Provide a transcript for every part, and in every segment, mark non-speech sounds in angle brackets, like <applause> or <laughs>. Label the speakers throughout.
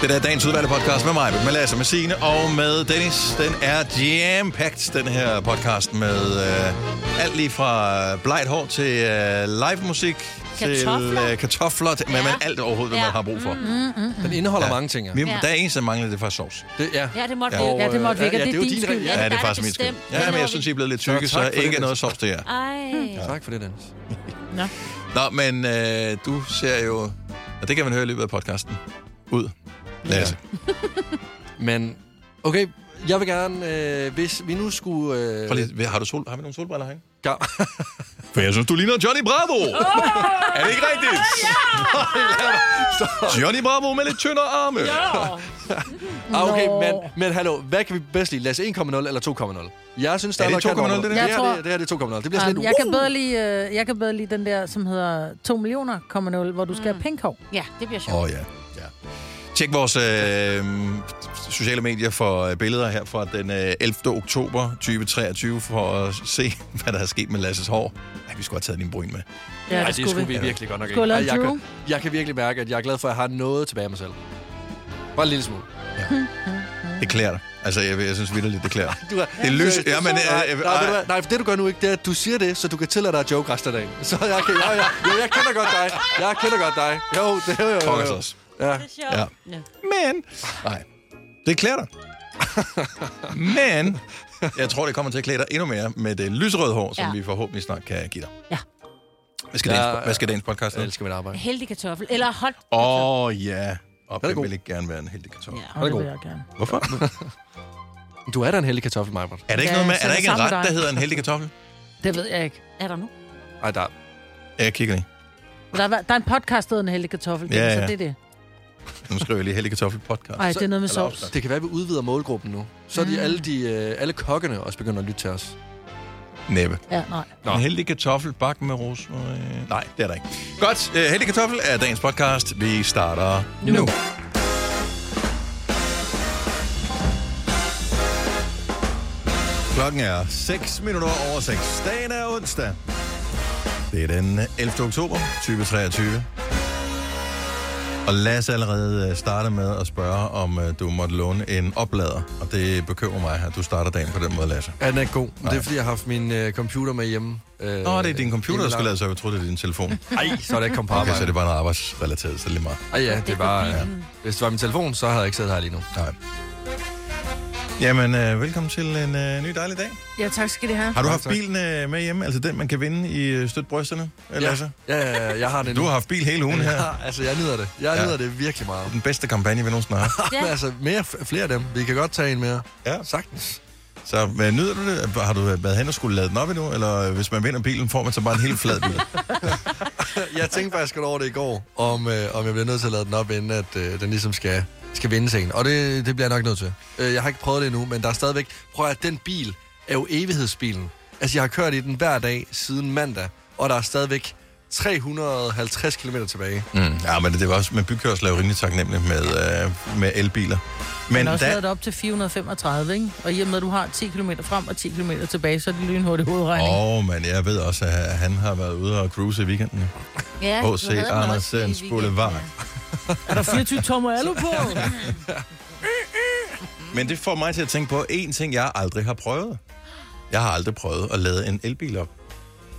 Speaker 1: Det der er dagens udvalgte podcast med mig, med Lasse, med Signe og med Dennis. Den er jam den her podcast med øh, alt lige fra blegt hår til øh, live musik, til
Speaker 2: Kartofler.
Speaker 1: øh, kartofler, til, ja. men alt overhovedet, hvad
Speaker 2: Ja.
Speaker 1: man har brug for. Mm.
Speaker 3: Den indeholder ja. mange ting, ja.
Speaker 1: Vi,
Speaker 2: Ja.
Speaker 1: Der er en, der mangler det er faktisk sovs.
Speaker 3: Det, ja.
Speaker 2: Ja, det måtte
Speaker 1: Ja.
Speaker 2: vi
Speaker 3: Og,
Speaker 2: ikke.
Speaker 4: Ja, det måtte
Speaker 3: øh,
Speaker 4: vi ikke, og
Speaker 3: ja,
Speaker 4: det er
Speaker 3: jo
Speaker 4: din
Speaker 3: din
Speaker 4: skyld.
Speaker 3: regel.
Speaker 2: Ja,
Speaker 1: Ja,
Speaker 2: der
Speaker 1: det er
Speaker 2: er
Speaker 1: faktisk
Speaker 2: det
Speaker 1: min skyld.
Speaker 2: bestemt.
Speaker 1: Ja, men
Speaker 2: Hvornår
Speaker 1: jeg synes,
Speaker 2: vi-
Speaker 1: I er blevet lidt
Speaker 3: Så
Speaker 1: tykke, så
Speaker 3: tak for det,
Speaker 1: ikke
Speaker 3: Dennis.
Speaker 1: noget sovs til jer. Hmm.
Speaker 2: Ej.
Speaker 3: Tak for det, Dennis.
Speaker 1: <laughs> Nå, men øh, du ser jo, og det kan man høre i løbet af podcasten, ud. Lasse.
Speaker 3: Men, okay, jeg vil gerne, øh, hvis vi nu skulle... Øh,
Speaker 1: Prøv lige, har, du sol, har vi nogle solbriller herinde? <laughs>
Speaker 3: ga-
Speaker 1: For jeg synes, du ligner Johnny <laughs> Bravo! er det ikke rigtigt? <laughs> Johnny Bravo med lidt tyndere arme.
Speaker 3: <laughs> Ah, okay,
Speaker 4: Nå.
Speaker 3: men, men hallo, hvad kan vi bedst lide? Lad os 1,0 eller 2,0? Jeg synes, der
Speaker 1: Er
Speaker 3: er,
Speaker 1: det
Speaker 3: noget kat
Speaker 1: 2,0,
Speaker 3: over
Speaker 1: det
Speaker 3: det
Speaker 1: der?
Speaker 3: her,
Speaker 4: Jeg tror-
Speaker 3: det, det her det er 2,0. Det bliver
Speaker 4: Jamen,
Speaker 3: sådan lidt...
Speaker 4: Um, jeg,
Speaker 1: uh!
Speaker 4: kan bedre lide, øh, jeg kan bedre lide den der, som hedder 2 millioner,0, hvor du skal have pinkov.
Speaker 2: Mm. Ja, det bliver sjovt.
Speaker 1: Åh oh, ja. ja. Tjek vores øh, sociale medier for øh, billeder her fra den øh, 11. oktober 2023 for at se, <laughs> hvad der er sket med Lasses hår. Ej, vi skulle have taget din bryn med.
Speaker 4: Ja,
Speaker 3: Ej, det skulle vi virkelig godt nok ikke.
Speaker 4: Skulle
Speaker 3: Ej,
Speaker 4: have
Speaker 3: jeg,
Speaker 4: lavet
Speaker 3: kan, jeg kan virkelig mærke, at jeg er glad for, at jeg har noget tilbage af mig selv. Bare en lille smule.
Speaker 1: Det klæder dig. Altså, jeg, jeg synes vildt, det klæder dig.
Speaker 3: <laughs> Du er,
Speaker 1: Det er løs-
Speaker 3: Seriøst,
Speaker 1: ja, men, øh,
Speaker 3: nej,
Speaker 1: øh,
Speaker 3: nej, ved du
Speaker 1: ej.
Speaker 3: hvad? nej, for det du gør nu ikke, det er, at du siger det, så du kan tillade dig at joke resten af dagen. Så jeg, kan, jeg, jeg, jeg, jeg kender godt dig. Jeg kender godt dig. Jo, det er jo... jo,
Speaker 1: Pokkers
Speaker 3: jo.
Speaker 1: også.
Speaker 3: Ja.
Speaker 2: Det er sjovt.
Speaker 1: Ja.
Speaker 2: Ja.
Speaker 1: Men... Nej, det klæder
Speaker 3: <laughs>
Speaker 1: dig. Men jeg tror, det kommer til at klæde dig endnu mere med det lyserøde hår, som
Speaker 2: Ja.
Speaker 1: vi forhåbentlig snart kan give dig.
Speaker 2: Ja.
Speaker 1: Hvad skal,
Speaker 3: Ja,
Speaker 1: dagens, hvad skal dagens podcast
Speaker 3: Jeg
Speaker 1: hedde?
Speaker 3: elsker mit arbejde.
Speaker 2: Heldig kartoffel. Eller hot.
Speaker 1: Åh, oh, ja. Og
Speaker 3: er
Speaker 1: det
Speaker 3: god.
Speaker 1: vil ikke gerne være en heldig kartoffel.
Speaker 2: Ja.
Speaker 4: Og det vil jeg gerne.
Speaker 1: Hvorfor?
Speaker 3: Du er da en heldig kartoffel, Majbert.
Speaker 1: Er der ikke
Speaker 4: Ja,
Speaker 1: noget med,
Speaker 4: så
Speaker 1: er
Speaker 4: er
Speaker 1: der
Speaker 4: det
Speaker 1: ikke en
Speaker 4: sammen
Speaker 1: ret,
Speaker 4: med
Speaker 1: der
Speaker 4: dig.
Speaker 1: hedder en heldig kartoffel?
Speaker 4: Det ved jeg ikke.
Speaker 2: Er der nu?
Speaker 3: Ej, der,
Speaker 1: Ja,
Speaker 3: Øh,
Speaker 1: Jeg kigger lige.
Speaker 4: Der er, der er en podcast, der hedder en heldig kartoffel.
Speaker 1: Ja,
Speaker 4: Ja,
Speaker 1: ja.
Speaker 4: Så det er det.
Speaker 1: Nu skriver jeg lige heldig kartoffel podcast.
Speaker 4: Ej, det er noget med
Speaker 1: Eller
Speaker 4: sovs. Mm.
Speaker 1: opskrift.
Speaker 3: det kan være, at vi udvider målgruppen nu. Så er de alle, de, øh, alle kokkene også begynder at lytte til os.
Speaker 1: Næppe.
Speaker 4: Ja, nej.
Speaker 3: Nå.
Speaker 1: En heldig kartoffel bagt med ros. Øh, nej, det er der ikke. Godt. øh, Heldig kartoffel er dagens podcast. Vi starter nu. nu. Klokken er 6 minutter over 6. Dagen er onsdag. Det er den 11. oktober 2023. Og Lasse allerede øh, starter med at spørge, om øh, du måtte låne en oplader. Og det bekymrer mig, at du starter dagen på den måde, Lasse.
Speaker 3: Ja, den er god. Nej. Det er, fordi jeg har haft min øh, computer med hjemme. Øh,
Speaker 1: Nå, det er din computer, der
Speaker 3: lade.
Speaker 1: skal lades op. Jeg troede, det er din telefon.
Speaker 3: Ej, så er det ikke kommet på
Speaker 1: Okay, så er
Speaker 3: arbejde.
Speaker 1: det bare en arbejdsrelateret, så er det lige meget.
Speaker 3: Ej, ja, det var... Øh, hvis det var min telefon, så havde jeg ikke siddet her lige nu.
Speaker 1: Nej. Jamen, øh, velkommen til en øh, ny dejlig dag.
Speaker 4: Ja, tak skal det have.
Speaker 1: Har du haft
Speaker 3: tak.
Speaker 1: bilen øh, med hjemme? Altså den, man kan vinde i øh, støt brysterne? Eller altså?
Speaker 3: Ja, ja, ja, jeg har det nu.
Speaker 1: Du har haft bil hele ugen her.
Speaker 3: Ja, altså, jeg nyder det. Jeg
Speaker 1: Ja.
Speaker 3: ja. nyder det virkelig meget.
Speaker 1: Den bedste kampagne, vi nogensinde har haft.
Speaker 2: Ja.
Speaker 3: Men <laughs> altså, mere, f- flere af dem. Vi kan godt tage en mere.
Speaker 1: Ja.
Speaker 3: Sagtens.
Speaker 1: Så øh, nyder du det? Har du øh, været hen og skulle lade den op endnu? Eller øh, hvis man vinder bilen, får man så bare en helt
Speaker 3: <laughs>
Speaker 1: flad bil?
Speaker 3: Jeg tænkte faktisk godt over det i går, om, øh, om jeg bliver nødt til at lade den op, inden at øh, den ligesom skal, skal vende scenen. Og det, det bliver jeg nok nødt til. Øh, jeg har ikke prøvet det endnu, men der er stadigvæk... Prøv at høre, den bil er jo evighedsbilen. Altså, jeg har kørt i den hver dag siden mandag, og der er stadigvæk 350 km tilbage.
Speaker 1: Mm. Ja, men det var også, men bykørsel er jo rimelig taknemmelig med, øh, med elbiler. Men
Speaker 4: Men også lavet
Speaker 1: da...
Speaker 4: det op til 435, ikke? Og i og med, at du har 10 km frem og 10 km tilbage, så er det lynhurtig hovedregning.
Speaker 1: Åh, oh, men jeg ved også, at han har været ude og cruise i weekenden. jo.
Speaker 2: Ja,
Speaker 1: H.C.
Speaker 2: du havde den også
Speaker 1: Andersens
Speaker 2: i weekenden.
Speaker 1: Boulevard.
Speaker 4: <laughs> Er der 24 tommer alu på?
Speaker 1: <laughs> Men det får mig til at tænke på en ting, jeg aldrig har prøvet. Jeg har aldrig prøvet at lade en elbil op.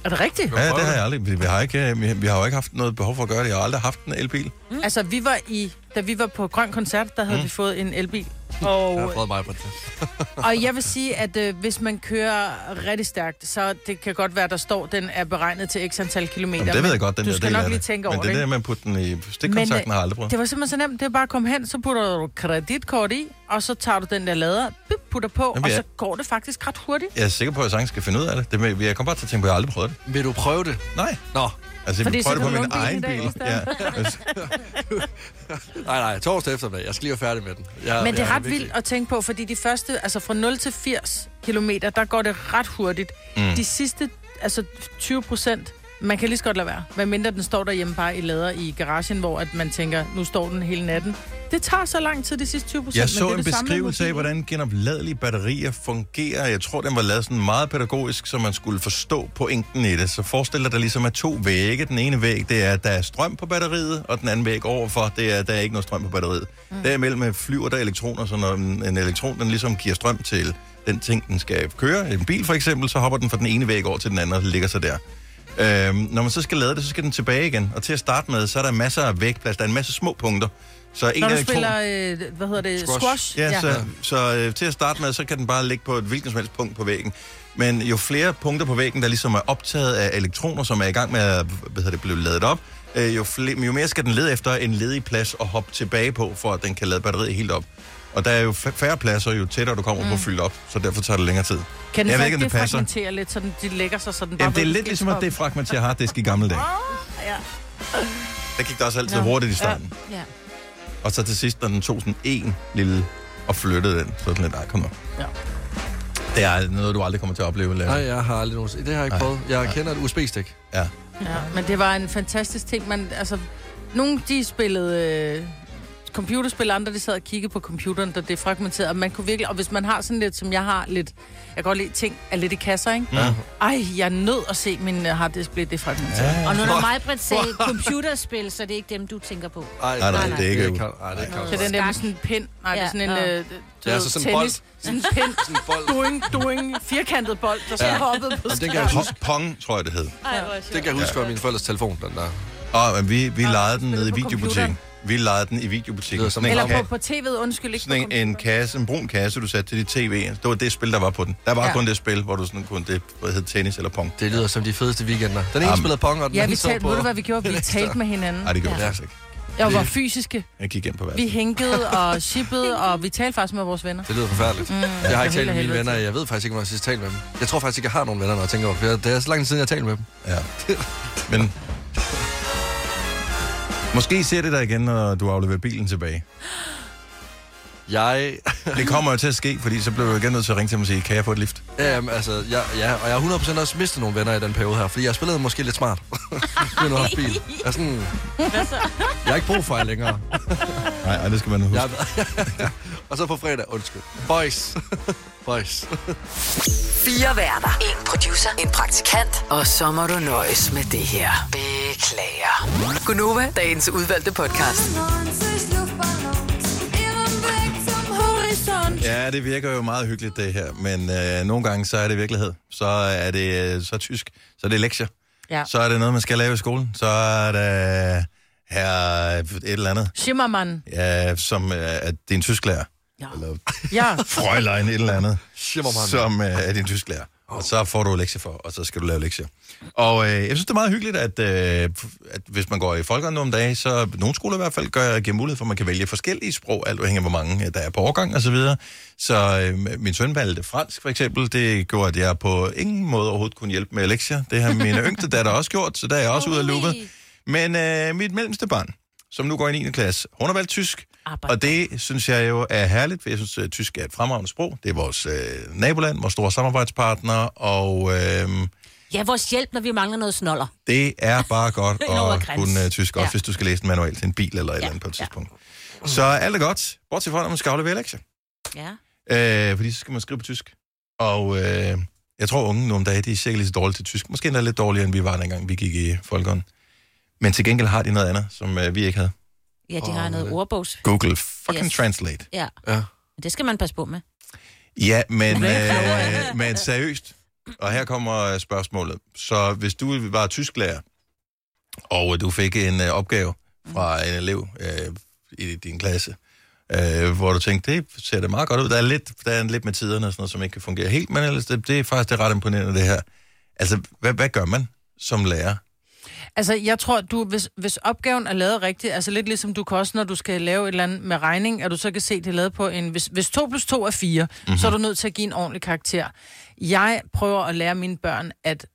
Speaker 4: Er det rigtigt?
Speaker 1: Ja,
Speaker 3: prøver
Speaker 1: det har
Speaker 3: det?
Speaker 1: jeg aldrig. Vi- Vi har, ikke, øh, vi- vi har jo ikke haft noget behov for at gøre det. Jeg har aldrig haft en elbil.
Speaker 4: Altså, vi var i, da vi var på Grøn Koncert, der havde mm. vi fået en elbil.
Speaker 3: Jeg har
Speaker 4: Og,
Speaker 3: prøvet mig på det.
Speaker 4: og jeg vil sige, at øh, hvis man kører rigtig stærkt, så det kan godt være, der står, den er beregnet til x antal kilometer.
Speaker 1: Jamen, det ved
Speaker 4: men
Speaker 1: jeg godt, den
Speaker 4: du
Speaker 1: der
Speaker 4: skal
Speaker 1: del
Speaker 4: nok
Speaker 1: af
Speaker 4: lige
Speaker 1: det.
Speaker 4: tænke
Speaker 1: Men
Speaker 4: over det,
Speaker 1: det der
Speaker 4: ikke?
Speaker 1: med at putte den i stikkontakten
Speaker 4: Men, øh,
Speaker 1: har jeg aldrig prøvet.
Speaker 4: Det var simpelthen så nemt, det er bare at komme hen, så putter du kreditkort i, og så tager du den der lader, bip, putter på,
Speaker 1: Jamen,
Speaker 4: og
Speaker 1: ja.
Speaker 4: så går det faktisk ret hurtigt.
Speaker 1: Jeg er sikker på, at jeg sagtens skal finde ud af det. det med, jeg kommer bare til at tænke på, at jeg aldrig prøvet det.
Speaker 3: Vil du prøve det?
Speaker 1: Nej.
Speaker 3: Nå,
Speaker 1: Altså, jeg
Speaker 4: Fordi
Speaker 1: vil
Speaker 4: så
Speaker 1: prøve det på
Speaker 4: kan du
Speaker 1: min
Speaker 4: låne bilen
Speaker 1: egen
Speaker 4: i dag
Speaker 1: bil.
Speaker 4: i stedet.
Speaker 1: Ja. Altså,
Speaker 4: <laughs>
Speaker 3: nej, nej, torsdag eftermiddag. Jeg skal lige være færdig med den. Jeg,
Speaker 4: Men det
Speaker 3: jeg
Speaker 4: er ret vildt at tænke på, fordi de første, altså fra 0 til 80 kilometer, der går det ret hurtigt. Mm. De sidste, altså 20 procent, Man kan lige så godt lade være. Hvad mindre den står derhjemme bare i lader i garagen, hvor at man tænker, nu står den hele natten. Det tager så lang tid, de sidste 20 procent.
Speaker 1: Jeg så en beskrivelse af, hvordan genopladelige batterier fungerer. Jeg tror, den var lavet sådan meget pædagogisk, så man skulle forstå pointen i det. Så forestil dig, der ligesom er to vægge. Den ene væg, det er, at der er strøm på batteriet, og den anden væg overfor, det er, at der er ikke noget strøm på batteriet. Mm. Derimellem flyver der elektroner, så når en en elektron den ligesom giver strøm til den ting, den skal køre, en bil for eksempel, så hopper den fra den ene væg over til den anden og ligger sig der. Øhm, når man så skal lade det, så skal den tilbage igen. Og til at starte med, så er der masser af vægplads. Der er en masse små punkter. Så en
Speaker 4: Når du
Speaker 1: elektron-
Speaker 4: spiller, øh, hvad hedder det,
Speaker 3: Squash.
Speaker 4: squash?
Speaker 1: Ja, ja. så, så øh, til at starte med, så kan den bare ligge på et hvilken som helst punkt på væggen. Men jo flere punkter på væggen, der ligesom er optaget af elektroner, som er i gang med at hvad hedder det, blive ladet op, øh, jo, flere, jo mere skal den lede efter en ledig plads og hoppe tilbage på, for at den kan lade batteriet helt op. Og der er jo fa- færre pladser, jo tættere du kommer mm. på at fylde op, så derfor tager det længere tid.
Speaker 4: Kan den
Speaker 1: Jeg
Speaker 4: så ikke
Speaker 1: ved ikke, om det
Speaker 4: det
Speaker 1: passer.
Speaker 4: fragmentere lidt, så den, de lægger sig, så den bare...
Speaker 1: Jamen, det er
Speaker 4: ved,
Speaker 1: lidt
Speaker 4: skal
Speaker 1: ligesom at
Speaker 4: stoppe?
Speaker 1: defragmentere harddisk i gamle dage.
Speaker 4: Ja.
Speaker 1: Der gik det også altid
Speaker 4: Nå.
Speaker 1: hurtigt i starten.
Speaker 4: Ja.
Speaker 1: Og så til sidst, når den tog sådan en lille og flyttede den, så var den lidt, nej, kom nu.
Speaker 4: Ja.
Speaker 1: Det er noget, du aldrig kommer til at opleve, Lea.
Speaker 3: Nej, jeg har aldrig nogensinde... Det har jeg ikke
Speaker 1: Nej.
Speaker 3: prøvet. Jeg kender et USB-stik.
Speaker 1: Ja.
Speaker 4: ja. Men det var en fantastisk ting. Man, altså, nogle de spillede øh, computerspil, andre de sad og kiggede på computeren, der det fragmenterede. Og man kunne virkelig... Og hvis man har sådan lidt, som jeg har lidt... Jeg kan godt lide ting er lidt i kasser, ikke?
Speaker 1: Ja.
Speaker 4: Ej, jeg er nødt at se min øh, harddisk blive defragmenteret.
Speaker 1: Ja.
Speaker 2: Og nu når mig, Britt,
Speaker 4: <laughs>
Speaker 2: sagde computerspil, så det er ikke dem, du tænker på.
Speaker 3: Ej,
Speaker 1: Nej, nej,
Speaker 2: nej,
Speaker 1: det er ikke
Speaker 3: det
Speaker 1: øv.
Speaker 3: kan, nej, det kan
Speaker 4: Så den der med sådan en pind. Nej, det er
Speaker 2: Ja,
Speaker 4: sådan en...
Speaker 2: nå.
Speaker 4: Øh, du
Speaker 3: Ja,
Speaker 4: ved,
Speaker 3: så sådan en bold.
Speaker 4: Sådan en pind.
Speaker 3: en bold.
Speaker 4: Doing, doing. Firkantet bold, der så ja. hoppede på
Speaker 3: Jamen, den
Speaker 4: skærmen.
Speaker 3: kan jeg huske,
Speaker 1: Po- Pong, tror jeg, det hed.
Speaker 5: Ej, hvor
Speaker 3: det kan jeg huske fra min forældres telefon, den der.
Speaker 1: Og men vi, vi legede den
Speaker 4: spille
Speaker 1: nede i
Speaker 4: på
Speaker 1: videobutikken. Vi legede den i
Speaker 3: Det lyder
Speaker 1: videobutikken.
Speaker 3: som
Speaker 1: Sådan en,
Speaker 4: Eller
Speaker 1: ka-
Speaker 4: på, på tv'et, undskyld, ikke
Speaker 1: sådan en,
Speaker 4: på
Speaker 1: en kasse, en brun kasse, du satte til dit tv. Det var det spil, der var på den. Der var ja.
Speaker 4: Ja.
Speaker 1: kun det spil, hvor du sådan kun det hvad hed tennis eller pong.
Speaker 3: Det lyder som de fedeste weekender. Den ene
Speaker 1: Jamen.
Speaker 3: spillede pong, og den
Speaker 4: Ja, vi
Speaker 3: anden så
Speaker 4: talte,
Speaker 3: på...
Speaker 4: ved du hvad vi <laughs> gjorde? Vi talte med hinanden.
Speaker 1: Nej, det gjorde ja.
Speaker 4: ja.
Speaker 1: jeg faktisk ikke.
Speaker 4: Jeg var fysiske.
Speaker 1: Jeg gik ind på
Speaker 4: Vi
Speaker 1: værelset.
Speaker 4: hænkede
Speaker 1: <laughs>
Speaker 4: og shippede, og vi talte faktisk med vores venner.
Speaker 3: Det lyder forfærdeligt. Mm, jeg har
Speaker 4: helt
Speaker 3: ikke talt
Speaker 4: af
Speaker 3: med mine
Speaker 4: helvede
Speaker 3: venner.
Speaker 4: til.
Speaker 3: Jeg ved faktisk ikke, hvornår jeg sidst talte med dem. Jeg tror faktisk ikke, jeg har nogen venner, når jeg tænker over det. for jeg- Det er så lang tid siden, jeg har talt med dem.
Speaker 1: <laughs> Ja. Men... Måske ser det dig igen, når du afleverer bilen tilbage.
Speaker 3: Jeg...
Speaker 1: <laughs> Det kommer jo til at ske, fordi så bliver jeg igen nødt til at ringe til dem og sige, kan jeg få et lift?
Speaker 3: Jamen, altså, jeg, ja, og jeg har 100% også mistet nogle venner i den periode her, fordi jeg spillede måske lidt smart. <laughs> Med noget bil. Jeg, er sådan, jeg har ikke brug for jer længere.
Speaker 1: <laughs> Nej, ej, det skal man huske.
Speaker 3: Jeg, <laughs> og så på fredag, undskyld. Boys. <laughs>
Speaker 2: <laughs>
Speaker 3: Boys.
Speaker 6: Fire værter. En producer. En praktikant. Og så må du nøjes med det her. Beklager. Gunova, dagens udvalgte podcast.
Speaker 1: Ja, det virker jo meget hyggeligt, det her. Men øh, nogle gange, så er det virkelighed. Så er det øh, så er tysk. Så er det lektier.
Speaker 4: Ja.
Speaker 1: Så er det noget, man skal lave i skolen. Så er det her et eller andet,
Speaker 4: Schimmermann.
Speaker 1: ja, som øh, er din tysklærer.
Speaker 4: Ja.
Speaker 1: Eller <laughs>
Speaker 4: Ja.
Speaker 1: Freulein, et eller andet,
Speaker 3: Schimmermann.
Speaker 1: som øh, er din tysklærer. Og så får du lektier for, og så skal du lave lektier. Og øh, jeg synes, det er meget hyggeligt, at, øh, at hvis man går i folkeren nogle dage, så nogle skoler i hvert fald gør, giver mulighed for, at man kan vælge forskellige sprog, alt afhængig af, hvor mange øh, der er på årgang og Så, videre. så øh, min søn valgte fransk, for eksempel. Det gjorde, at jeg på ingen måde overhovedet kunne hjælpe med lektier. Det har min yngste datter også gjort, så der er jeg også ude af loopet. Men øh, mit mellemste barn, som nu går i 9. klasse, hun har valgt tysk.
Speaker 4: Arbejde.
Speaker 1: Og det synes jeg jo er herligt, for jeg synes, at tysk er et fremragende sprog. Det er vores øh, naboland, vores store samarbejdspartner, og øh,
Speaker 2: <laughs> Ja, vores hjælp, når vi mangler noget snoller.
Speaker 1: det er bare godt
Speaker 2: En
Speaker 1: at
Speaker 2: overkrans.
Speaker 1: kunne øh, tysk, også
Speaker 2: Ja.
Speaker 1: hvis du skal læse en manual til en bil eller et eller andet på et tidspunkt. Så alt er godt, bortset fra, når man skal aflevere lektier.
Speaker 2: Ja.
Speaker 1: Øh, fordi så skal man skrive på tysk. Og øh, jeg tror, unge nogle dage, de er sikkert lige så dårlige til tysk. Måske endda lidt dårligere, end vi var dengang, vi gik i folkeren. Men til gengæld har de noget andet, som øh, vi ikke havde.
Speaker 2: Ja, de har
Speaker 3: Åh,
Speaker 2: noget
Speaker 3: det-
Speaker 2: ordbogs.
Speaker 1: Google fucking
Speaker 2: Yes.
Speaker 1: yes. Translate.
Speaker 2: Ja,
Speaker 3: Ja.
Speaker 2: det skal man passe på med.
Speaker 1: Ja, men, øh, men seriøst. Og her kommer øh, spørgsmålet. Så hvis du var tysklærer, og øh, du fik en øh, opgave fra
Speaker 4: Mm.
Speaker 1: en elev øh, i din klasse, øh, hvor du tænkte, det ser det meget godt ud. Der er, lidt, der er lidt med tiderne og sådan noget, som ikke kan fungere helt, men ellers, det, det er faktisk det er ret imponerende, det her. Altså, hvad, hvad gør man som lærer?
Speaker 4: Altså, jeg tror, du, hvis, hvis opgaven er lavet rigtigt, altså lidt ligesom du kan også, når du skal lave et eller andet med regning, at du så kan se, det er lavet på en... Hvis, hvis 2 plus 2 er
Speaker 1: Mhm.
Speaker 4: 4, mm-hmm. så er du nødt til at give en ordentlig karakter. Jeg prøver at lære mine børn, at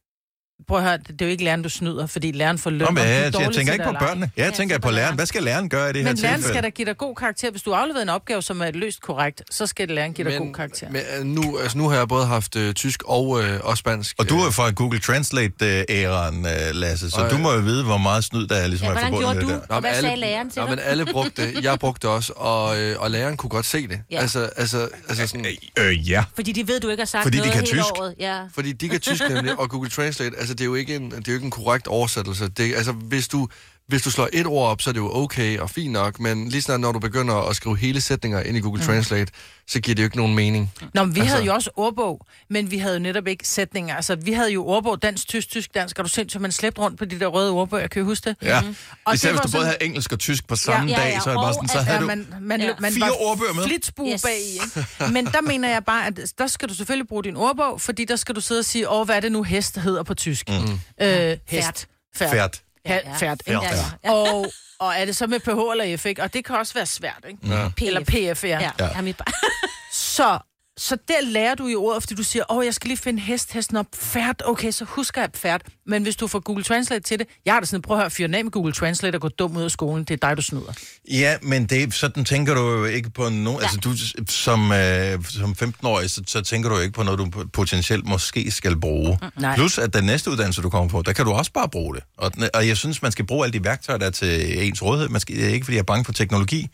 Speaker 4: Prøv at høre, det er jo ikke læreren, du snyder, fordi læreren får løn.
Speaker 1: Nå,
Speaker 4: om
Speaker 1: men
Speaker 4: du er
Speaker 1: jeg, jeg
Speaker 4: dårlig til
Speaker 1: tænker ikke
Speaker 4: det
Speaker 1: på
Speaker 4: eller ej.
Speaker 1: børnene. Jeg tænker på læreren. Hvad skal læreren gøre i det her
Speaker 4: Men læreren
Speaker 1: tilfælde?
Speaker 4: skal da give dig god karakter. Hvis du afleverer en opgave, som er løst korrekt, så skal læreren give dig god karakter.
Speaker 3: Men øh, nu, altså, nu har jeg både haft øh, tysk og, øh, og spansk.
Speaker 1: Og du er jo fra Google Translate-æraen, øh, Lasse, så
Speaker 3: Og,
Speaker 1: du
Speaker 3: øh,
Speaker 1: må jo vide, hvor meget snyd der er, ligesom
Speaker 2: Ja,
Speaker 1: er
Speaker 2: hvordan
Speaker 1: forbundet med
Speaker 2: gjorde
Speaker 1: det
Speaker 2: du?
Speaker 1: der.
Speaker 2: Nå, Hvad sagde læreren til
Speaker 3: Nå,
Speaker 2: dig?
Speaker 3: men alle brugte
Speaker 2: <laughs>
Speaker 3: det. Jeg brugte det også, og, øh, og læreren kunne godt se det.
Speaker 2: Ja.
Speaker 3: Ja. Altså, altså, altså sådan,
Speaker 1: Øh, ja.
Speaker 2: Fordi de ved, du ikke har sagt
Speaker 1: Fordi de
Speaker 2: noget
Speaker 1: kan
Speaker 2: hele
Speaker 1: tysk.
Speaker 2: året. Ja.
Speaker 3: fordi de kan tysk nemlig, og Google Translate, altså det er jo ikke en, det er jo ikke en korrekt oversættelse. Det, altså, hvis du, hvis du slår et ord op, så er det jo okay og fint nok, men lige snart når du begynder at skrive hele sætninger ind i Google
Speaker 2: Mm.
Speaker 3: Translate, så giver det jo ikke nogen mening.
Speaker 4: Nå, men vi altså... havde jo også ordbog, men vi havde jo netop ikke sætninger. Altså, vi havde jo ordbog, dansk, tysk, tysk, dansk. Er du sindssygt, man slæbte rundt på de der røde ordbog, jeg kan jo huske det. Mhm.
Speaker 1: Ja.
Speaker 4: Og det var
Speaker 1: Især hvis du både
Speaker 4: sådan-
Speaker 1: havde engelsk og tysk på samme
Speaker 2: Ja, ja, ja,
Speaker 1: dag, så er det bare
Speaker 2: og
Speaker 1: sådan, så
Speaker 2: at-
Speaker 1: havde
Speaker 4: Ja, altså,
Speaker 1: du...
Speaker 4: man, man,
Speaker 2: Ja.
Speaker 4: ja. man
Speaker 1: Fire ordbøger med.
Speaker 4: var flitsbue
Speaker 2: Yes.
Speaker 4: yes. bag i, ikke? Men der mener jeg bare, at der skal du selvfølgelig bruge din ordbog, fordi der skal du sidde og sige, åh, hvad er det nu hest hedder på tysk? Mm. Øh, hest. Færd.
Speaker 1: Færd.
Speaker 4: Ja,
Speaker 2: Ja, ja.
Speaker 4: Færd. ikke?
Speaker 1: Ja, ja.
Speaker 4: Og, og er det så med PH eller F, ikke? Og det kan også være svært, ikke?
Speaker 1: Ja.
Speaker 2: PF.
Speaker 4: Eller PF, ja.
Speaker 2: Ja.
Speaker 1: Ja.
Speaker 2: ja. ja. mit barn.
Speaker 4: <laughs> Så, så der lærer du i ordet, fordi du siger, åh, jeg skal lige finde hest, hesten op, færd. Okay, så husker jeg færd. Men hvis du får Google Translate til det, jeg har da sådan, prøv at høre, fyr den af med Google Translate og gå dum ud af skolen, det er dig, du snyder.
Speaker 1: Ja, men det, sådan tænker du jo ikke på nogen... Altså, du, som, øh, som 15-årig, så, så tænker du jo ikke på noget, du p- potentielt måske skal bruge.
Speaker 4: Nej.
Speaker 1: Plus, at den næste uddannelse, du kommer på, der kan du også bare bruge det. Og, den- og jeg synes, man skal bruge alle de værktøjer, der er til ens rådighed. Man skal, ikke fordi jeg er bange for teknologi.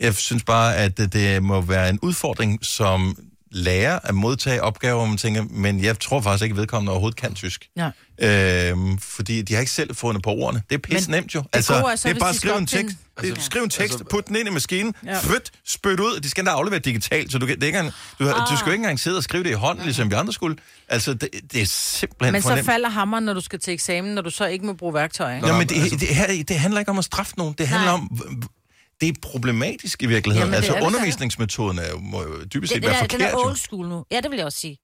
Speaker 1: Jeg synes bare, at det, det må være en udfordring som lærer at modtage opgaver, hvor man tænker, men jeg tror faktisk ikke, at vedkommende overhovedet kan tysk.
Speaker 4: Nej.
Speaker 1: Øhm, fordi de har ikke selv fundet på ordene. Det er pisse nemt jo. Altså,
Speaker 4: gode er
Speaker 1: det
Speaker 4: så,
Speaker 1: er
Speaker 4: hvis
Speaker 1: bare at
Speaker 4: de
Speaker 1: skrive
Speaker 4: skal
Speaker 1: en
Speaker 4: opfinde-
Speaker 1: tekst. Altså, skriv en tekst, altså, put den ind i maskinen, ja.
Speaker 4: Ja.
Speaker 1: flyt, spyt ud. De skal endda aflevere digitalt, så du, kan, det er ikke, engang- du, ah. du skal jo ikke engang sidde og skrive det i hånden, ligesom vi andre skulle. Altså, det, det er simpelthen
Speaker 4: Men
Speaker 1: for
Speaker 4: så
Speaker 1: nemt.
Speaker 4: falder hammeren, når du skal til eksamen, når du så ikke må bruge værktøj, ikke?
Speaker 1: Nå, altså- men det, det, her, det handler ikke om at straffe nogen. Det handler om... v- v- Det er problematisk i virkeligheden.
Speaker 4: Jamen,
Speaker 1: Jamen,
Speaker 4: det
Speaker 1: altså,
Speaker 4: er det.
Speaker 1: undervisningsmetoden er jo, må jo dybest set
Speaker 2: Den,
Speaker 1: være
Speaker 2: er, den
Speaker 1: forkert.
Speaker 2: er
Speaker 1: jo.
Speaker 2: old school nu. Ja, det vil jeg også sige.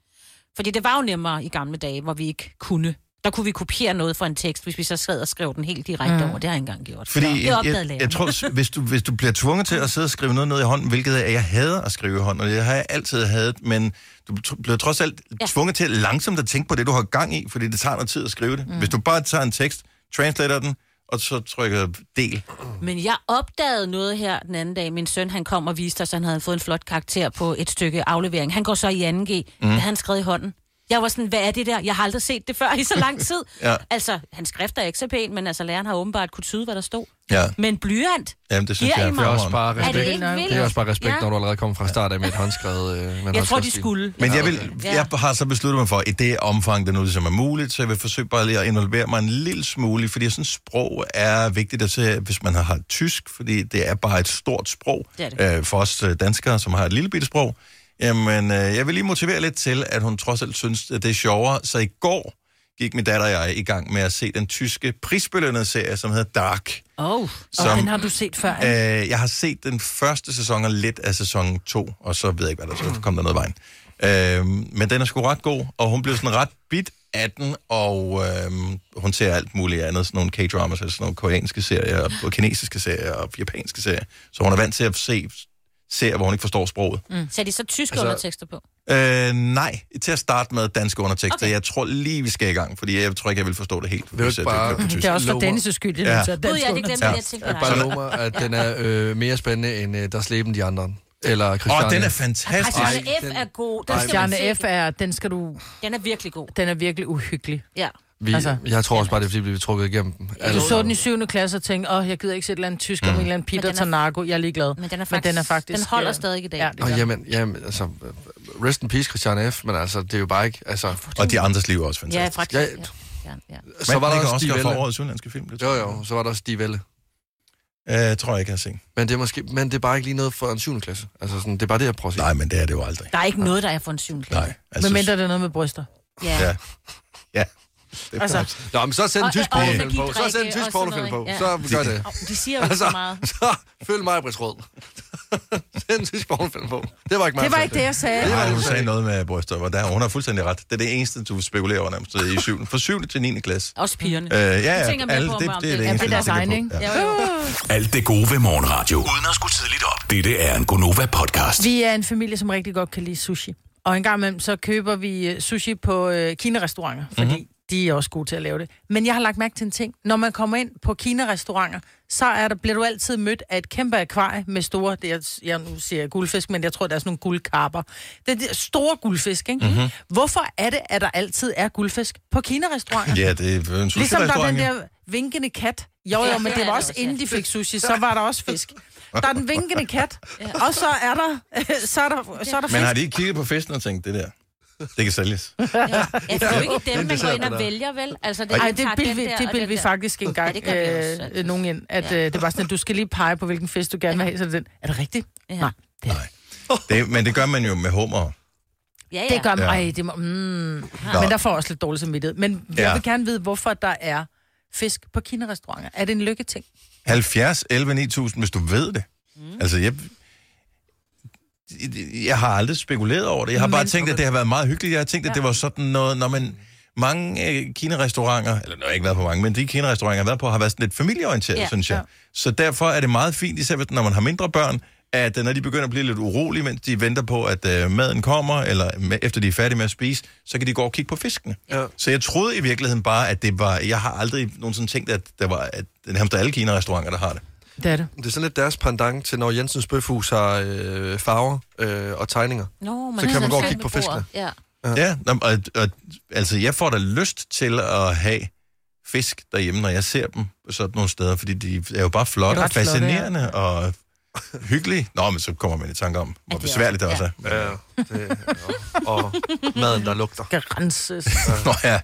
Speaker 2: Fordi det var jo nemmere i gamle dage, hvor vi ikke kunne. Der kunne vi kopiere noget fra en tekst, hvis vi så sad og skrev den helt
Speaker 4: Mm.
Speaker 2: direkte over. Det har jeg ikke engang gjort.
Speaker 1: Fordi
Speaker 2: Så
Speaker 1: jeg,
Speaker 2: det opdagede
Speaker 1: jeg, jeg,
Speaker 2: læreren.
Speaker 1: jeg tror, s- hvis du, hvis du bliver tvunget til at sidde og skrive noget ned i hånden, hvilket er, jeg hader at skrive i hånden, og det har jeg altid hadet, men du tr- bliver trods alt ja.
Speaker 2: Ja.
Speaker 1: tvunget til langsomt at tænke på det, du har gang i, fordi det tager noget tid at skrive det. Mm. Hvis du bare tager en tekst, translater den, og så trykker del.
Speaker 2: Men jeg opdagede noget her den anden dag. Min søn, han kom og viste os, at han havde fået en flot karakter på et stykke aflevering. Han går så i 2G, mm. det han skrev i hånden. Jeg var sådan, hvad er det der? Jeg har aldrig set det før i så lang tid.
Speaker 1: Ja.
Speaker 2: Altså, han skrifter ikke så pænt, men altså, læreren har åbenbart kunne tyde, hvad der stod.
Speaker 1: Ja,
Speaker 2: Men blyant?
Speaker 1: jamen, det synes
Speaker 2: Giver
Speaker 1: jeg
Speaker 2: I
Speaker 1: er
Speaker 2: mig-
Speaker 3: Det er også
Speaker 1: fremragende.
Speaker 3: bare
Speaker 2: Er det
Speaker 3: respekt.
Speaker 2: ikke vildt?
Speaker 3: Det er også bare respekt,
Speaker 2: Ja.
Speaker 3: når du allerede kommer fra start af med et håndskrevet... Øh, med en
Speaker 2: Jeg tror, de
Speaker 3: håndskrevet stil.
Speaker 2: skulle.
Speaker 1: Men jeg, vil,
Speaker 2: okay.
Speaker 1: jeg har så besluttet mig for, i det omfang, det nu ligesom er muligt, så jeg vil forsøge bare lige at involvere mig en lille smule, fordi jeg synes, sprog er vigtigt at se, hvis man har, har tysk, fordi det er bare et stort sprog
Speaker 2: Det er det.
Speaker 1: øh, for os øh, danskere, som har et lille bitte sprog. Jamen, øh, jeg vil lige motivere lidt til, at hun trods alt synes, at det er sjovere. Så i går gik min datter og jeg i gang med at se den tyske prisbelønnede serie, som hedder Dark.
Speaker 2: Oh.
Speaker 1: Som,
Speaker 4: Og den har du set før, ikke?
Speaker 1: Øh, jeg har set den første sæson og lidt af sæson 2, og så ved jeg ikke, hvad
Speaker 4: Mm.
Speaker 1: der så kom der noget i vejen. Øh, men den er sgu ret god, og hun blev sådan ret bit af den, og øh, hun ser alt muligt andet, sådan nogle K-dramas, altså sådan nogle koreanske serier, og kinesiske serier, og japanske serier. Så hun er vant til at se serier, hvor hun ikke forstår sproget.
Speaker 2: Mm. Sætter de så tyske
Speaker 3: Altså-
Speaker 2: altså... undertekster på?
Speaker 1: Øh, nej, til at starte med danske undertekster. Okay.
Speaker 2: Okay.
Speaker 1: Jeg tror lige, vi skal i gang, fordi jeg tror ikke, jeg vil forstå det helt.
Speaker 3: er jo
Speaker 1: hvis
Speaker 3: ikke
Speaker 1: jeg dyrker
Speaker 3: bare-
Speaker 1: det på tysk.
Speaker 4: Det er også for
Speaker 3: lover.
Speaker 4: Dennis' skyld, det er
Speaker 1: Ja.
Speaker 4: ja.
Speaker 2: Gud, ja, det glemte
Speaker 1: Ja.
Speaker 2: jeg, jeg tænkte på
Speaker 3: Bare
Speaker 2: dig.
Speaker 3: lov mig, at den er øh, mere spændende end øh, Der Sleben de andre. Eller Christiane.
Speaker 1: Åh, den er
Speaker 2: Ej,
Speaker 1: fantastisk.
Speaker 2: Stjerne
Speaker 3: Ej,
Speaker 2: F
Speaker 3: den-
Speaker 2: er god. Den, skal man
Speaker 4: Stjerne
Speaker 2: se.
Speaker 4: F er, den skal du,
Speaker 2: den er virkelig god.
Speaker 4: den er virkelig uhyggelig.
Speaker 2: Ja.
Speaker 3: Vi,
Speaker 4: Altså.
Speaker 3: jeg tror også bare, det er, fordi vi blev trukket igennem dem. Altså-
Speaker 4: Du så den i 7. klasse og tænkte, åh, jeg gider ikke se et eller andet
Speaker 1: Mm.
Speaker 4: tysk om en eller anden pige,
Speaker 2: Men
Speaker 4: der
Speaker 2: den er-
Speaker 4: tager narko. Jeg er ligeglad.
Speaker 2: Men den er faktisk- den holder stadig i dag.
Speaker 4: Ja, det
Speaker 3: Og
Speaker 4: gør.
Speaker 3: jamen, jamen, altså, øh, rest in peace, Christian F., men altså, det er jo bare ikke, altså...
Speaker 1: Og de andres liv er også fantastisk.
Speaker 2: Ja,
Speaker 1: Ja,
Speaker 2: faktisk.
Speaker 3: Ja,
Speaker 2: Ja. Ja.
Speaker 3: så var der også
Speaker 1: Oscar
Speaker 3: Stig
Speaker 1: for
Speaker 3: Velle.
Speaker 1: årets udenlandske film. det tror
Speaker 3: Jo,
Speaker 1: jeg.
Speaker 3: jo, så var der også Stig Velle.
Speaker 1: Øh, tror jeg ikke, jeg har set.
Speaker 3: Men det er måske, men det er bare ikke lige noget for en 7. klasse. Altså, sådan, det er bare det, jeg prøver at sige.
Speaker 1: Nej, men det er det jo aldrig.
Speaker 2: Der er ikke noget, der er for en syvende klasse.
Speaker 1: Nej. Altså,
Speaker 4: Men mindre det er noget med bryster.
Speaker 2: Ja.
Speaker 1: Ja. Ja. Det er
Speaker 4: Altså,
Speaker 1: altså,
Speaker 3: Nå, men så send en
Speaker 2: Og-
Speaker 3: tysk
Speaker 2: og- og
Speaker 3: pornofilm på. Så send en
Speaker 2: energidrikke
Speaker 3: tysk
Speaker 2: og sådan noget,
Speaker 3: pornofilm på.
Speaker 2: ikke?
Speaker 3: Så gør det. Altså,
Speaker 2: Åh, De siger jo ikke så meget.
Speaker 3: så følg mig, Brits Rød. <laughs> send en tysk pornofilm på. Det var ikke mig.
Speaker 4: Det var ikke det, jeg sagde.
Speaker 1: Nej, hun sagde noget med bryster, og der, hun har fuldstændig ret. Det er det eneste, du spekulerer over nærmest i 7. Fra 7. til 9. klasse.
Speaker 2: Også pigerne.
Speaker 1: Øh, ja,
Speaker 2: Du
Speaker 1: ja,
Speaker 2: tænker mere
Speaker 1: alle,
Speaker 2: på,
Speaker 1: det,
Speaker 2: om
Speaker 1: det er
Speaker 2: det-
Speaker 1: det
Speaker 2: Ja,
Speaker 1: eneste,
Speaker 4: det er
Speaker 1: jeg
Speaker 4: deres
Speaker 1: tænker
Speaker 4: egen,
Speaker 1: på. Ja.
Speaker 2: Jo, jo.
Speaker 5: Alt det gode ved morgenradio. Uden at skulle tidligt op. Dette er en Gonova-podcast.
Speaker 4: Vi er en familie,
Speaker 6: Mhm.
Speaker 4: som rigtig godt kan lide sushi. Og en gang imellem, så køber vi øh, sushi på øh, kinerestauranter, fordi mm-hmm. de er også gode til at lave det. Men jeg har lagt mærke til en ting. Når man kommer ind på Kina-restauranter, så er der, bliver du altid mødt af et kæmpe akvarie med store, det er, jeg nu siger jeg guldfisk, men jeg tror, der er sådan nogle guldkarper. Det er de store guldfisk, ikke?
Speaker 1: Mhm.
Speaker 4: Mm-hmm. Hvorfor er det, at der altid er guldfisk på Kina-restauranter?
Speaker 1: Ja, det er en
Speaker 4: Ligesom der er den
Speaker 1: sushi-restaurant.
Speaker 4: der vinkende kat. Jo, jo, men det var også inden de fik sushi, så var der også fisk. Der er den vinkende <laughs> kat, og så er der, <laughs> så er der, så er der fisk.
Speaker 1: Men har de ikke kigget på festen og tænkt, det der, det kan sælges?
Speaker 2: Ja, det er jo ikke
Speaker 3: Ja,
Speaker 2: dem, man
Speaker 3: det
Speaker 2: går
Speaker 3: ser
Speaker 2: ind
Speaker 3: jeg
Speaker 2: og
Speaker 3: da.
Speaker 2: vælger, vel? Altså, det,
Speaker 4: Nej,
Speaker 2: man
Speaker 4: det
Speaker 2: tager
Speaker 4: bildte
Speaker 2: den
Speaker 4: vi,
Speaker 2: der
Speaker 4: det
Speaker 2: og
Speaker 4: bildte
Speaker 2: den
Speaker 4: vi
Speaker 2: der.
Speaker 4: faktisk engang
Speaker 2: Ja, det gør vi også,
Speaker 4: øh, øh, nogen ind, at ja. øh, det var sådan, at du skal lige pege på, hvilken fest du gerne vil have, så er det den. Er det rigtigt? Ja. Nej. Det,
Speaker 1: Nej. Det, men det gør man jo med hummer.
Speaker 2: Ja, ja.
Speaker 4: det gør man.
Speaker 1: Ja.
Speaker 4: Ej, det må, mm. Men der får jeg også lidt dårlig samvittighed. Men jeg
Speaker 1: Ja.
Speaker 4: vil gerne vide, hvorfor der er fisk på kinarestauranter. Er det en lykketing?
Speaker 1: 70, 11, 9000, hvis du ved det. Mm. Altså, jeg, jeg har aldrig spekuleret over det. Jeg har bare
Speaker 4: Men-
Speaker 1: tænkt, at det har været meget hyggeligt. Jeg har tænkt, at det var sådan noget, når man mange øh, kinerestauranter, eller nu har jeg ikke været på mange, men de kinerestauranter, jeg har været på, har været sådan lidt familieorienteret, ja,
Speaker 2: Ja,
Speaker 1: synes jeg. Ja. Så derfor er det meget fint, især hvis- når man har mindre børn, at øh, når de begynder at blive lidt urolige, mens de venter på, at øh, maden kommer, eller med, efter de er færdige med at spise, så kan de gå og kigge på fiskene.
Speaker 3: Ja.
Speaker 1: Så jeg troede i virkeligheden bare, at det var... Jeg har aldrig nogensinde tænkt, at, der var, at det er nærmest alle kinerestauranter, der har det.
Speaker 4: Det er det.
Speaker 3: Det er sådan lidt deres pendant til, når Jensens Bøfhus har øh, farver øh, og tegninger.
Speaker 2: Nå, man
Speaker 3: Så kan man gå og kigge på
Speaker 2: fiskene. Ja.
Speaker 1: Ja, nå, og, og, altså jeg får da lyst til at have fisk derhjemme, når jeg ser dem på sådan nogle steder, fordi de er jo bare flotte
Speaker 4: Det er
Speaker 1: og
Speaker 4: ret flotte,
Speaker 1: fascinerende flotte, ja. og hyggelige. Nå, men så kommer man i tanke om, hvor
Speaker 2: det er
Speaker 1: besværligt det
Speaker 2: også-
Speaker 1: også er. øh. Ja.
Speaker 3: Ja, det, og, og
Speaker 2: <laughs>
Speaker 3: maden, der lugter.
Speaker 4: Skal
Speaker 3: <laughs>
Speaker 4: renses.
Speaker 1: Nå ja,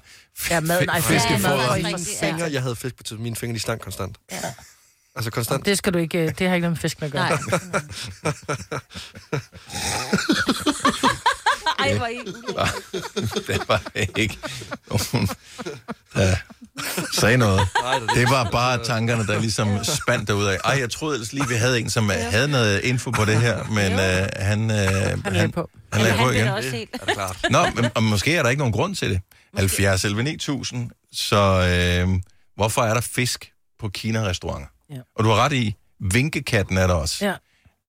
Speaker 4: Ja, maden. Ej,
Speaker 1: Fisk-
Speaker 2: ja,
Speaker 1: fiskefoder.
Speaker 2: maden er
Speaker 3: Mine
Speaker 2: rigtig-
Speaker 3: fingre, jeg havde fisk på tiden. Mine fingre, de slank konstant. Altså konstant.
Speaker 4: Det skal du ikke. øh, Det har ikke noget med fisken at gøre.
Speaker 2: Nej. <laughs> Ej, hvor I...
Speaker 1: <laughs> det var ikke nogen, der sagde noget. Det var bare tankerne, der ligesom spandt derudad. Ej, jeg troede ellers lige, vi havde en, som øh, havde noget info på det her, men øh, han, øh, han,
Speaker 4: lagde på.
Speaker 1: han lagde
Speaker 2: Han
Speaker 1: på
Speaker 2: vil
Speaker 1: igen. Altså.
Speaker 2: da også helt.
Speaker 3: Er det klart?
Speaker 1: Nå, men, og måske er der ikke nogen grund til det. 70 11 9000, så øh, hvorfor er der fisk på Kina-restauranter?
Speaker 4: Ja.
Speaker 1: Og du har ret i, vinkekatten er der også.
Speaker 4: Ja.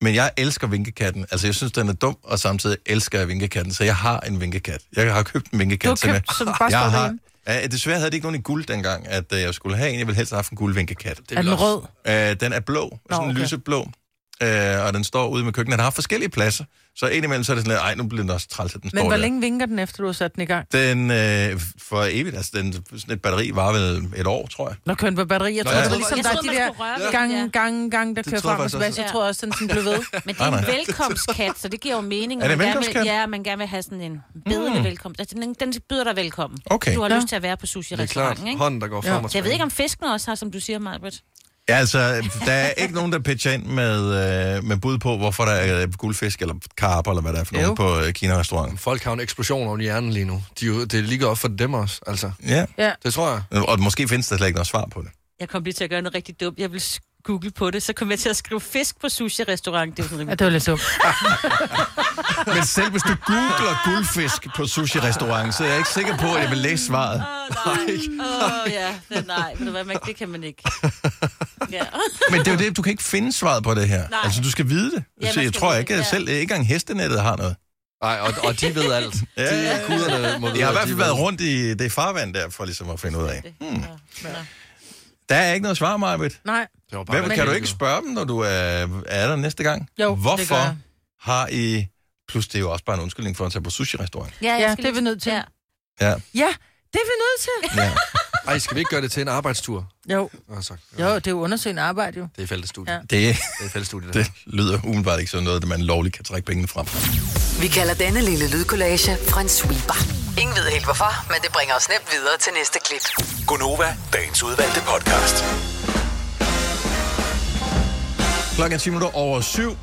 Speaker 1: Men jeg elsker vinkekatten. Altså, jeg synes, den er dum, og samtidig elsker jeg vinkekatten, så jeg har en vinkekat. Jeg har købt en vinkekat
Speaker 4: Du har
Speaker 1: til mig.
Speaker 4: købt, som bare
Speaker 1: <laughs> Jeg
Speaker 4: står
Speaker 1: har,
Speaker 4: derhjemme.
Speaker 1: ja, desværre havde det ikke nogen i guld dengang, at øh, jeg skulle have en. Jeg ville helst have haft en guldvinkekat.
Speaker 3: Det
Speaker 4: Er den
Speaker 3: også-
Speaker 4: rød?
Speaker 1: Øh, den er blå, Nå, sådan okay.
Speaker 4: okay.
Speaker 1: lyseblå, øh, og den står ude med køkkenet. Den har forskellige pladser, så indimellem så er det sådan, at ej, nu bliver den også træls, at den
Speaker 4: <laughs> Men
Speaker 1: står
Speaker 4: hvor
Speaker 1: der.
Speaker 4: længe vinker den, efter du har sat den i gang?
Speaker 1: Den øh, for evigt, altså den, sådan et batteri var vel et år, tror jeg.
Speaker 4: Når kører den på batteri. Jeg tror,
Speaker 1: Nå, ja.
Speaker 4: det var ligesom,
Speaker 2: Jeg
Speaker 4: der er
Speaker 2: troede,
Speaker 4: de
Speaker 2: man skulle røre ved
Speaker 4: der
Speaker 2: den, ja.
Speaker 4: gange, gange, gange, der kører
Speaker 3: tror jeg
Speaker 4: frem og
Speaker 3: faktisk
Speaker 4: tilbage.
Speaker 3: også.
Speaker 4: Så tror jeg også, den sådan blev ved.
Speaker 2: Men det er
Speaker 1: Nej,
Speaker 2: en
Speaker 1: nej.
Speaker 2: velkomstkat, så det giver jo mening.
Speaker 1: Er
Speaker 2: at
Speaker 1: det en
Speaker 2: man gerne vil-
Speaker 1: velkomstkat?
Speaker 2: Ja, man gerne vil have sådan en bedende mm. velkomst. Altså, den, den byder dig velkommen.
Speaker 1: Okay.
Speaker 2: Du har
Speaker 4: Ja.
Speaker 2: lyst til at være på
Speaker 3: Det er klart.
Speaker 2: sushi-restauranten, ikke?
Speaker 3: Hånden, der går frem og
Speaker 2: Så jeg ved
Speaker 3: tilbage.
Speaker 2: ikke, om fiskene også har, som du siger, Marbert.
Speaker 1: Ja, altså, der er ikke nogen, der pitcher ind med, øh, med bud på, hvorfor der er øh, guldfisk eller karper, eller hvad der er for nogen
Speaker 3: Jo.
Speaker 1: på øh, Kina-restauranten.
Speaker 3: Folk har jo en eksplosion oven i hjernen lige nu. De, er jo- det er lige godt op for dem også, altså.
Speaker 1: Ja,
Speaker 4: Ja.
Speaker 3: Det tror jeg.
Speaker 1: og måske findes der slet ikke noget svar på det.
Speaker 2: Jeg kom lige til at gøre noget rigtig dumt. Jeg vil google på det, så kom jeg til at skrive fisk på sushi-restaurant. Det er sådan
Speaker 4: ja,
Speaker 2: rimelig...
Speaker 4: det var lidt dumt.
Speaker 1: Men selv hvis du googler guldfisk på sushi-restaurant, så er jeg ikke sikker på, at jeg vil læse svaret.
Speaker 2: Åh, Ah, nej. Åh, ja. Det, nej, ved du hvad, man, det kan man ikke. Ja.
Speaker 1: Men det er jo det, du kan ikke finde svaret på det her.
Speaker 2: Nej.
Speaker 1: Altså, du skal vide det.
Speaker 2: Ja, man
Speaker 1: så jeg
Speaker 2: skal
Speaker 1: tror
Speaker 2: vide
Speaker 1: ikke,
Speaker 2: det,
Speaker 1: at
Speaker 2: ja.
Speaker 1: selv ikke engang hestenettet har noget.
Speaker 3: Nej, og, og de ved alt. De
Speaker 1: Ja, ja, ja.
Speaker 3: kuderne må vide,
Speaker 1: Jeg har
Speaker 3: at
Speaker 1: i hvert
Speaker 3: de
Speaker 1: fald
Speaker 3: ved.
Speaker 1: været rundt i det farvand der, for ligesom at finde ud af. Hmm. Der er ikke noget svar, Marvitt.
Speaker 4: Nej.
Speaker 3: Det var bare
Speaker 1: Hvad,
Speaker 3: lidt
Speaker 1: kan du
Speaker 3: vildt,
Speaker 1: ikke
Speaker 3: jo.
Speaker 1: spørge dem, når du er, er der næste gang?
Speaker 4: Jo, det gør
Speaker 1: Hvorfor
Speaker 4: jeg.
Speaker 1: har I... Plus, det er jo også bare en undskyldning for at tage på sushi-restaurant.
Speaker 2: Ja,
Speaker 4: Ja, det er vi nødt til.
Speaker 2: Ja.
Speaker 1: Ja.
Speaker 4: Ja, det er vi nødt til.
Speaker 1: ja.
Speaker 3: Ej, skal vi ikke gøre det til en arbejdstur?
Speaker 4: Jo,
Speaker 3: Altså,
Speaker 4: jo det er jo undersøgende arbejde jo.
Speaker 3: Det er fællesstudie.
Speaker 4: Ja.
Speaker 3: Ja.
Speaker 1: Det,
Speaker 3: Det er fællesstudie, det.
Speaker 1: det lyder umiddelbart ikke som noget, at man lovligt kan trække pengene frem.
Speaker 6: Vi kalder denne lille lydkollage Frans sweeper. Ingen ved helt hvorfor, men det bringer os nemt videre til næste klip.
Speaker 5: Gonova, dagens udvalgte podcast.
Speaker 1: Klokken er 10 minutter over syv.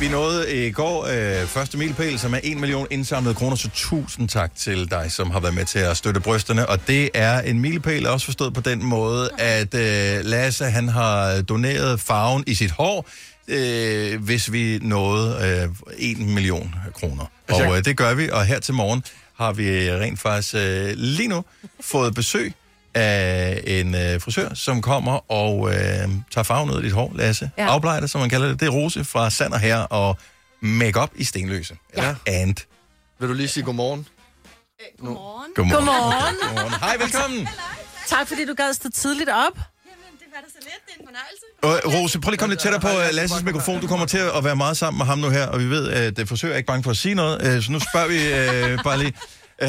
Speaker 1: Vi nåede i går øh, første milepæl, som er 1 million indsamlede kroner, så tusind tak til dig, som har været med til at støtte brysterne. Og det er en milepæl, også forstået på den måde, at øh, Lasse han har doneret farven i sit hår, øh, hvis vi nåede øh, 1 million kroner. Og øh, det gør vi, og her til morgen har vi rent faktisk øh, lige nu fået besøg af en øh, frisør, som kommer og øh, tager farven ud af dit hår, Lasse. Ja.
Speaker 4: Ja.
Speaker 1: Afblejer det, som man kalder det. Det er Rose fra Sander her og Makeup i Stenløse. Ja. And.
Speaker 3: Vil du lige sige godmorgen?
Speaker 7: Godmorgen.
Speaker 1: Godmorgen.
Speaker 4: Godmorgen.
Speaker 1: Godmorgen. Hej, velkommen.
Speaker 4: Tak fordi du gad stå tidligt op.
Speaker 7: Jamen, det var da så let. Det er en fornøjelse.
Speaker 1: Og Øh, Rose, prøv lige at komme lidt tættere på øh, Lasses mikrofon. Du kommer til at være meget sammen med ham nu her, og vi ved, at det forsøger ikke bange for at sige noget, øh, så nu spørger vi øh, bare lige. Øh,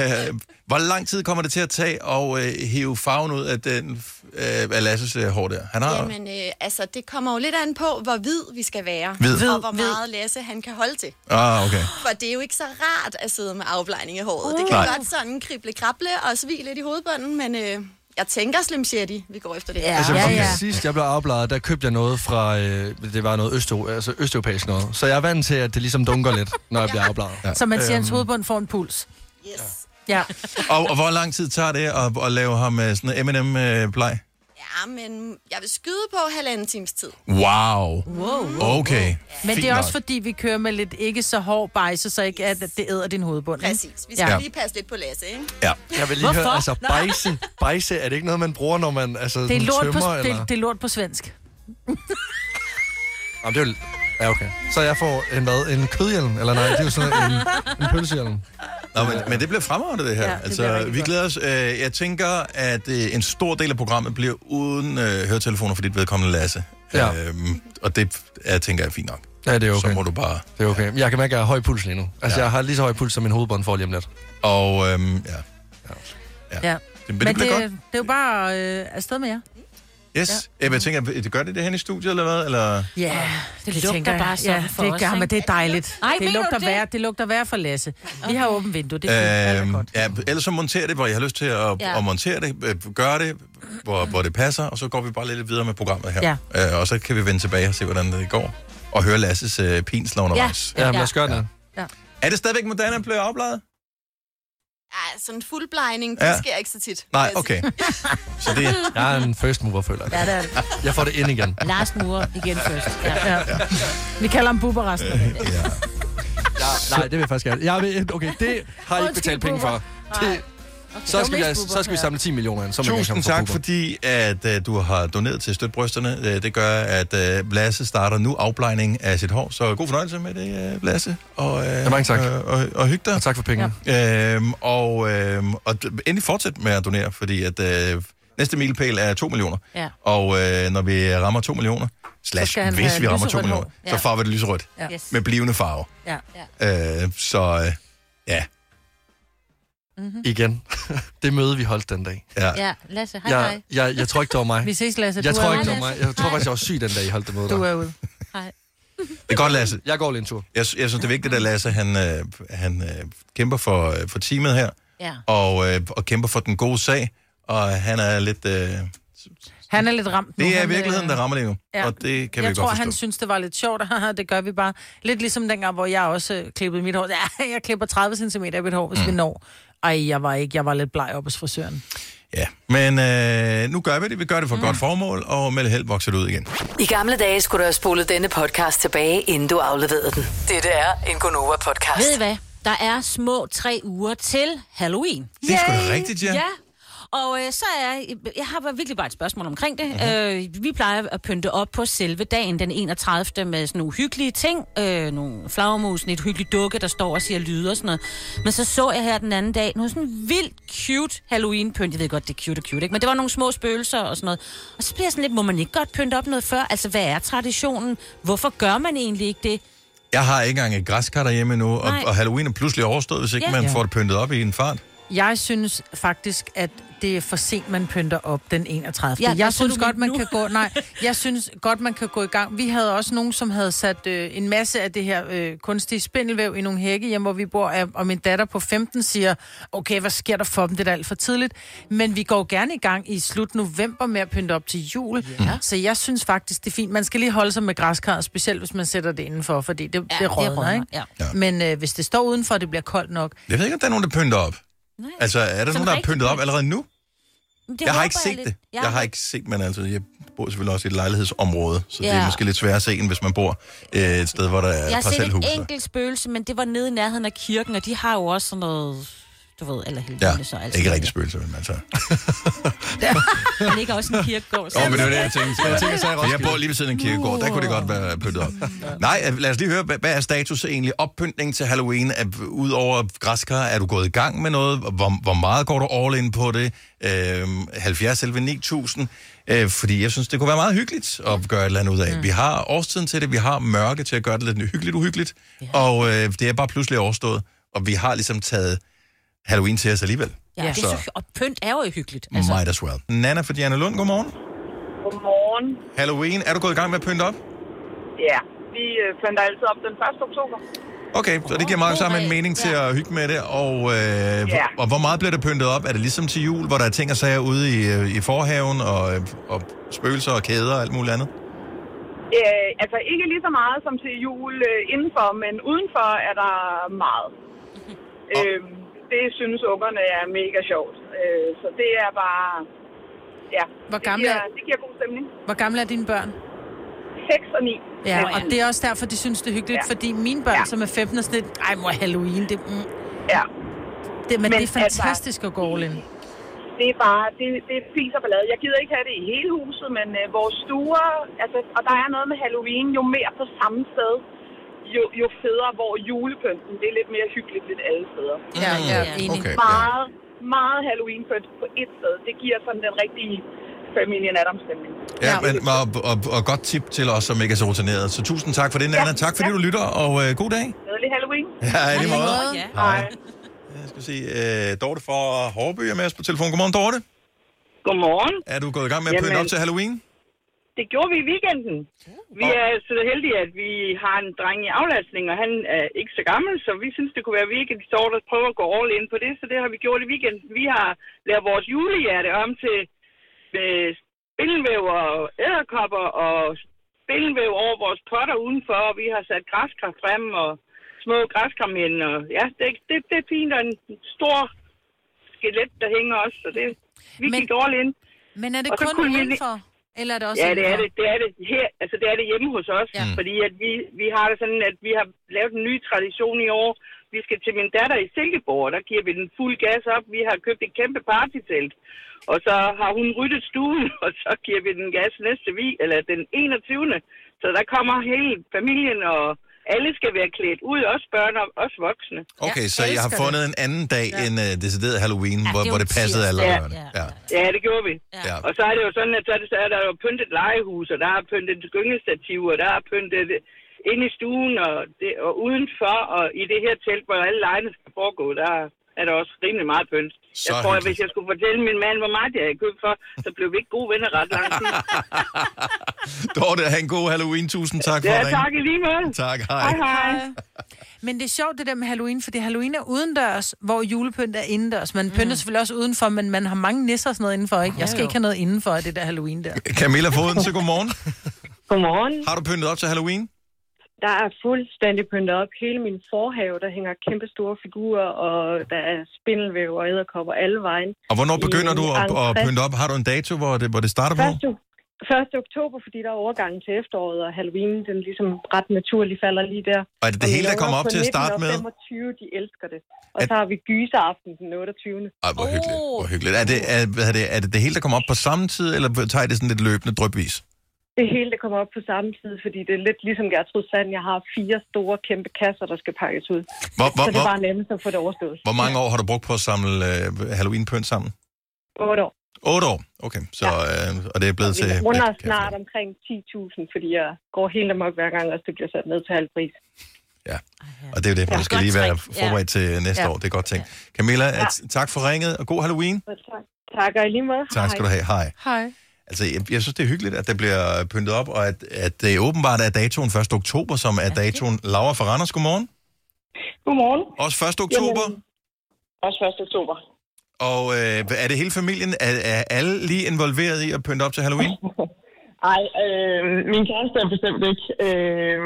Speaker 1: hvor lang tid kommer det til at tage at øh, hive farven ud af, den, øh, af Lasses øh, hår der? Han har,
Speaker 7: Jamen, øh, altså, det kommer jo lidt an på, hvor hvid vi skal være.
Speaker 1: Hvid.
Speaker 7: Og hvor meget Lasse han kan holde til.
Speaker 1: Ah, okay.
Speaker 7: For det er jo ikke så rart at sidde med afblejning i håret. Uh. Det kan
Speaker 1: Nej.
Speaker 7: godt sådan krible-krable og svige lidt i hovedbunden, men øh, jeg tænker Slim Shady, vi går efter det.
Speaker 4: Ja.
Speaker 3: Altså, ja, ja. sidst jeg blev afbladet, der købte jeg noget fra, øh, det var noget østeu, altså østeuropæisk noget. Så jeg er vant til, at det ligesom dunker lidt, når jeg bliver afbladet. Ja.
Speaker 4: Så man siger,
Speaker 1: Øhm.
Speaker 4: at hans hovedbund får en puls.
Speaker 7: Yes.
Speaker 4: Ja.
Speaker 1: Og, og hvor lang tid tager det at, at lave ham øh, sådan en M&M-bleg?
Speaker 7: Ja, men jeg vil skyde på halvanden times tid.
Speaker 1: Wow.
Speaker 4: Wow.
Speaker 1: Okay.
Speaker 4: Men
Speaker 1: Fint
Speaker 4: det er også
Speaker 1: nok.
Speaker 4: fordi, vi kører med lidt ikke så hård bejse, så ikke at det æder din hovedbund. ikke?
Speaker 7: Præcis. Vi skal
Speaker 1: Ja.
Speaker 7: ja. lige passe lidt på Lasse, ikke?
Speaker 1: Ja.
Speaker 3: Jeg vil lige
Speaker 4: Hvorfor?
Speaker 3: høre, altså bejse, bejse, er det ikke noget, man bruger, når man altså,
Speaker 4: Det er,
Speaker 3: sådan
Speaker 4: lort på,
Speaker 3: tømmer?
Speaker 4: det,
Speaker 3: eller?
Speaker 4: det er lort på svensk.
Speaker 3: Jamen, det er jo... Ja, okay. Så jeg får en hvad? En kødhjelm? Eller nej, det er jo sådan en, en pølsehjelm.
Speaker 1: Nå, men, men det bliver fremragende, det her. Ja,
Speaker 4: Ja,
Speaker 1: det
Speaker 4: det bliver
Speaker 1: altså,
Speaker 4: rigtig
Speaker 1: vi
Speaker 4: godt.
Speaker 1: glæder os. Øh, jeg tænker, at øh, en stor del af programmet bliver uden øh, høretelefoner for dit vedkommende, Lasse.
Speaker 3: Ja.
Speaker 1: Øhm, og det jeg tænker jeg er fint nok.
Speaker 3: Ja, det er
Speaker 1: Så
Speaker 3: okay.
Speaker 1: må du bare...
Speaker 3: Det er okay. Men Jeg kan mærke, at jeg har høj puls lige nu. Altså, ja. jeg har lige så høj puls, som min hovedbånd får lige øh, om lidt.
Speaker 1: Og øhm, ja. Ja.
Speaker 4: Ja.
Speaker 1: Det, men
Speaker 4: Men
Speaker 1: det
Speaker 4: det,
Speaker 1: bliver godt.
Speaker 4: det er jo bare øh, afsted med jer.
Speaker 1: Yes. Ja. Jeg tænker, øh, gør det det hen i studiet, eller hvad? Eller?
Speaker 4: Ja, det,
Speaker 2: lugter
Speaker 4: jeg.
Speaker 2: bare sådan
Speaker 4: ja,
Speaker 2: for
Speaker 4: det
Speaker 2: os,
Speaker 4: gør,
Speaker 2: ikke?
Speaker 4: men det er dejligt.
Speaker 2: Ej,
Speaker 4: det
Speaker 2: mener du
Speaker 4: lugter
Speaker 2: det?
Speaker 4: værre, det lugter værre for Lasse. Vi har åbent vindue, det er
Speaker 1: Øhm,
Speaker 4: øhm, godt.
Speaker 1: ja, ellers så monter det, hvor jeg har lyst til at, ja.
Speaker 2: Ja.
Speaker 1: at montere det, øh, gøre det, hvor, hvor det passer, og så går vi bare lidt videre med programmet her. Ja. Øh, og så kan vi vende tilbage og se, hvordan det går, og høre Lasses øh, pinsler undervejs. Ja.
Speaker 3: Ja, men
Speaker 2: Ja.
Speaker 3: lad os gøre det.
Speaker 1: Er det stadigvæk moderne at blive afbladet?
Speaker 7: Ja, sådan en fuldblejning, det
Speaker 1: Ja.
Speaker 7: ja. sker ikke så tit. vil
Speaker 1: Nej,
Speaker 7: jeg sige.
Speaker 1: okay. Så det,
Speaker 3: Jeg er en first mover, føler jeg.
Speaker 4: Ja, det er det.
Speaker 3: Jeg får det ind igen.
Speaker 2: Lars Mure igen først. Ja.
Speaker 4: Ja. Vi kalder ham Bubber resten af dagen.
Speaker 1: ja.
Speaker 3: Ja, nej, det vil jeg faktisk gerne. Jeg vil, okay, det har I ikke betalt penge for. Det, så, skal vi, lade- så skal vi samle 10 millioner ind. Så må vi
Speaker 1: Tusind
Speaker 3: komme fra
Speaker 1: tak,
Speaker 3: Bubber.
Speaker 1: fordi at, øh, du har doneret til Støt Brysterne. Øh, det gør, at øh, Lasse starter nu afblejning af sit hår. Så god fornøjelse med det, øh, Lasse. Og, øh,
Speaker 3: mange tak.
Speaker 1: Og, og, og hygge dig.
Speaker 3: Og tak for pengene. Ja.
Speaker 1: Øhm, og, øhm, og d- endelig fortsæt med at donere, fordi at øh, næste milepæl er 2 millioner.
Speaker 2: Ja.
Speaker 1: Og øh, når vi rammer 2 millioner,
Speaker 4: Så
Speaker 1: slash
Speaker 4: skal han
Speaker 1: hvis
Speaker 4: have
Speaker 1: vi rammer 2
Speaker 4: lyserødt
Speaker 1: millioner,
Speaker 4: hår.
Speaker 1: ja. så
Speaker 2: Ja.
Speaker 1: farver vi det lyserødt
Speaker 4: Ja.
Speaker 2: Yes.
Speaker 1: med blivende farve.
Speaker 4: Ja.
Speaker 1: Øh, så øh, ja,
Speaker 4: Mhm.
Speaker 3: Igen. <laughs> det møde, vi holdt den dag.
Speaker 1: ja.
Speaker 2: Ja, Lasse, hej, hej.
Speaker 3: Jeg, jeg, jeg tror ikke, det var mig.
Speaker 4: Vi ses, Lasse.
Speaker 3: Jeg
Speaker 4: du
Speaker 3: tror
Speaker 4: er
Speaker 3: ikke, det
Speaker 4: ude.
Speaker 3: var mig. Jeg tror faktisk, jeg var syg den dag, I holdt det møde
Speaker 4: Du
Speaker 3: der.
Speaker 4: er ude.
Speaker 1: det er godt, Lasse.
Speaker 3: Jeg går lige en tur.
Speaker 1: Jeg, sy- jeg synes, det er vigtigt, at Lasse han, øh, han øh, kæmper for, øh, for teamet her,
Speaker 2: Ja.
Speaker 1: og, øh, og kæmper for den gode sag, og han er lidt... Øh,
Speaker 4: Han er lidt ramt nu.
Speaker 1: det er
Speaker 4: Han,
Speaker 1: i
Speaker 4: øh,
Speaker 1: virkeligheden, der rammer lige nu,
Speaker 4: Ja.
Speaker 1: og det kan
Speaker 4: jeg
Speaker 1: vi
Speaker 4: tror,
Speaker 1: godt forstå.
Speaker 4: han synes, det var lidt sjovt, <laughs> og haha, det gør vi bare. Lidt ligesom dengang, hvor jeg også øh, klippede mit hår. <laughs> Ja, jeg klipper 30 cm af mit hår, hvis mm. vi når. Ej, jeg var ikke. Jeg var lidt bleg op hos frisøren.
Speaker 1: Ja, men øh, nu gør vi det. Vi gør det for mm. godt formål, og med lidt held vokser det ud igen.
Speaker 6: I gamle dage skulle du have spolet denne podcast tilbage, inden du afleverede den. Dette er en Gonova-podcast.
Speaker 2: Ved I hvad? Der er små tre uger til Halloween.
Speaker 1: Det er sgu da rigtigt, ja.
Speaker 2: Ja. Og øh, så er jeg har bare virkelig bare et spørgsmål omkring det.
Speaker 1: Mhm.
Speaker 2: Øh, vi plejer at pynte op på selve dagen, den 31. med sådan nogle hyggelige ting. Øh, nogle flagermus, en et hyggeligt dukke, der står og siger lyde og sådan noget. Men så så jeg her den anden dag nogle sådan vildt cute Halloween-pynt. Jeg ved godt, det er cute og cute, ikke? Men det var nogle små spøgelser og sådan noget. Og så bliver jeg sådan lidt, må man ikke godt pynte op noget før? Altså, hvad er traditionen? Hvorfor gør man egentlig ikke det?
Speaker 1: Jeg har ikke engang et græskar derhjemme endnu, og,
Speaker 2: Nej.
Speaker 1: og Halloween er pludselig overstået, hvis ikke
Speaker 2: Ja.
Speaker 1: man
Speaker 2: Ja.
Speaker 1: får det pyntet op i en fart.
Speaker 4: Jeg synes faktisk, at det er for sent, man pynter op den 31.
Speaker 2: Ja,
Speaker 4: Ja,
Speaker 2: der
Speaker 4: jeg
Speaker 2: så
Speaker 4: synes
Speaker 2: du min
Speaker 4: godt, man
Speaker 2: nu.
Speaker 4: kan gå... Nej, jeg synes godt, man kan gå i gang. Vi havde også nogen, som havde sat øh, en masse af det her øh, kunstige spindelvæv i nogle hække hjemme, hvor vi bor, øh, og min datter på 15 siger, okay, hvad sker der for dem? Det er da alt for tidligt. Men vi går gerne i gang i slut november med at pynte op til jul. Ja. Så jeg synes faktisk, det er fint. Man skal lige holde sig med græskar, specielt hvis man sætter det indenfor, fordi det, ja, det rådner,
Speaker 2: rådner,
Speaker 4: ikke?
Speaker 2: ja.
Speaker 1: Ja.
Speaker 4: Men øh, hvis det står udenfor, og det bliver koldt nok,
Speaker 1: Jeg ved ikke, om der er nogen, der pynter op.
Speaker 2: Nej.
Speaker 1: Altså, er der
Speaker 2: Som
Speaker 1: nogen, der har
Speaker 2: rigtig
Speaker 1: pyntet op
Speaker 2: pynt.
Speaker 1: allerede nu?
Speaker 2: Men det
Speaker 1: Jeg har
Speaker 2: håber
Speaker 1: ikke set
Speaker 2: lidt.
Speaker 1: det.
Speaker 2: Ja.
Speaker 1: Jeg har ikke set, men altså, jeg bor selvfølgelig også i et lejlighedsområde, så det er
Speaker 2: Ja.
Speaker 1: måske lidt svært at se, end hvis man bor øh, et sted, hvor der er
Speaker 2: Jeg har set et
Speaker 1: parcelhus.
Speaker 2: enkelt spøgelse, men det var nede i nærheden af kirken, og de har jo også sådan noget du ved, eller altså
Speaker 1: Ja,
Speaker 2: heldigvis. Ja,
Speaker 1: ikke rigtig spøgelser, men altså.
Speaker 2: Der ligger også en kirkegård. altså.
Speaker 1: Åh, men det var det, jeg tænkte.
Speaker 3: Jeg tænker, så er jeg
Speaker 1: For <laughs> jeg
Speaker 3: Roskilde.
Speaker 1: bor lige ved siden af en kirkegård, der kunne det godt være pyntet
Speaker 3: <laughs>
Speaker 1: op. Nej, øh, lad os lige høre, hvad hvad er status egentlig? Oppyntning til Halloween, Er- udover græskar, er du gået i gang med noget? Hvor, hvor meget går du all in på det? Øhm, 70 selv 9000? Øh, fordi jeg synes, det kunne være meget hyggeligt at gøre et eller andet ud af.
Speaker 2: Mm.
Speaker 1: Vi har årstiden til det, vi har mørke til at gøre det lidt hyggeligt uhyggeligt, og øh, det er bare pludselig overstået, og vi har ligesom taget Halloween til os alligevel.
Speaker 2: Ja, det er så, og pynt er jo hyggeligt.
Speaker 1: Altså.
Speaker 2: Altså,
Speaker 1: Might as well. Nana fra Diana Lund, godmorgen.
Speaker 8: Godmorgen.
Speaker 1: Halloween, er du gået i gang med at pynte op?
Speaker 8: Ja, vi øh, pynter altid op den 1. oktober.
Speaker 1: Okay, så det giver meget
Speaker 2: god
Speaker 1: sammen en
Speaker 2: regel.
Speaker 1: mening til
Speaker 2: Ja.
Speaker 1: at hygge med det. Og, øh, ja.
Speaker 8: Ja.
Speaker 1: og hvor meget bliver det pyntet op? Er det ligesom til jul, hvor der er ting og sager ude i, øh, i forhaven, og, øh, og spøgelser og kæder og alt muligt andet?
Speaker 8: Øh, altså ikke lige så meget som til jul øh, indenfor, men udenfor er der meget. Øh, det synes ungerne er mega sjovt. Øh, så det er bare... Ja,
Speaker 4: Hvor
Speaker 8: det,
Speaker 4: gamle
Speaker 8: giver,
Speaker 4: er-
Speaker 8: det giver god stemning.
Speaker 4: Hvor gamle er dine børn?
Speaker 8: 6 og 9.
Speaker 4: Ja, og det er også derfor, de synes, det er hyggeligt, ja.
Speaker 8: Ja.
Speaker 4: fordi mine børn, ja.
Speaker 8: Ja.
Speaker 4: som er 15, er sådan lidt, ej, mor, Halloween, det, mm, det,
Speaker 8: Ja,
Speaker 4: men, men det er
Speaker 8: altså-
Speaker 4: fantastisk altså, at gå all in.
Speaker 8: det er bare... Det, det er fis og ballade. Jeg gider ikke have det i hele huset, men øh, vores stuer... Altså, og der er noget med Halloween. Jo mere på samme sted, jo, jo federe, hvor julepynten, det er lidt mere hyggeligt lidt alle steder.
Speaker 4: Ja, ja,
Speaker 2: Ja.
Speaker 4: enig.
Speaker 1: Okay, Mm, ja.
Speaker 8: meget, meget halloween på, på et sted. Det giver sådan den rigtige familien Adams stemning.
Speaker 1: ja men, og, og, og godt tip til os, som ikke er så rutineret. Så tusind tak for det, Nana.
Speaker 8: Ja.
Speaker 1: Tak fordi
Speaker 8: Ja.
Speaker 1: du lytter, og øh, god dag.
Speaker 8: Glædelig Halloween.
Speaker 1: Ja, i lige måde.
Speaker 2: Ja.
Speaker 1: Hej. Jeg skal se, øh, Dorte fra Hårby er med os på telefon. Godmorgen, Dorte.
Speaker 8: Godmorgen.
Speaker 1: Er du gået i gang med at pynte
Speaker 8: Jamen.
Speaker 1: op til Halloween?
Speaker 8: Det gjorde vi i weekenden. Vi er så heldige, at vi har en dreng i aflastning, og han er ikke så gammel, så vi synes, det kunne være virkelig sjovt at prøve at gå all in på det, så det har vi gjort i weekenden. Vi har lavet vores julehjerte om til med spindelvæv og æderkopper og spindelvæv over vores potter udenfor, og vi har sat græskar frem og små græskar ind, og ja, det, det, det er fint, og en stor skelet, der hænger også, så det, vi
Speaker 4: Men-
Speaker 8: gik all in.
Speaker 4: Men er det
Speaker 8: Og så
Speaker 4: kun
Speaker 8: kunne vi-
Speaker 4: udenfor? Eller er det også
Speaker 8: Ja, det er
Speaker 4: indenfor?
Speaker 8: det. Det er det her. Altså, det er det hjemme hos os.
Speaker 4: Ja.
Speaker 1: Mm.
Speaker 8: Ja. Fordi at vi, vi har det sådan, at vi har lavet en ny tradition i år. Vi skal til min datter i Silkeborg, og der giver vi den fuld gas op. Vi har købt et kæmpe partytelt. Og så har hun ryddet stuen, <laughs> og så giver vi den gas næste vi, eller den 21. Så der kommer hele familien, og alle skal være klædt ud, også børn og også voksne.
Speaker 1: Okay,
Speaker 4: Jeg
Speaker 1: så jeg har
Speaker 4: elsker
Speaker 1: fundet en anden dag ja. end øh, decideret Halloween, ja,
Speaker 2: det
Speaker 1: hvor,
Speaker 2: er jo
Speaker 1: hvor det
Speaker 2: en
Speaker 1: passede alle
Speaker 2: tirsdag.
Speaker 1: ja.
Speaker 2: Ja.
Speaker 1: ja.
Speaker 8: Ja, det gjorde vi.
Speaker 1: ja.
Speaker 8: Og så er det jo sådan, at så er, det, så er der jo pyntet legehus, og der er pyntet gyngestativ, og der er pyntet inde i stuen og, det, og udenfor, og i det her telt, hvor alle legene skal foregå, der er der også rimelig meget pynt.
Speaker 1: Så
Speaker 8: jeg tror, at
Speaker 1: hyggeligt.
Speaker 8: hvis jeg skulle fortælle min mand, hvor meget jeg havde købt for, så blev vi ikke gode venner ret lang tid.
Speaker 1: <laughs> Dorte, have en god Halloween. Tusind tak for
Speaker 8: Ja,
Speaker 1: ringen.
Speaker 8: tak i lige måde.
Speaker 1: Tak, hej.
Speaker 8: Hej, hej.
Speaker 4: Men det er sjovt, det der med Halloween, fordi Halloween er udendørs, hvor julepynt er indendørs. Man
Speaker 8: Mm.
Speaker 4: pynter selvfølgelig også udenfor, men man har mange nisser og sådan noget indenfor, ikke? Jeg skal ikke have noget indenfor af det der Halloween der.
Speaker 1: Camilla Foden, så
Speaker 8: <laughs>
Speaker 1: godmorgen.
Speaker 9: Godmorgen.
Speaker 1: Har du pyntet op til Halloween?
Speaker 9: Der er fuldstændig pyntet op. Hele min forhave, der hænger kæmpe store figurer, og der er spindelvæv og æderkopper alle vejen.
Speaker 1: Og hvornår begynder du at,
Speaker 9: Jamen,
Speaker 1: at pynte op? Har du en dato, hvor det, hvor det starter på?
Speaker 9: 1. oktober, fordi der er overgangen til efteråret, og Halloween, den ligesom ret naturligt falder lige der.
Speaker 1: Og er det det
Speaker 9: Og
Speaker 1: hele, der
Speaker 9: mine
Speaker 1: kommer
Speaker 9: unger
Speaker 1: op
Speaker 9: på
Speaker 1: til at
Speaker 9: 19
Speaker 1: starte
Speaker 9: og
Speaker 1: med?
Speaker 9: 25, de elsker det. Og
Speaker 1: At-
Speaker 9: så har vi gyseraften den 28.
Speaker 1: Ej, hvor hyggeligt. Hvor hyggeligt. Er det, er, hvad er det, er det det hele, der kommer op på samme tid, eller tager I det sådan lidt løbende drøbvis?
Speaker 9: Det hele, der kommer op på samme tid, fordi det er lidt ligesom Gertrud Sand. Jeg har fire store, kæmpe kasser, der skal pakkes ud.
Speaker 1: Hvor, hvor,
Speaker 9: Så det er
Speaker 1: hvor,
Speaker 9: bare nemmest at få det overstået.
Speaker 1: hvor mange år har du brugt på at samle øh, Halloween-pynt sammen?
Speaker 9: 8 år.
Speaker 1: Otte år. Okay, så, øh, og det er blevet til...
Speaker 9: Vi runder
Speaker 1: ja,
Speaker 9: snart omkring 10.000, fordi jeg går helt amok hver gang, og det bliver sat ned til halv pris.
Speaker 1: Og det er jo det, for
Speaker 2: Ja.
Speaker 1: du skal
Speaker 2: Godt
Speaker 1: lige være
Speaker 2: trick. Ja.
Speaker 1: forberedt til næste
Speaker 4: Ja.
Speaker 1: år. Det er godt ting. Camilla, at, tak for ringet, og god Halloween.
Speaker 9: Så tak. Tak, og i lige måde.
Speaker 1: Tak skal du have. Hej.
Speaker 4: Hej.
Speaker 1: Altså, jeg, jeg synes, det er hyggeligt, at der bliver pyntet op, og at, at det åbenbart er datoen 1. oktober, som er datoen. Laura fra Randers, godmorgen.
Speaker 8: Godmorgen.
Speaker 1: Også 1. oktober. Jamen.
Speaker 8: Også 1. oktober.
Speaker 1: Og øh, er det hele familien? Er, er alle lige involveret i at pynte op til Halloween?
Speaker 8: Ej, øh, min kæreste er bestemt ikke. Øh,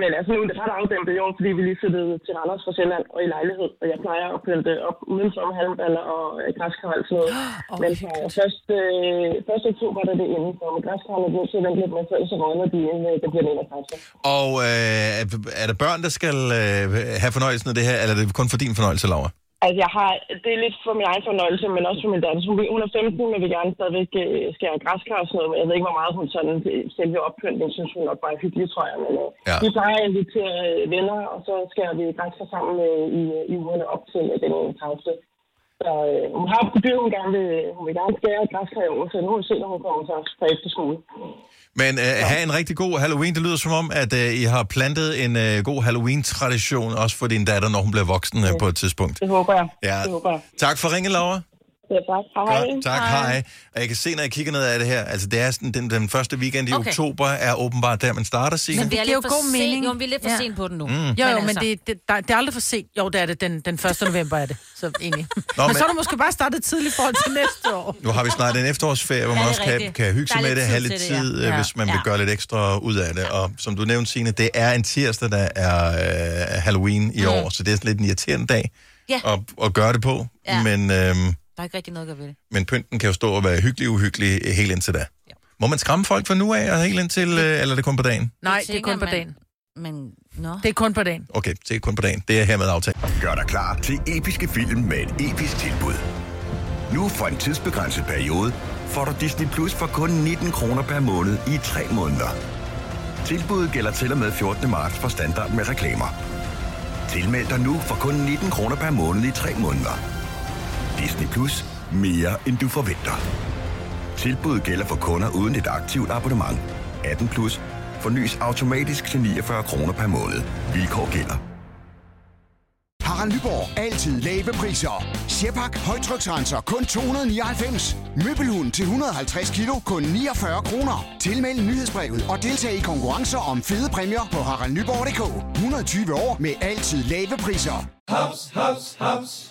Speaker 8: men altså nu er det ret afdæmpet i år, fordi vi lige flyttede til Randers fra Sjælland og i lejlighed. Og jeg plejer at pynte op uden som halmballer og øh, græskar og alt sådan noget.
Speaker 4: Åh,
Speaker 8: men fra først, øh, 1. oktober der er det indenfor. Men græskarne er nødt til at vente lidt med, for ellers så rådner de inden øh, der bliver den 31.
Speaker 1: Og øh, er- er der børn, der skal øh, have fornøjelsen af det her, eller er det kun for din fornøjelse, Laura?
Speaker 10: Altså, jeg har, det er lidt for min egen fornøjelse, men også for min datter. Hun, hun er 15, men vil gerne stadigvæk øh, skære græskar og sådan noget. Men jeg ved ikke, hvor meget hun sådan, øh, selve oppyntning synes hun nok bare er hyggelig, tror jeg. Men øh,
Speaker 1: ja.
Speaker 10: vi plejer at invitere øh, venner, og så skærer vi græskar sammen øh, i, øh, i ugerne op til øh, den 31. Så øh, hun har bedyret, hun gerne vil, hun vil gerne skære græskar i år, så nu må vi se, når hun kommer så fra efterskole.
Speaker 1: Men øh, have en rigtig god Halloween. Det lyder som om, at øh, I har plantet en øh, god Halloween-tradition, også for din datter, når hun bliver voksen øh, på et tidspunkt.
Speaker 10: Det håber jeg.
Speaker 1: Ja.
Speaker 10: Det håber jeg.
Speaker 1: Tak for ringen, Laura.
Speaker 10: Ja, tak. Hej.
Speaker 1: Godt, tak, hej. hej. Og jeg kan se, når jeg kigger ned af det her, altså det er sådan, den, den første weekend i
Speaker 2: Okay.
Speaker 1: okay. oktober er åbenbart der, man starter, Signe.
Speaker 2: Men vi er
Speaker 4: giver
Speaker 2: lidt
Speaker 4: jo
Speaker 2: for
Speaker 4: god
Speaker 2: sent.
Speaker 4: mening.
Speaker 2: Jo, men vi er lidt for
Speaker 4: Ja.
Speaker 2: sent på den nu.
Speaker 1: Mm. Jo,
Speaker 4: Jo, jo, men, altså. det, det, der, det er aldrig for sent. Jo, det er det. Den, den 1. november er det. Så
Speaker 1: <laughs>
Speaker 4: egentlig. Nå, men,
Speaker 1: men-
Speaker 4: men så er du måske bare startet tidligt forhold til næste
Speaker 2: <laughs>
Speaker 4: år.
Speaker 1: Nu har vi snart en efterårsferie, hvor
Speaker 4: Ja, det
Speaker 1: man
Speaker 4: er
Speaker 1: også kan,
Speaker 4: rigtigt.
Speaker 1: kan hygge
Speaker 4: Der
Speaker 1: sig
Speaker 4: er
Speaker 1: med
Speaker 4: lidt
Speaker 1: det,
Speaker 4: tid
Speaker 1: have lidt
Speaker 4: til det,
Speaker 1: tid,
Speaker 4: ja.
Speaker 1: øh, hvis man vil
Speaker 4: Ja.
Speaker 1: gøre lidt ekstra ud af det. Og som du nævnte, Signe, det er en tirsdag, der er øh, Halloween
Speaker 4: Mm.
Speaker 1: i år, så det er sådan lidt en irriterende dag
Speaker 2: Ja.
Speaker 1: at, at gøre det på.
Speaker 2: Ja.
Speaker 1: Men, øh,
Speaker 2: Der er ikke rigtig noget at gøre ved det.
Speaker 1: men pynten kan jo stå og være hyggelig uhyggelig øh, helt indtil da. Må man skræmme folk fra nu af og helt indtil, øh, eller er det kun på dagen?
Speaker 4: Nej, det er
Speaker 2: tænker
Speaker 4: kun på
Speaker 2: man.
Speaker 4: dagen.
Speaker 2: Men, nå.
Speaker 4: Det er kun på dagen.
Speaker 1: Okay, det er kun på dagen. Det er hermed aftalt.
Speaker 11: Gør dig klar til episke film med et episk tilbud. Nu for en tidsbegrænset periode får du Disney Plus for kun 19 kroner per måned i 3 måneder. Tilbuddet gælder til og med 14. marts for standard med reklamer. Tilmeld dig nu for kun 19 kroner per måned i 3 måneder. Disney Plus. Mere end du forventer. Tilbuddet gælder for kunder uden et aktivt abonnement. 18 plus. Fornyes automatisk til 49 kroner per måned. Vilkår gælder.
Speaker 12: Harald Nyborg. Altid lave priser. Sjehpak. Højtryksrenser. Kun 299. Møbelhund til 150 kilo. Kun 49 kroner. Tilmeld nyhedsbrevet og deltag i konkurrencer om fede præmier på haraldnyborg.dk. 120 år med altid lave priser.
Speaker 13: Haps, haps, haps.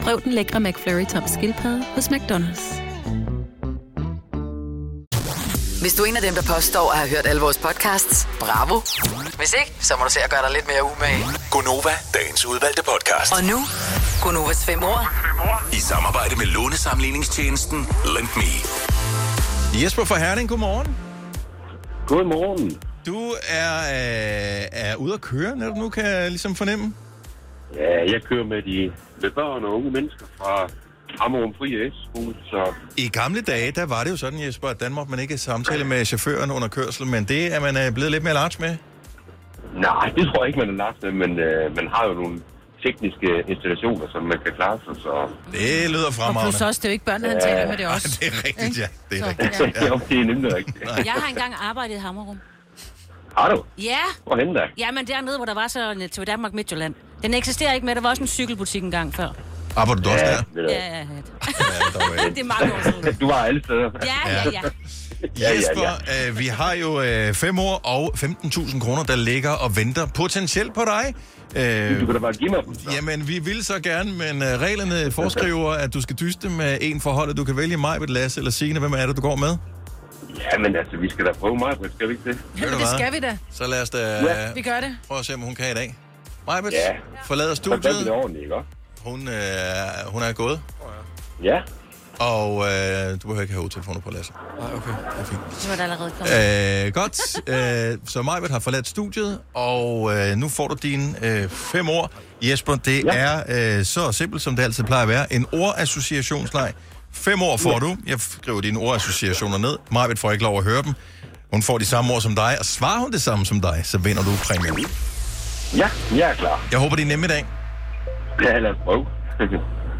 Speaker 14: Prøv den lækre McFlurry tom skildpadde hos McDonald's.
Speaker 6: Hvis du er en af dem, der påstår at have hørt alle vores podcasts, bravo. Hvis ikke, så må du se at gøre dig lidt mere umage.
Speaker 5: Gonova, dagens udvalgte podcast.
Speaker 6: Og nu, Gunovas fem år.
Speaker 5: I samarbejde med lånesamligningstjenesten Lend Me.
Speaker 1: Jesper fra Herning, godmorgen.
Speaker 15: Godmorgen.
Speaker 1: Du er, øh, er ude at køre, når du nu kan jeg ligesom fornemme.
Speaker 15: Ja, Øh, jeg kører med de med børn og unge mennesker fra Ammerum Fri Skole, så
Speaker 1: I gamle dage, der var det jo sådan, Jesper, at Danmark man ikke samtale med chaufføren under kørsel, men det er man øh, blevet lidt mere large med.
Speaker 15: nej, det tror jeg ikke, man er lagt med, men øh, man har jo nogle tekniske installationer, som man kan klare sig, så...
Speaker 1: Det lyder
Speaker 4: Og plus også, det er jo ikke børnene, han taler med det også.
Speaker 1: <laughs> Det er rigtigt, ja. Det er
Speaker 4: Så,
Speaker 1: rigtigt.
Speaker 4: ja.
Speaker 15: Ja. <laughs> jo, det er nemlig
Speaker 1: <laughs>
Speaker 15: rigtigt.
Speaker 2: Jeg har engang arbejdet i Hammerum.
Speaker 15: Har du?
Speaker 2: Ja.
Speaker 15: Hvorhen da?
Speaker 2: Ja, men dernede, hvor der var så en TV Danmark Midtjylland. Den eksisterer ikke mere. Der var også en cykelbutik engang før.
Speaker 1: Arbejder du også
Speaker 15: ja,
Speaker 1: der?
Speaker 15: ved
Speaker 2: Ja,
Speaker 15: du
Speaker 2: ja, ja. det er mange år siden.
Speaker 15: hvad. Du var alle steder.
Speaker 2: Ja, ja, ja.
Speaker 15: Ja, ja,
Speaker 1: Jesper, øh, vi har jo 5 år og 15.000 kroner, der ligger og venter potentielt på dig. Øh,
Speaker 15: Du kan da bare give mig dem.
Speaker 1: Jamen, vi vil så gerne, men øh, reglerne foreskriver, at du skal dyste med en forhold, du kan vælge mig, Lasse eller Signe. Hvem er det, du går med?
Speaker 15: Ja, men altså, vi skal da prøve mig, Britt, skal vi ikke det?
Speaker 1: Ved du
Speaker 4: Det
Speaker 1: hvad?
Speaker 4: skal vi da.
Speaker 1: Så lad os da
Speaker 4: Ja. Vi
Speaker 1: øh,
Speaker 4: gør det.
Speaker 1: prøve at se, om hun kan i dag. Majbet
Speaker 15: Ja.
Speaker 1: forlader
Speaker 15: Så gør vi det
Speaker 1: studiet.
Speaker 15: ordentligt, ikke også?
Speaker 1: Hun, øh, hun er gået.
Speaker 15: Ja.
Speaker 1: Og øh, du behøver ikke have hovedtelefoner på, Lasse. Nej, okay. Det er fint.
Speaker 2: Det var der allerede kommet.
Speaker 1: Øh, godt. Øh, så Majbet har forladt studiet, og øh, nu får du dine øh, fem ord. Jesper, det ja. er øh, så simpelt, som det altid plejer at være. En ordassociationsleg. Fem ord får du. Jeg skriver dine ordassociationer ned. Majbet får ikke lov at høre dem. Hun får de samme ord som dig, og svarer hun det samme som dig, så vinder du præmien.
Speaker 15: Ja, jeg er klar.
Speaker 1: Jeg håber, det er nemme i dag.
Speaker 15: Ja, lad os prøve.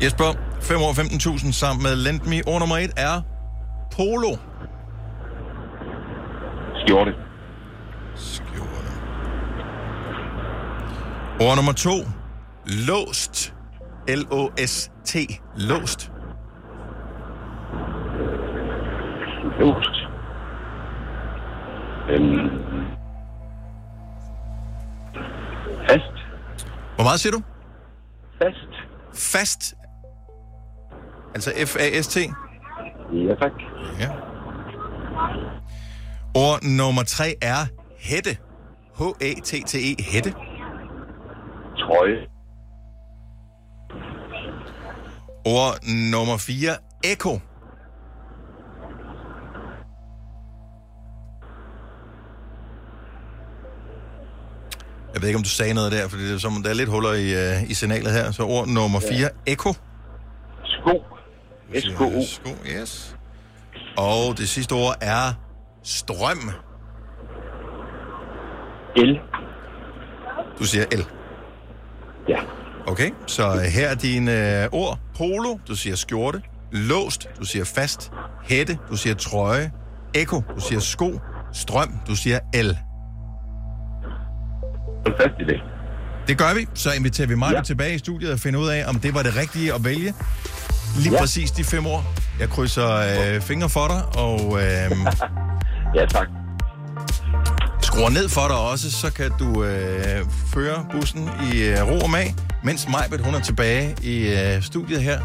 Speaker 1: Jesper, 5 år 15.000 sammen med Lendme. Ord nummer 1 er polo.
Speaker 15: Skjorte.
Speaker 1: Skjorte. Ord nummer 2. Låst. L-O-S-T. Låst.
Speaker 15: Låst. Øhm. Fast.
Speaker 1: Hvor meget siger du?
Speaker 15: Fast.
Speaker 1: Fast. Altså F-A-S-T?
Speaker 15: Ja, tak.
Speaker 1: Ja. Ord nummer tre er hætte. H-A-T-T-E, hætte.
Speaker 15: Trøje.
Speaker 1: Ord nummer 4, ekko. Jeg ved ikke, om du sagde noget der, for det er, som, om, der er lidt huller i, øh, i signalet her. Så ord nummer
Speaker 15: Ja.
Speaker 1: 4, ja. ekko.
Speaker 15: Sko. S-K-O.
Speaker 1: Sko, yes. Og det sidste ord er strøm.
Speaker 15: El.
Speaker 1: Du siger el.
Speaker 15: Ja.
Speaker 1: Okay, så øh, her er dine øh, ord. Polo, du siger skjorte. Låst, du siger fast. Hætte, du siger trøje. Eko, du siger sko. Strøm, du siger el.
Speaker 15: Fantastisk idé.
Speaker 1: Det gør vi. Så inviterer vi mig ja. tilbage i studiet og finder ud af, om det var det rigtige at vælge. Lige ja. præcis de fem ord. Jeg krydser øh, fingre for dig, og... Øh, <laughs>
Speaker 15: ja, tak.
Speaker 1: Skruer ned for dig også, så kan du øh, føre bussen i øh, ro og mag, mens Majbet, hun er tilbage i øh, studiet her,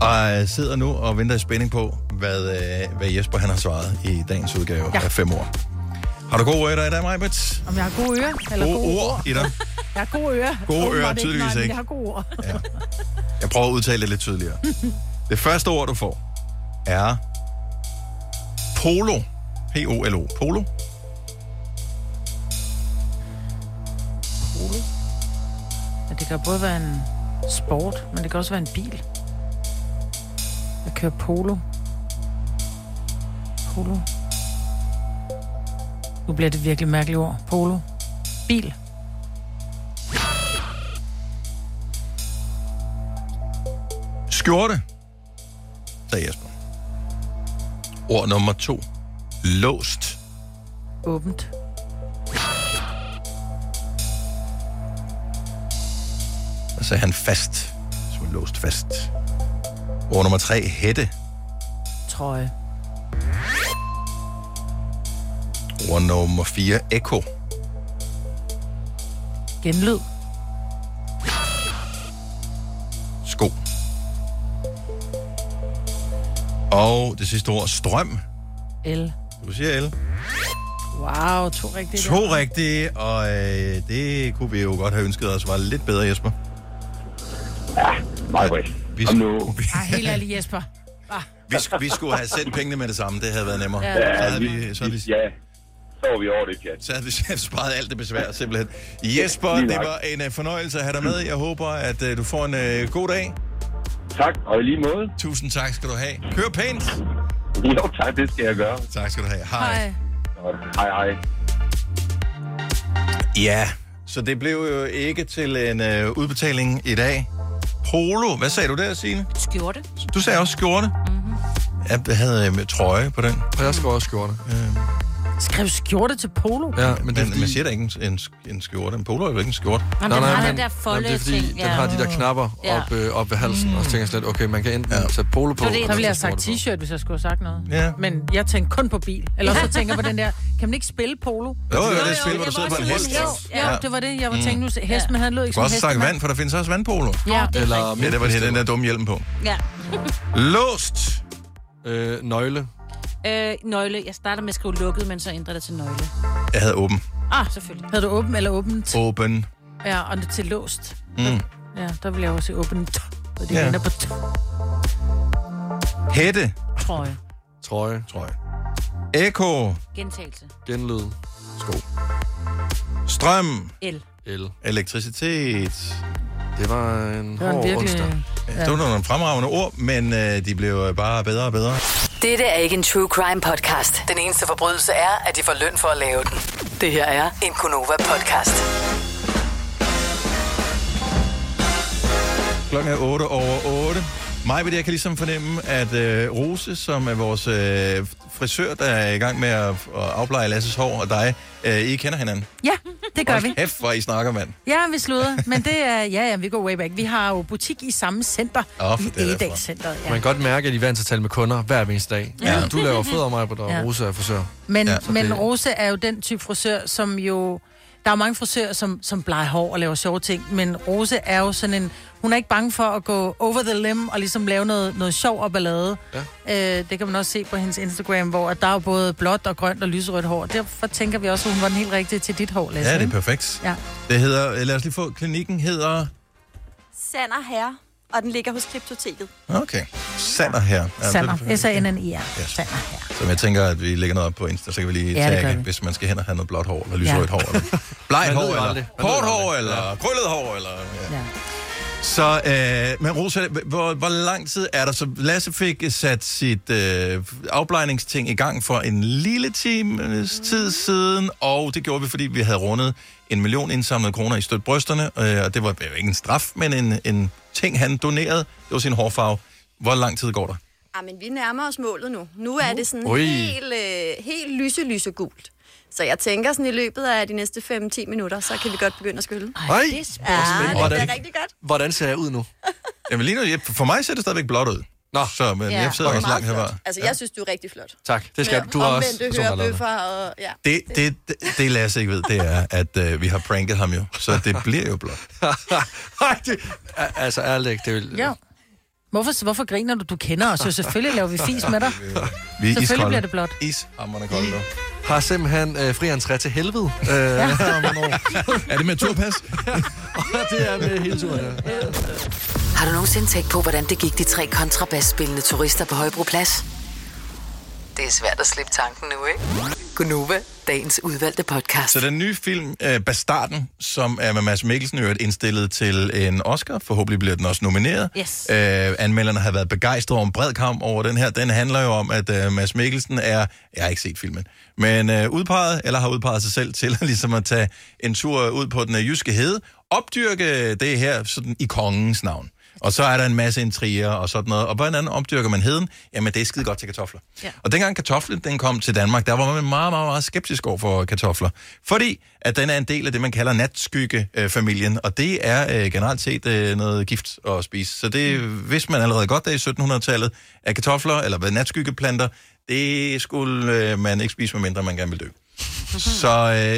Speaker 1: og øh, sidder nu og venter i spænding på, hvad, øh, hvad Jesper han har svaret i dagens udgave ja. af fem år. Har du gode ører i dag, Majbet?
Speaker 4: Om jeg har gode ører? Eller
Speaker 1: Gode ord i dig.
Speaker 4: <laughs> Jeg har gode ører.
Speaker 1: Gode ører,
Speaker 4: Åbenbart
Speaker 1: tydeligvis
Speaker 4: nej, men
Speaker 1: ikke.
Speaker 4: Jeg har gode ord.
Speaker 1: Jeg prøver at udtale det lidt <laughs> tydeligere. Det første ord, du får, er polo. P-O-L-O. Polo.
Speaker 4: Polo. Ja, det kan både være en sport, men det kan også være en bil. Jeg kører polo. Polo. Nu bliver det virkelig mærkeligt ord. Polo. Bil.
Speaker 1: Skjorte, sagde Jesper. Ord nummer to. Låst.
Speaker 4: Åbent.
Speaker 1: Og så er han fast. Så er låst fast. Ord nummer tre. Hætte.
Speaker 4: Trøje.
Speaker 1: Ord nummer fire. Ekko.
Speaker 4: Genlyd.
Speaker 1: Sko. Og det sidste ord. Strøm.
Speaker 4: El.
Speaker 1: Du siger el.
Speaker 4: Wow, to rigtige.
Speaker 1: To
Speaker 4: der.
Speaker 1: rigtige, og øh, det kunne vi jo godt have ønsket os var lidt bedre, Jesper. Ja, meget godt. Vi, skulle, <laughs> vi,
Speaker 4: Ej, helt ærlig, Jesper. Ah.
Speaker 1: vi, skulle, vi skulle have sendt pengene med det samme, det havde været nemmere.
Speaker 4: Ja.
Speaker 1: så
Speaker 15: Ja,
Speaker 1: havde vi, så havde vi,
Speaker 15: ja. Så var vi over det, pjat.
Speaker 1: Så havde vi sparet alt det besvær, simpelthen. Jesper,
Speaker 15: Lige
Speaker 1: det
Speaker 15: nok.
Speaker 1: var en øh, fornøjelse at have dig med. Jeg håber, at øh, du får en øh, god dag.
Speaker 15: Tak, og i lige måde.
Speaker 1: Tusind tak skal du have. Kør pænt.
Speaker 15: Jo, tak, det skal jeg gøre.
Speaker 1: Tak skal du have. Hej.
Speaker 15: Godt. Hej, hej.
Speaker 1: Ja, så det blev jo ikke til en øh, udbetaling i dag. Polo, hvad sagde du der, Signe?
Speaker 2: Skjorte.
Speaker 1: Du sagde også skjorte. Mm-hmm. Jeg havde øh, trøje på den.
Speaker 3: Og Mhm. jeg skriver også skjorte.
Speaker 4: Skriv skjorte til polo.
Speaker 1: Ja, men, det er fordi... man siger da ikke en, en, en skjorte. En polo er jo ikke en skjorte.
Speaker 4: Nå, den har den der folde
Speaker 3: det er fordi,
Speaker 4: ting,
Speaker 3: den
Speaker 4: ja.
Speaker 3: har de der knapper
Speaker 4: Ja.
Speaker 3: op, øh, op ved halsen, mm. og så tænker jeg slet, okay, man kan enten ja. sætte polo på.
Speaker 4: Så det,
Speaker 3: eller
Speaker 4: der
Speaker 3: så
Speaker 4: ville jeg have
Speaker 3: skjorte
Speaker 4: sagt t-shirt, hvis jeg skulle have sagt noget.
Speaker 3: Ja.
Speaker 4: Men jeg tænker kun på bil. Eller så tænker jeg på den der, kan man ikke spille polo?
Speaker 1: Jo, jo, det er et spil, hvor du sidder på en hest.
Speaker 4: Ja, det var det, jeg var
Speaker 1: Mm.
Speaker 4: tænkt nu. Hest, men han lød
Speaker 1: Du
Speaker 4: ikke
Speaker 1: kan
Speaker 4: som
Speaker 1: også
Speaker 4: hest.
Speaker 1: snakke vand, for der findes også vandpolo.
Speaker 4: Ja, det er Eller
Speaker 1: ja, det var det, den der dumme hjelm på.
Speaker 2: Ja. <laughs>
Speaker 1: Låst.
Speaker 3: Øh, nøgle.
Speaker 2: Øh, nøgle. Jeg starter med at skrive lukket, men så ændrer det til nøgle.
Speaker 1: Jeg havde åben.
Speaker 2: Ah, selvfølgelig.
Speaker 4: Havde du åben eller åbent?
Speaker 1: Åben.
Speaker 4: Ja, og det til låst.
Speaker 1: Mm.
Speaker 4: Ja, der ville jeg også sige åbent. Og det
Speaker 1: Ja.
Speaker 4: ja. på t-
Speaker 1: Hætte.
Speaker 4: trøje.
Speaker 3: Trøje.
Speaker 1: Trøje. Eko.
Speaker 2: Gentagelse.
Speaker 3: Genlyd.
Speaker 1: Sko. Strøm.
Speaker 2: El.
Speaker 3: El.
Speaker 1: Elektricitet.
Speaker 3: Det var en
Speaker 2: var en hård virkelig- onsdag.
Speaker 1: Ja. Det var nogle fremragende ord, men øh, de blev øh, bare bedre og bedre.
Speaker 6: Dette er ikke en true crime podcast. Den eneste forbrydelse er, at de får løn for at lave den. Det her er en Gunova-podcast.
Speaker 1: Klokken er 8 over 8. Mig ved jeg kan ligesom fornemme, at øh, Rose, som er vores øh, frisør, der er i gang med at, at afpleje Lasses hår, og dig, øh, I kender hinanden.
Speaker 4: Ja, det gør
Speaker 1: Hold
Speaker 4: vi.
Speaker 1: Kæft, hvor I snakker, mand.
Speaker 4: Ja, vi sluder. Men det er, ja, ja, vi går way back. Vi har jo butik i samme center.
Speaker 3: Nå, for
Speaker 4: I
Speaker 3: det er derfor.
Speaker 4: Egedagscenteret,
Speaker 3: Man
Speaker 4: ja.
Speaker 3: kan godt mærke, at I er vant til at tale med kunder hver eneste dag.
Speaker 4: Ja.
Speaker 3: Ja. Du laver fodder mig, og
Speaker 4: Ja.
Speaker 3: Rosa er frisør.
Speaker 4: Men,
Speaker 3: Ja.
Speaker 4: ja,
Speaker 3: Så
Speaker 4: men
Speaker 3: det-
Speaker 4: Rose er jo den type frisør, som jo... Der er mange frisører, som, som bleger hår og laver sjove ting, men Rose er jo sådan en... Hun er ikke bange for at gå over the limb og ligesom lave noget, noget sjov og ballade. Ja. Øh, det kan man også se på hendes Instagram, hvor at der er jo både blåt og grønt og lyserødt hår. Derfor tænker vi også, at hun var den helt rigtige til dit hår, Lasse.
Speaker 1: Ja, det er
Speaker 4: ikke?
Speaker 1: perfekt.
Speaker 4: Ja.
Speaker 1: Det hedder, øh, lad os lige få, klinikken hedder...
Speaker 7: <laughs> Sander Herre, og den ligger hos Kryptoteket.
Speaker 1: Okay. Sander her. Ja,
Speaker 4: Sander.
Speaker 1: det er perfekt.
Speaker 7: E
Speaker 4: S-A-N-N-I-R.
Speaker 1: Yes. Som jeg tænker, at vi lægger noget op på Insta, så kan vi lige
Speaker 4: Ja, det gør
Speaker 1: ja, tage,
Speaker 4: vi.
Speaker 1: hvis man skal hen og have noget blåt hår, eller
Speaker 4: Ja.
Speaker 1: lyserødt hår, eller bleget
Speaker 3: Man ved
Speaker 1: hår,
Speaker 3: jo
Speaker 1: eller
Speaker 3: aldrig. Man ved
Speaker 1: kort
Speaker 3: jo
Speaker 1: hår,
Speaker 3: aldrig.
Speaker 1: eller
Speaker 3: Ja.
Speaker 1: krøllet hår, eller... Ja.
Speaker 4: Ja.
Speaker 1: Så, øh, men Rosa, hvor, hvor lang tid er der? Så Lasse fik sat sit øh, afblejningsting i gang for en lille times tid siden, og det gjorde vi, fordi vi havde rundet en million indsamlede kroner i støt brysterne, øh, og det var jo ikke en straf, men en, en ting, han donerede. Det var sin hårfarve. Hvor lang tid går der?
Speaker 7: Ja, Ah, men vi nærmer os målet nu. Nu er det sådan
Speaker 1: Ui.
Speaker 7: helt, øh, helt lyse, lyse gult. Så jeg tænker sådan i løbet af de næste 5-10 minutter, så kan vi godt begynde at skylle.
Speaker 3: Ej,
Speaker 7: det
Speaker 3: det
Speaker 7: er
Speaker 3: er
Speaker 7: ja, det
Speaker 3: Hvordan-
Speaker 7: bliver rigtig godt.
Speaker 3: Hvordan ser jeg ud nu?
Speaker 1: Jamen lige nu, jeg- for mig ser det stadigvæk blåt ud. Nå. Så men
Speaker 7: Ja.
Speaker 1: jeg sidder også
Speaker 7: Meget
Speaker 1: langt herfra.
Speaker 7: flot. Altså, jeg synes, du er rigtig flot.
Speaker 3: Tak, det skal
Speaker 7: Med
Speaker 3: du har også.
Speaker 7: Omvendte
Speaker 3: du har lavet
Speaker 7: hørebøffer og... Ja.
Speaker 1: Det, det, det, det Lasse ikke ved, det er, at øh, vi har pranket ham jo, så det bliver jo blot.
Speaker 3: <laughs> Nej, det... Al- Altså, ærligt, ikke, det vil...
Speaker 4: Ja. Hvorfor, hvorfor griner du? Du kender os jo. Selvfølgelig laver vi fis med dig.
Speaker 1: Vi er
Speaker 4: Selvfølgelig
Speaker 3: iskolde.
Speaker 4: bliver det blot.
Speaker 1: Is, hammerne kolde nu.
Speaker 3: Har simpelthen øh, fri entré til helvede. Øh, her om nogle år.
Speaker 1: <laughs> er det med turpas?
Speaker 3: <laughs> det er med hele turen, ja.
Speaker 6: Har du nogensinde tænkt på, hvordan det gik de tre kontrabasspillende turister på Højbroplads? Det er svært at slippe tanken nu, ikke? Gunova, dagens udvalgte podcast.
Speaker 1: Så den nye film, øh, Bastarden, som er med Mads Mikkelsen, i øvrigt indstillet til en Oscar, forhåbentlig bliver den også nomineret.
Speaker 16: Yes.
Speaker 1: Øh, anmelderne har været begejstrede over en bred kamp over den her. Den handler jo om, at øh, Mads Mikkelsen er, jeg har ikke set filmen, men øh, udpeget, eller har udpeget sig selv til <laughs> ligesom at tage en tur ud på den øh, jyske hede, opdyrke det her sådan, i kongens navn. Og så er der en masse intriger og sådan noget. Og hvordan opdyrker man heden? Jamen, det er skide godt til kartofler. Ja. Og dengang kartoflen den kom til Danmark, der var man meget, meget, meget skeptisk over for kartofler. Fordi at den er en del af det, man kalder natskyggefamilien, og det er øh, generelt set øh, noget gift at spise. Så det vidste man allerede godt der i 1700-tallet, at kartofler, eller hvad, natskyggeplanter, det skulle øh, man ikke spise, medmindre man gerne ville dø. Så,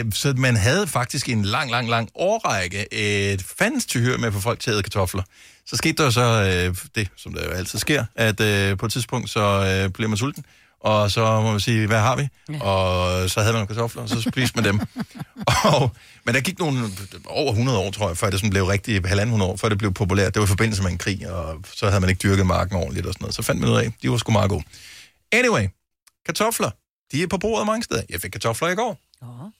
Speaker 1: øh, så man havde faktisk i en lang, lang, lang årrække et fandens tyhør med at få folk til at æde kartofler. Så skete der jo så øh, det, som der jo altid sker, at øh, på et tidspunkt så øh, bliver man sulten, og så må man sige, hvad har vi? Ja. Og så havde man nogle kartofler, og så spiste man dem. og, men der gik nogle over 100 år, tror jeg, før det sådan blev rigtig halvanden 100 år, før det blev populært. Det var i forbindelse med en krig, og så havde man ikke dyrket marken ordentligt og sådan noget. Så fandt man ud af, de var sgu meget gode. Anyway, kartofler, de er på bordet mange steder. Jeg fik kartofler i går. Men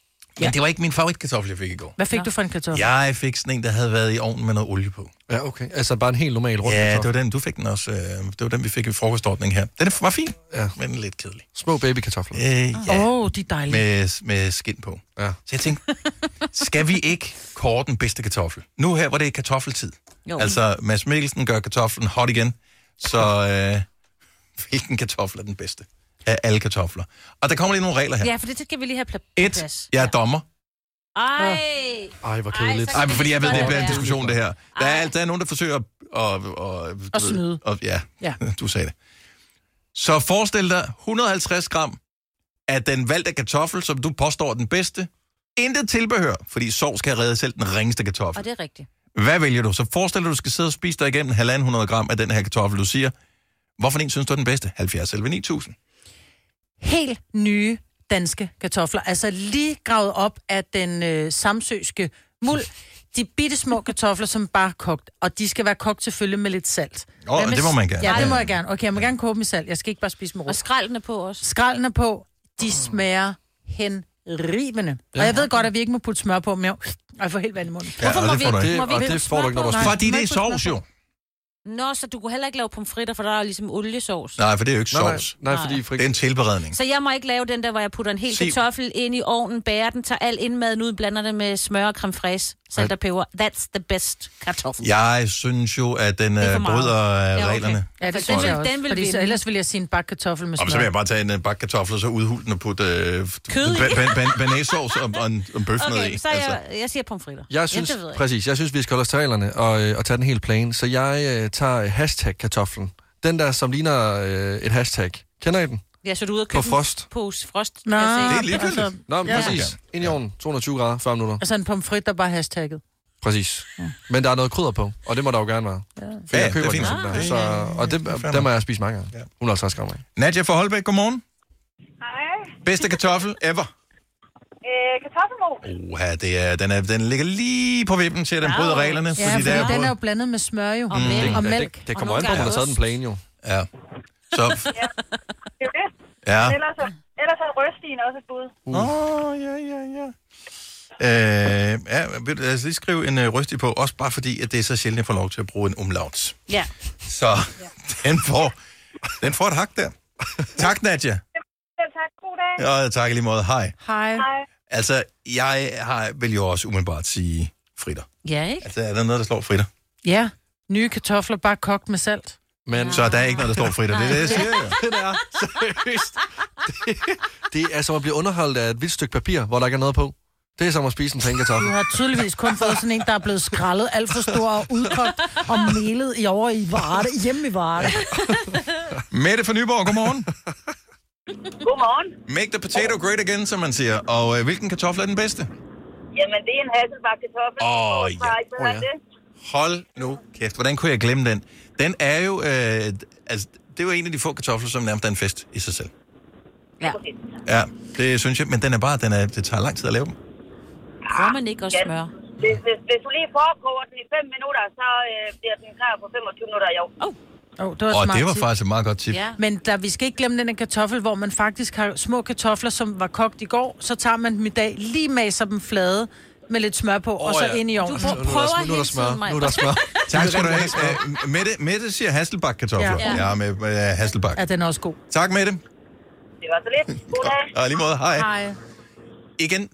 Speaker 4: Ja.
Speaker 1: det var ikke min favoritkartoffel, jeg fik i går.
Speaker 4: Hvad fik du for en kartoffel?
Speaker 1: Jeg fik sådan en, der havde været i ovnen med noget olie på.
Speaker 3: Ja, okay. Altså bare en helt normal rund
Speaker 1: Ja, det var
Speaker 3: kartoffel.
Speaker 1: den. Du fik den også. øh, Det var den, vi fik i frokostordning her. Den var fin, ja. men lidt kedelig.
Speaker 3: Små babykartofler.
Speaker 1: Øh, ja,
Speaker 4: Åh, oh, de er dejlige.
Speaker 1: med, med skin på.
Speaker 3: Ja.
Speaker 1: Så jeg tænkte, skal vi ikke kåre den bedste kartoffel? Nu her, hvor det er kartoffeltid.
Speaker 4: Jo.
Speaker 1: Jo. Altså, Mads Mikkelsen gør kartoflen hot igen. Så øh, hvilken kartoffel er den bedste af alle kartofler? Og der kommer lige nogle regler her.
Speaker 2: Ja, for det skal vi lige have pla- på plads.
Speaker 1: Et, jeg er dommer.
Speaker 2: Ej,
Speaker 4: Ah.
Speaker 3: Ej, hvor kedeligt.
Speaker 1: Nej, fordi jeg ved, det bliver en
Speaker 3: Ja.
Speaker 1: diskussion, det her. Der er, alt- der er nogen, der forsøger at... Og, og, du ved,
Speaker 4: snyde.
Speaker 1: Og, ja,
Speaker 4: Ja.
Speaker 1: du sagde det. Så forestil dig 150 gram af den valgte kartoffel, som du påstår er den bedste. Intet tilbehør, fordi sov skal redde selv den ringeste
Speaker 2: og
Speaker 1: kartoffel.
Speaker 2: det er rigtigt.
Speaker 1: Hvad vælger du? Så forestil dig, du skal sidde og spise dig igennem 1,5 gram af den her kartoffel, du siger. Hvorfor en synes du er den bedste? 70 selv 9000.
Speaker 4: Helt nye danske kartofler. Altså lige gravet op af den øh, samsøske muld. De bitte
Speaker 2: <laughs>
Speaker 4: små kartofler, som bare er kogt. Og de skal være kogt selvfølgelig med lidt salt.
Speaker 1: Åh,
Speaker 4: Hvad med
Speaker 1: det må
Speaker 4: s-
Speaker 1: man gerne.
Speaker 4: Ja, det må
Speaker 1: Ja.
Speaker 4: jeg gerne. Okay, jeg må gerne koge dem i salt. Jeg skal ikke bare spise med rå.
Speaker 2: Og skraldene på også.
Speaker 4: Skralden er på. De smager hen rivende. Og
Speaker 2: Ja.
Speaker 4: jeg ved godt, at vi ikke må putte smør på, men jeg, og jeg får helt vand i munden.
Speaker 1: Ja, Hvorfor og øh, må det vi får du ikke- ikke. må vi
Speaker 3: Og det får du ikke, når du har spist.
Speaker 1: Fordi det er sovs jo.
Speaker 2: Nå, så du kunne heller ikke lave pomfritter, for der er jo ligesom oliesauce.
Speaker 1: Nej, for det er jo ikke
Speaker 3: Nej, nej.
Speaker 1: sovs.
Speaker 3: Nej, fordi
Speaker 1: Det er en tilberedning.
Speaker 2: Så jeg må ikke lave den der, hvor jeg putter en hel
Speaker 1: Mm. Siv.
Speaker 2: kartoffel ind i ovnen, bærer den, tager al indmaden ud, blander det med smør og creme fraise, salt
Speaker 1: Ej.
Speaker 2: og peber. That's the best kartoffel.
Speaker 1: Jeg synes jo, at den
Speaker 2: er
Speaker 1: øh,
Speaker 2: for meget.
Speaker 1: bryder øh,
Speaker 2: Ja, okay. Altså,
Speaker 1: reglerne.
Speaker 4: Ja, det
Speaker 2: Den
Speaker 4: synes
Speaker 2: vil-
Speaker 4: jeg også.
Speaker 2: den vil
Speaker 4: Fordi så
Speaker 2: vinde.
Speaker 4: ellers ville jeg sige en bakke kartoffel med
Speaker 1: Og så vil jeg
Speaker 4: smør.
Speaker 1: bare tage en øh, bakke kartofler, så udhule den og putte øh,
Speaker 2: Kød i.
Speaker 1: ba- ba- ba- banæssauce og, og en, en bøf ned
Speaker 2: Okay,
Speaker 1: i.
Speaker 2: så jeg, jeg siger pomfritter.
Speaker 3: Jeg synes,
Speaker 2: ja, det ved jeg.
Speaker 3: præcis, jeg synes, vi skal holde os til reglerne og, øh, og tage den helt plan. Så jeg øh, tager øh, hashtag-kartoflen. Den der, som ligner øh, et hashtag. Kender I den?
Speaker 2: Ja, så du er ude og
Speaker 3: På
Speaker 2: købe
Speaker 3: frost.
Speaker 2: en pose frost.
Speaker 4: Nå,
Speaker 2: kan jeg se.
Speaker 4: Det er ligegyldigt. altså-
Speaker 3: Nå, men
Speaker 4: Ja.
Speaker 3: ja. præcis. Ind i ovnen. 220 grader, 40 minutter.
Speaker 4: Altså en pomfrit, der bare er hashtagget.
Speaker 3: Præcis. Men der er noget krydder på, og det må der jo gerne være. Ja, For
Speaker 1: Ja,
Speaker 3: jeg
Speaker 1: det
Speaker 3: køber
Speaker 1: er fint.
Speaker 3: det sådan
Speaker 1: Ja,
Speaker 3: der.
Speaker 1: ja,
Speaker 3: Så, og det, dem har jeg spist mange gange. 150 gram af.
Speaker 1: Nadja fra Holbæk, godmorgen.
Speaker 16: Hej.
Speaker 1: Bedste kartoffel ever.
Speaker 16: Øh, kartoffelmos.
Speaker 1: Uha, det er, den, er, den ligger lige på vippen til, at den bryder reglerne.
Speaker 4: Ja, fordi,
Speaker 1: der
Speaker 4: fordi den
Speaker 1: både-
Speaker 4: er jo blandet med smør jo.
Speaker 1: Mm, det-
Speaker 4: Og
Speaker 1: det-
Speaker 4: mælk.
Speaker 1: det-
Speaker 3: Det
Speaker 1: Og
Speaker 3: kommer
Speaker 1: nogle
Speaker 3: an på, om
Speaker 1: gange
Speaker 3: man har taget den
Speaker 1: ost.
Speaker 3: plan jo.
Speaker 1: Ja. Så,
Speaker 16: ja, det er jo det.
Speaker 1: Ja.
Speaker 16: Men Ellers, er- ellers er rødstigen også et bud.
Speaker 1: Åh, ja, ja, ja. øh, ja, vil du- lad os lige skrive en øh, rystig på, også bare fordi, at det er så sjældent, at jeg får lov til at bruge en umlaut.
Speaker 2: Ja.
Speaker 1: Så ja. den, får, den får et hak der. tak, Nadja.
Speaker 16: Selv tak. God dag.
Speaker 1: Og tak i lige måde. Hej.
Speaker 4: Hej.
Speaker 16: Hej.
Speaker 1: Altså, jeg har, vil jo også umiddelbart sige fritter.
Speaker 4: Ja, ikke?
Speaker 1: Altså, er der noget, der slår fritter?
Speaker 4: Ja. Nye kartofler bare kogt med salt.
Speaker 1: Men... Så der er ikke noget, der slår fritter. Det er det, jeg <laughs> siger. jo.
Speaker 3: Det er seriøst. Det, det er som at blive underholdt af et vildt stykke papir, hvor der ikke er noget på. Det er som at spise en
Speaker 4: Du
Speaker 3: tænkertoffel.
Speaker 4: har tydeligvis kun fået sådan en, der er blevet skrællet alt for stor og udkogt og melet i over i Varde, hjemme i Varde.
Speaker 1: Mette fra Nyborg, godmorgen.
Speaker 16: Godmorgen.
Speaker 1: Make the potato great again, som man siger. Og øh, hvilken kartoffel er den bedste?
Speaker 16: Jamen, det er en hasselbakke kartoffel.
Speaker 1: Åh, ja.
Speaker 16: Bare ikke, hvad
Speaker 1: Åh,
Speaker 16: er
Speaker 1: ja.
Speaker 16: det?
Speaker 1: Hold nu kæft, hvordan kunne jeg glemme den? Den er jo, øh, altså, det er jo en af de få kartofler, som nærmest er en fest i sig selv.
Speaker 2: Ja.
Speaker 1: Ja, det synes jeg, men den er bare, den er, det tager lang tid at lave dem.
Speaker 2: Prøver man ikke også smør?
Speaker 16: Hvis, hvis, hvis du lige forkoger den i 5 minutter, så øh, bliver den klar på 25 minutter i år.
Speaker 2: Oh.
Speaker 4: Oh, det var,
Speaker 1: Og
Speaker 4: smart
Speaker 1: det var
Speaker 4: tip.
Speaker 1: faktisk et meget godt tip.
Speaker 4: Ja. Men der, vi skal ikke glemme den her kartoffel, hvor man faktisk har små kartofler, som var kogt i går. Så tager man dem i dag, lige maser dem flade med lidt smør på, oh, og så ja. ind i ovnen.
Speaker 1: prøver
Speaker 3: <laughs>
Speaker 1: tak skal du have. Øh, Mette, Mette siger Hasselbak-kartofler.
Speaker 4: Ja.
Speaker 1: Ja, ja med, med Hasselbak.
Speaker 4: Ja, den er også god.
Speaker 1: Tak, Mette.
Speaker 16: Det var så lidt. God dag.
Speaker 1: Og lige måde, hej.
Speaker 4: Hej.
Speaker 1: Igen,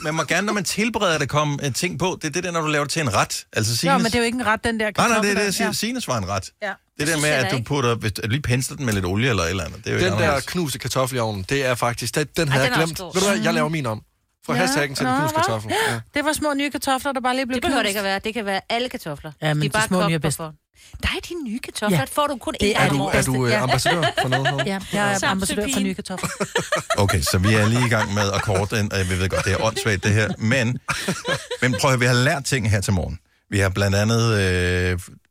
Speaker 1: man må gerne, når man tilbereder det, komme øh, ting på. Det er det der, når du laver det til en ret. Altså,
Speaker 4: Jo,
Speaker 1: Sines...
Speaker 4: men det er jo ikke en ret, den der
Speaker 1: Nej,
Speaker 4: kartoffel.
Speaker 1: nej, det er det, jeg
Speaker 4: der.
Speaker 1: siger. Sines var en ret.
Speaker 4: Ja.
Speaker 1: Det der med, at du putter, hvis du at du lige pensler den med lidt olie eller et eller andet, det er jo ikke
Speaker 3: Den der
Speaker 1: anderledes.
Speaker 3: knuste kartoffel i ovnen, det er faktisk, den, den havde
Speaker 1: Ej,
Speaker 3: jeg
Speaker 1: den er også
Speaker 3: glemt.
Speaker 1: god.
Speaker 3: Ved du hvad, jeg laver min om. Fra
Speaker 4: Ja.
Speaker 3: hashtaggen til den
Speaker 4: Nå,
Speaker 3: knuste
Speaker 4: hva?
Speaker 3: kartoffel. Ja.
Speaker 4: Det var små nye kartofler, der bare lige blev
Speaker 2: Det behøver det
Speaker 4: knust.
Speaker 2: ikke at være. Det kan være alle kartofler.
Speaker 4: Ja, men
Speaker 2: de er
Speaker 4: de
Speaker 2: bare
Speaker 4: små
Speaker 2: kogt
Speaker 4: nye er
Speaker 2: på
Speaker 4: bedst.
Speaker 2: forhånd. Dig, de nye kartofler,
Speaker 4: Ja.
Speaker 2: får du kun
Speaker 4: Det
Speaker 2: én
Speaker 4: er
Speaker 2: af
Speaker 4: du-
Speaker 2: om
Speaker 4: er
Speaker 2: året.
Speaker 3: du, øh,
Speaker 2: Ja.
Speaker 3: ambassadør for noget her?
Speaker 4: Ja, jeg er
Speaker 2: Samsø
Speaker 4: ambassadør for
Speaker 2: Pil.
Speaker 4: nye kartofler.
Speaker 1: Okay, så vi er lige i gang med at korte den, og vi ved godt, det er åndssvagt det her, men, men prøv at høre, vi har lært ting her til morgen. Vi har blandt andet øh,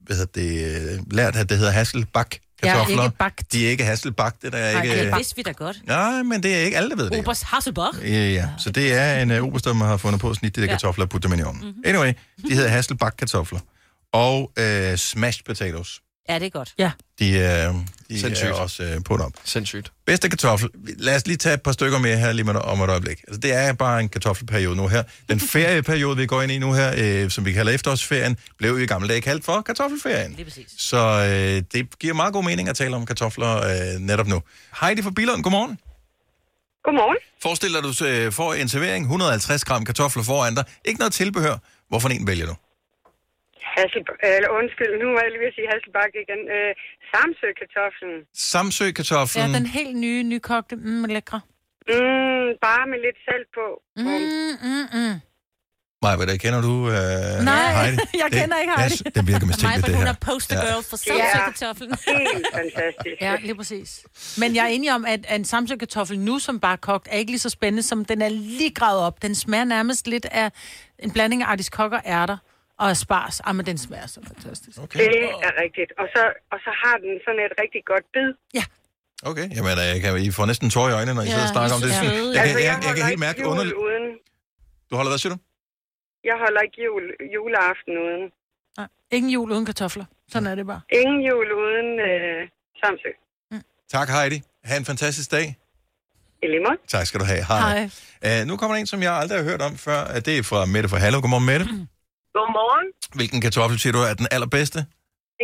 Speaker 1: hvad hedder det, øh, lært, at det hedder Hasselbak.
Speaker 2: Ja,
Speaker 1: Kartofler.
Speaker 2: ikke bagt.
Speaker 1: De er ikke Hasselbak, det der er
Speaker 2: Ej,
Speaker 1: ikke...
Speaker 2: det vidste vi da godt.
Speaker 1: Nej, men det er ikke alle, der ved det.
Speaker 2: Obers Hasselbach.
Speaker 1: Ja, ja. Så det er en uh, oberst, der har fundet på at snitte de der
Speaker 2: Ja. Mhm.
Speaker 1: kartofler og putte dem ind i ovnen. Mm-hmm. Anyway, de hedder Hasselbak-kartofler. Og uh, smashed potatoes.
Speaker 2: Ja, det er godt.
Speaker 4: Ja.
Speaker 1: De, uh, de
Speaker 3: Sindssygt.
Speaker 1: er også uh, på op.
Speaker 3: Sindssygt.
Speaker 1: Bedste kartoffel. Lad os lige tage et par stykker mere her lige med, om et øjeblik. Altså, det er bare en kartoffelperiode nu her.
Speaker 2: <laughs>
Speaker 1: Den ferieperiode, vi går ind i nu her, øh, som vi kalder efterårsferien, blev jo i gamle dage kaldt for kartoffelferien.
Speaker 2: Lige præcis.
Speaker 1: Så øh, det giver meget god mening at tale om kartofler øh, netop nu. Heidi fra Bilund, godmorgen.
Speaker 9: Godmorgen.
Speaker 1: Forestil dig, du øh, får en servering, 150 gram kartofler foran dig. Ikke noget tilbehør. Hvorfor en vælger du?
Speaker 9: Hassel, eller undskyld, nu var jeg lige ved at sige Hasselbakke igen. Øh, Samsø-kartoflen.
Speaker 1: Samsø-kartoflen.
Speaker 4: Ja, den helt nye, nykogte, mm, lækre.
Speaker 9: Mm, bare med lidt salt på.
Speaker 4: Mm, mm, mm.
Speaker 1: Nej, hvad der kender du øh,
Speaker 4: Nej,
Speaker 1: Heidi?
Speaker 4: jeg
Speaker 1: Det-
Speaker 4: kender ikke Heidi.
Speaker 1: Det, det virker mistænkeligt, det her. Ja.
Speaker 2: for
Speaker 4: samsøkartoflen.
Speaker 9: Ja, helt fantastisk.
Speaker 4: Ja, lige præcis. Men jeg er enig om, at at en samsøkartoffel nu, som bare er kogt, er ikke lige så spændende, som den er lige gravet op. Den smager nærmest lidt af en blanding af artiskokker, ærter og spars. Ah, men den smager så fantastisk.
Speaker 1: Okay.
Speaker 9: Det er rigtigt. Og så, og så har den sådan et rigtig godt bid.
Speaker 4: Ja.
Speaker 1: Okay, jamen øh, jeg kan, I får næsten tår i øjnene, når I
Speaker 9: Ja,
Speaker 1: sidder og snakker om
Speaker 9: I
Speaker 1: det.
Speaker 9: er
Speaker 1: Jeg,
Speaker 9: så søde.
Speaker 1: jeg, jeg,
Speaker 9: Altså,
Speaker 1: jeg,
Speaker 9: jeg
Speaker 1: jeg, jeg kan
Speaker 9: holder
Speaker 1: helt mærke
Speaker 9: ikke jul
Speaker 1: under...
Speaker 9: uden.
Speaker 1: Du holder, hvad siger du?
Speaker 9: Jeg holder ikke jul, juleaften uden.
Speaker 4: Nej, ingen jul uden kartofler. Sådan er det bare. <laughs>
Speaker 9: Ingen jul uden øh, Samsø.
Speaker 1: Tak Heidi. Ha' en fantastisk dag.
Speaker 9: I lige måde.
Speaker 1: Tak skal du have. Hej. Hej. Uh, nu kommer der en, som jeg aldrig har hørt om før. Øh, Det er fra Mette fra Hallo. Godmorgen, Mette.
Speaker 17: Godmorgen.
Speaker 1: Hvilken kartoffel siger du er den allerbedste?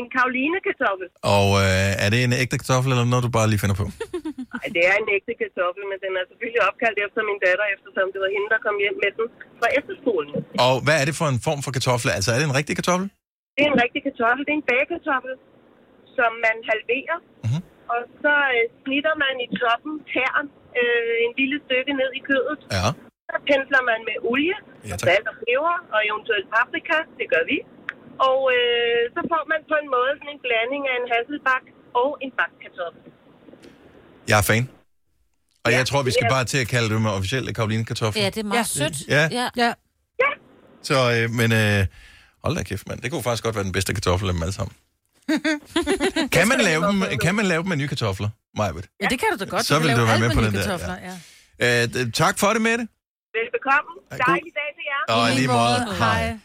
Speaker 17: En Karoline-kartoffel.
Speaker 1: Og øh, er det en ægte kartoffel, eller noget, du bare lige finder på?
Speaker 17: Ej, det er en ægte kartoffel, men den er selvfølgelig opkaldt efter min datter, eftersom det var hende, der kom hjem med den fra efterskolen.
Speaker 1: Og hvad er det for en form for kartoffel? Altså, er det en rigtig kartoffel?
Speaker 17: Det er en rigtig kartoffel. Det er en bagekartoffel, som man halverer.
Speaker 1: Mhm.
Speaker 17: Mm-hmm. Og så øh, snitter man i toppen tæren øh, en lille stykke ned i kødet.
Speaker 1: Ja.
Speaker 17: Så pensler man med olie,
Speaker 1: ja,
Speaker 17: salt og peber og eventuelt paprika. Det gør vi. Og øh, så får man på en måde sådan en blanding af en hasselbak og en bakkartoffel.
Speaker 1: Jeg er fan. Og jeg tror, vi skal bare til at kalde dem officielle Karoline-kartofler.
Speaker 2: Ja, det er meget ja. sødt.
Speaker 1: Ja.
Speaker 2: ja.
Speaker 1: Så, øh, men øh, hold da kæft, mand. Det kunne faktisk godt være den bedste kartoffel af dem alle sammen. Kan man lave dem, kan man lave dem med nye kartofler, Majbet?
Speaker 4: Ja, det kan du da godt.
Speaker 1: Så
Speaker 4: Du kan
Speaker 1: vil
Speaker 4: lave
Speaker 1: du være
Speaker 4: alt
Speaker 1: med på
Speaker 4: nye
Speaker 1: den der,
Speaker 4: kartofler,
Speaker 1: ja. Øh, d- tak for det, Mette.
Speaker 17: Velbekomme. Dejlig dag til jer.
Speaker 1: Og i lige måde. Hej.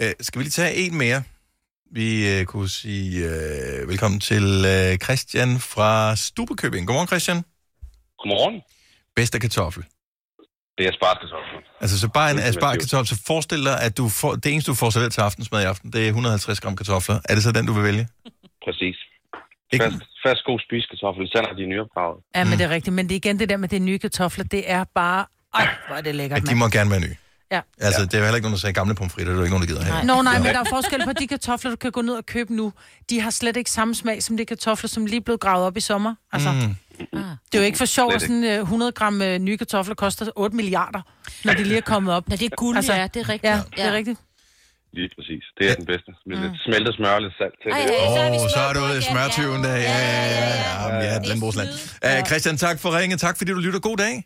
Speaker 17: Hej.
Speaker 1: Øh, skal vi lige tage en mere? Vi øh, kunne sige øh, velkommen til øh, Christian fra Stubekøbing. Godmorgen, Christian.
Speaker 15: Godmorgen.
Speaker 1: Bedste kartoffel.
Speaker 15: Det er sparskatoflen.
Speaker 1: Altså, så bare en
Speaker 15: Ultimativt.
Speaker 1: aspargeskartoffel. Så forestil dig, at du får, det eneste, du får serveret til aftensmad i aften, det er 150 gram kartofler. Er det så den, du vil vælge?
Speaker 15: Præcis.
Speaker 1: Ikke?
Speaker 15: Fast, fast god spisekartoffel, især når de er nyopdraget.
Speaker 4: Ja, men det er rigtigt. Men det er igen det der med de nye kartofler, det er bare... Ej, hvor er det lækkert,
Speaker 1: At de må gerne være nye.
Speaker 4: Ja.
Speaker 1: Altså, ja. det er jo heller ikke nogen, der sagde gamle pomfritter. Det er jo ikke nogen, der gider have.
Speaker 4: Nå, nej, men der er forskel på de kartofler, du kan gå ned og købe nu. De har slet ikke samme smag som de kartofler, som lige blev gravet op i sommer. Altså, mm. Det er jo ikke for sjovt, at
Speaker 2: Slet
Speaker 4: sådan øh, 100 gram øh, nye kartofler koster 8 milliarder, når de lige er kommet op. Altså,
Speaker 2: Når det er guld, ja, det er rigtigt.
Speaker 4: Ja, det er
Speaker 2: Ja.
Speaker 4: rigtigt.
Speaker 15: Lige præcis. Det er den bedste. Med
Speaker 4: Mm.
Speaker 15: lidt smeltet smør og lidt salt til
Speaker 1: Åh,
Speaker 15: det.
Speaker 1: oh, så er du ude i smørtyven der. Ja, ja, ja. ja, ja, ja, ja landbrugsland. Uh, Christian, tak for ringen. Tak fordi du lytter. God dag.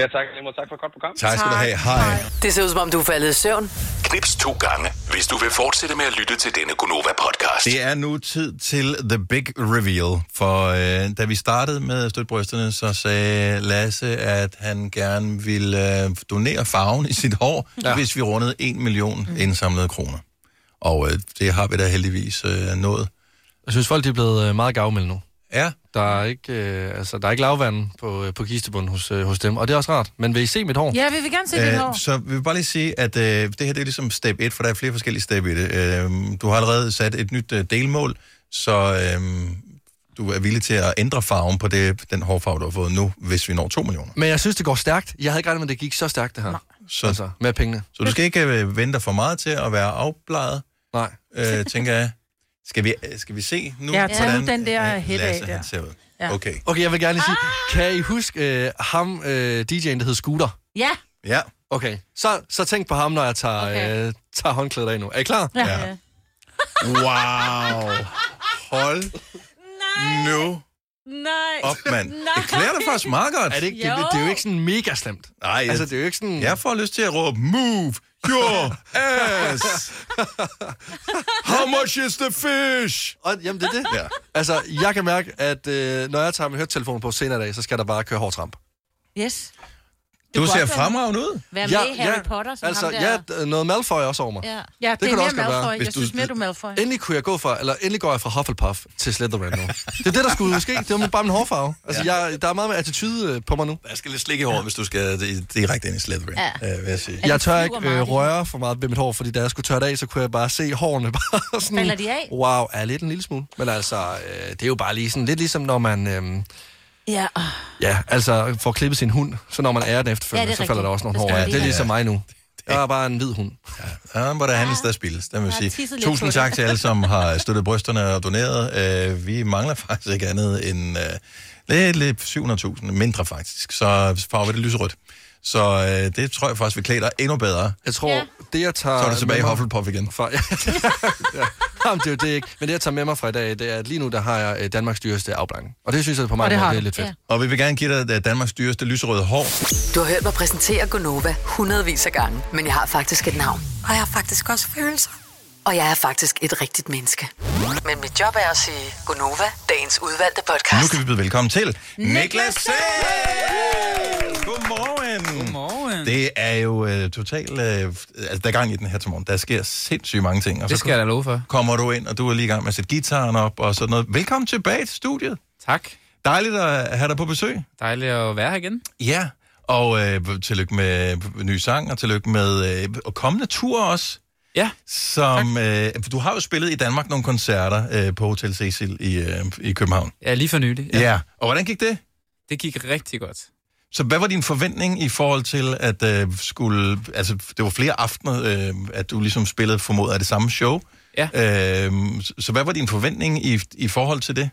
Speaker 15: Ja, tak. Nemo. Tak for et godt program.
Speaker 1: Tak skal du have. Hej.
Speaker 6: Det ser ud som om, du er faldet i søvn.
Speaker 5: Knips to gange, hvis du vil fortsætte med at lytte til denne Gonova-podcast.
Speaker 1: Det er nu tid til The Big Reveal, for øh, da vi startede med støtbrysterne, så sagde Lasse, at han gerne ville øh, donere farven i sit hår, ja. hvis vi rundede 1 million
Speaker 4: Mm.
Speaker 1: indsamlede kroner. Og øh, det har vi da heldigvis øh, nået.
Speaker 3: Jeg synes, folk de er blevet øh, meget gavmilde nu.
Speaker 1: Ja.
Speaker 3: Der er ikke, øh, altså, der er ikke lavvand på, øh, på kistebunden hos, øh, hos dem, og det er også rart. Men vil I se mit hår?
Speaker 4: Ja, vi vil gerne se dit hår.
Speaker 1: Øh, så vi vil bare lige sige, at øh, det her det er ligesom step 1, for der er flere forskellige step i det. Øh, du har allerede sat et nyt øh, delmål, så øh, du er villig til at ændre farven på det, den hårfarve, du har fået nu, hvis vi når 2 millioner.
Speaker 3: Men jeg synes, det går stærkt. Jeg havde ikke regnet med, at det gik så stærkt, det her. Nej.
Speaker 1: Så,
Speaker 3: altså, med pengene.
Speaker 1: Så du skal ikke øh, vente dig for meget til at være afbleget,
Speaker 3: Nej.
Speaker 1: øh, tænker jeg. Skal vi, øh, skal vi se nu,
Speaker 4: Ja, tag nu den der hæt af
Speaker 1: Lasse,
Speaker 4: der.
Speaker 1: han ser ud?
Speaker 4: Ja.
Speaker 1: Okay.
Speaker 3: Okay, jeg vil gerne lige sige, kan I huske øh, ham, øh, DJ'en, der hed Scooter?
Speaker 2: Ja.
Speaker 1: Ja.
Speaker 3: Okay, så, så tænk på ham, når jeg tager, okay. øh, tager håndklædet af nu. Er I klar?
Speaker 2: Ja. Ja.
Speaker 1: Wow. Hold nu
Speaker 2: Nej.
Speaker 1: op, mand.
Speaker 2: <laughs>
Speaker 1: Det klæder dig faktisk meget godt.
Speaker 3: Er det, ikke, det, det, det er jo ikke sådan mega slemt.
Speaker 1: Nej, jeg,
Speaker 3: Altså, det er jo ikke sådan...
Speaker 1: jeg får lyst til at råbe, move your
Speaker 3: <laughs>
Speaker 1: ass. How much is the fish?
Speaker 3: Og, jamen, det er det.
Speaker 1: Ja.
Speaker 3: Altså, jeg kan mærke, at øh, når jeg tager min hørtelefon på senere i dag, så skal der bare køre hård tramp.
Speaker 2: Yes.
Speaker 1: Du,
Speaker 2: kunne
Speaker 1: ser
Speaker 2: også være-
Speaker 1: fremragende ud.
Speaker 2: Vær med i Harry Potter, som
Speaker 3: altså,
Speaker 2: ham der.
Speaker 3: Ja, d- noget Malfoy også over mig.
Speaker 2: Ja.
Speaker 4: Ja, det, det er
Speaker 3: kunne
Speaker 4: mere
Speaker 3: også godt være,
Speaker 4: Malfoy.
Speaker 3: hvis
Speaker 4: Jeg
Speaker 3: du-
Speaker 4: synes mere, du er Malfoy.
Speaker 3: Endelig kunne jeg gå fra, eller endelig går jeg fra Hufflepuff til Slytherin nu. Det er det, der skulle ske. Det var bare min hårfarve. Altså, ja. jeg, der er meget med attitude øh, på mig nu.
Speaker 1: Der skal lidt slik i håret, hvis du skal di- direkte ind i Slytherin,
Speaker 2: Ja.
Speaker 1: ja. øh, vil jeg sige.
Speaker 3: Jeg
Speaker 2: Altså,
Speaker 3: tør ikke øh, røre for meget ved mit hår, fordi da jeg skulle tørre det af, så kunne jeg bare se hårene bare sådan...
Speaker 2: Falder de af?
Speaker 3: Wow, er lidt en lille smule. Men altså, øh, det er jo bare lige sådan lidt ligesom, når man... Øh,
Speaker 2: Ja.
Speaker 3: ja, altså får klippet sin hund, så når man ærer den
Speaker 2: Ja, det
Speaker 3: efterfølgende,
Speaker 2: er
Speaker 3: så falder der
Speaker 2: rigtigt.
Speaker 3: også nogle
Speaker 2: Det
Speaker 3: hår
Speaker 2: skal
Speaker 3: af.
Speaker 2: man
Speaker 3: Det er
Speaker 2: lige
Speaker 3: ligesom mig nu. Jeg er bare en hvid hund.
Speaker 1: Ja, hvor der handles, der spilles, der vil
Speaker 3: har
Speaker 1: jeg
Speaker 3: tisset
Speaker 1: sige.
Speaker 3: lidt på
Speaker 1: Tusind
Speaker 3: det.
Speaker 1: tak til alle, som har støttet brysterne og doneret. Uh, vi mangler <laughs> faktisk ikke andet end uh, lidt, lidt 700.000, mindre faktisk. Så farver vi det lyserødt. Så uh, det tror jeg faktisk, vi klæder dig endnu bedre.
Speaker 3: Jeg tror, ja. det jeg tager...
Speaker 1: Så er du tilbage i
Speaker 3: med mig-
Speaker 1: Hufflepuff igen.
Speaker 3: For, <laughs> ja, ja. Jamen, det er jo det ikke. Men det, jeg tager med mig fra i dag, det er, at lige nu, der har jeg øh, Danmarks dyreste afbrænding. Og det synes jeg på mig, det, det er lidt fedt.
Speaker 1: Og vi vil gerne give dig øh, Danmarks dyreste lyserøde hår.
Speaker 6: Du har hørt mig præsentere Gonova hundredvis af gange, men jeg har faktisk et navn. Og jeg har faktisk også følelser. Og jeg er faktisk et rigtigt menneske. Men mit job er at sige Gonova, dagens udvalgte podcast.
Speaker 1: Nu kan vi byde velkommen til Niklas Sahl! Godmorgen! Godmorgen! Det er jo øh, totalt... Øh, altså, der er gang i den her til morgen. Der sker sindssygt mange ting. Og
Speaker 18: Det skal jeg da love for.
Speaker 1: Kommer du ind, og du er lige i gang med at sætte gitaren op og sådan noget. Velkommen tilbage til studiet.
Speaker 18: Tak.
Speaker 1: Dejligt at have dig på besøg.
Speaker 18: Dejligt at være her igen.
Speaker 1: Ja, og øh, tillykke med ny sang, og tillykke med øh, og kommende tur også.
Speaker 18: Ja.
Speaker 1: Som, øh, du har jo spillet i Danmark nogle koncerter øh, på Hotel Cecil i, øh, i København.
Speaker 18: Ja, lige for nylig.
Speaker 1: Ja. ja, og hvordan gik det?
Speaker 18: Det gik rigtig godt.
Speaker 1: Så hvad var din forventning i forhold til, at øh, skulle, altså, det var flere aftener, øh, at du ligesom spillede formodet af det samme show?
Speaker 18: Ja.
Speaker 1: Øh, så- så hvad var din forventning i, i forhold til det?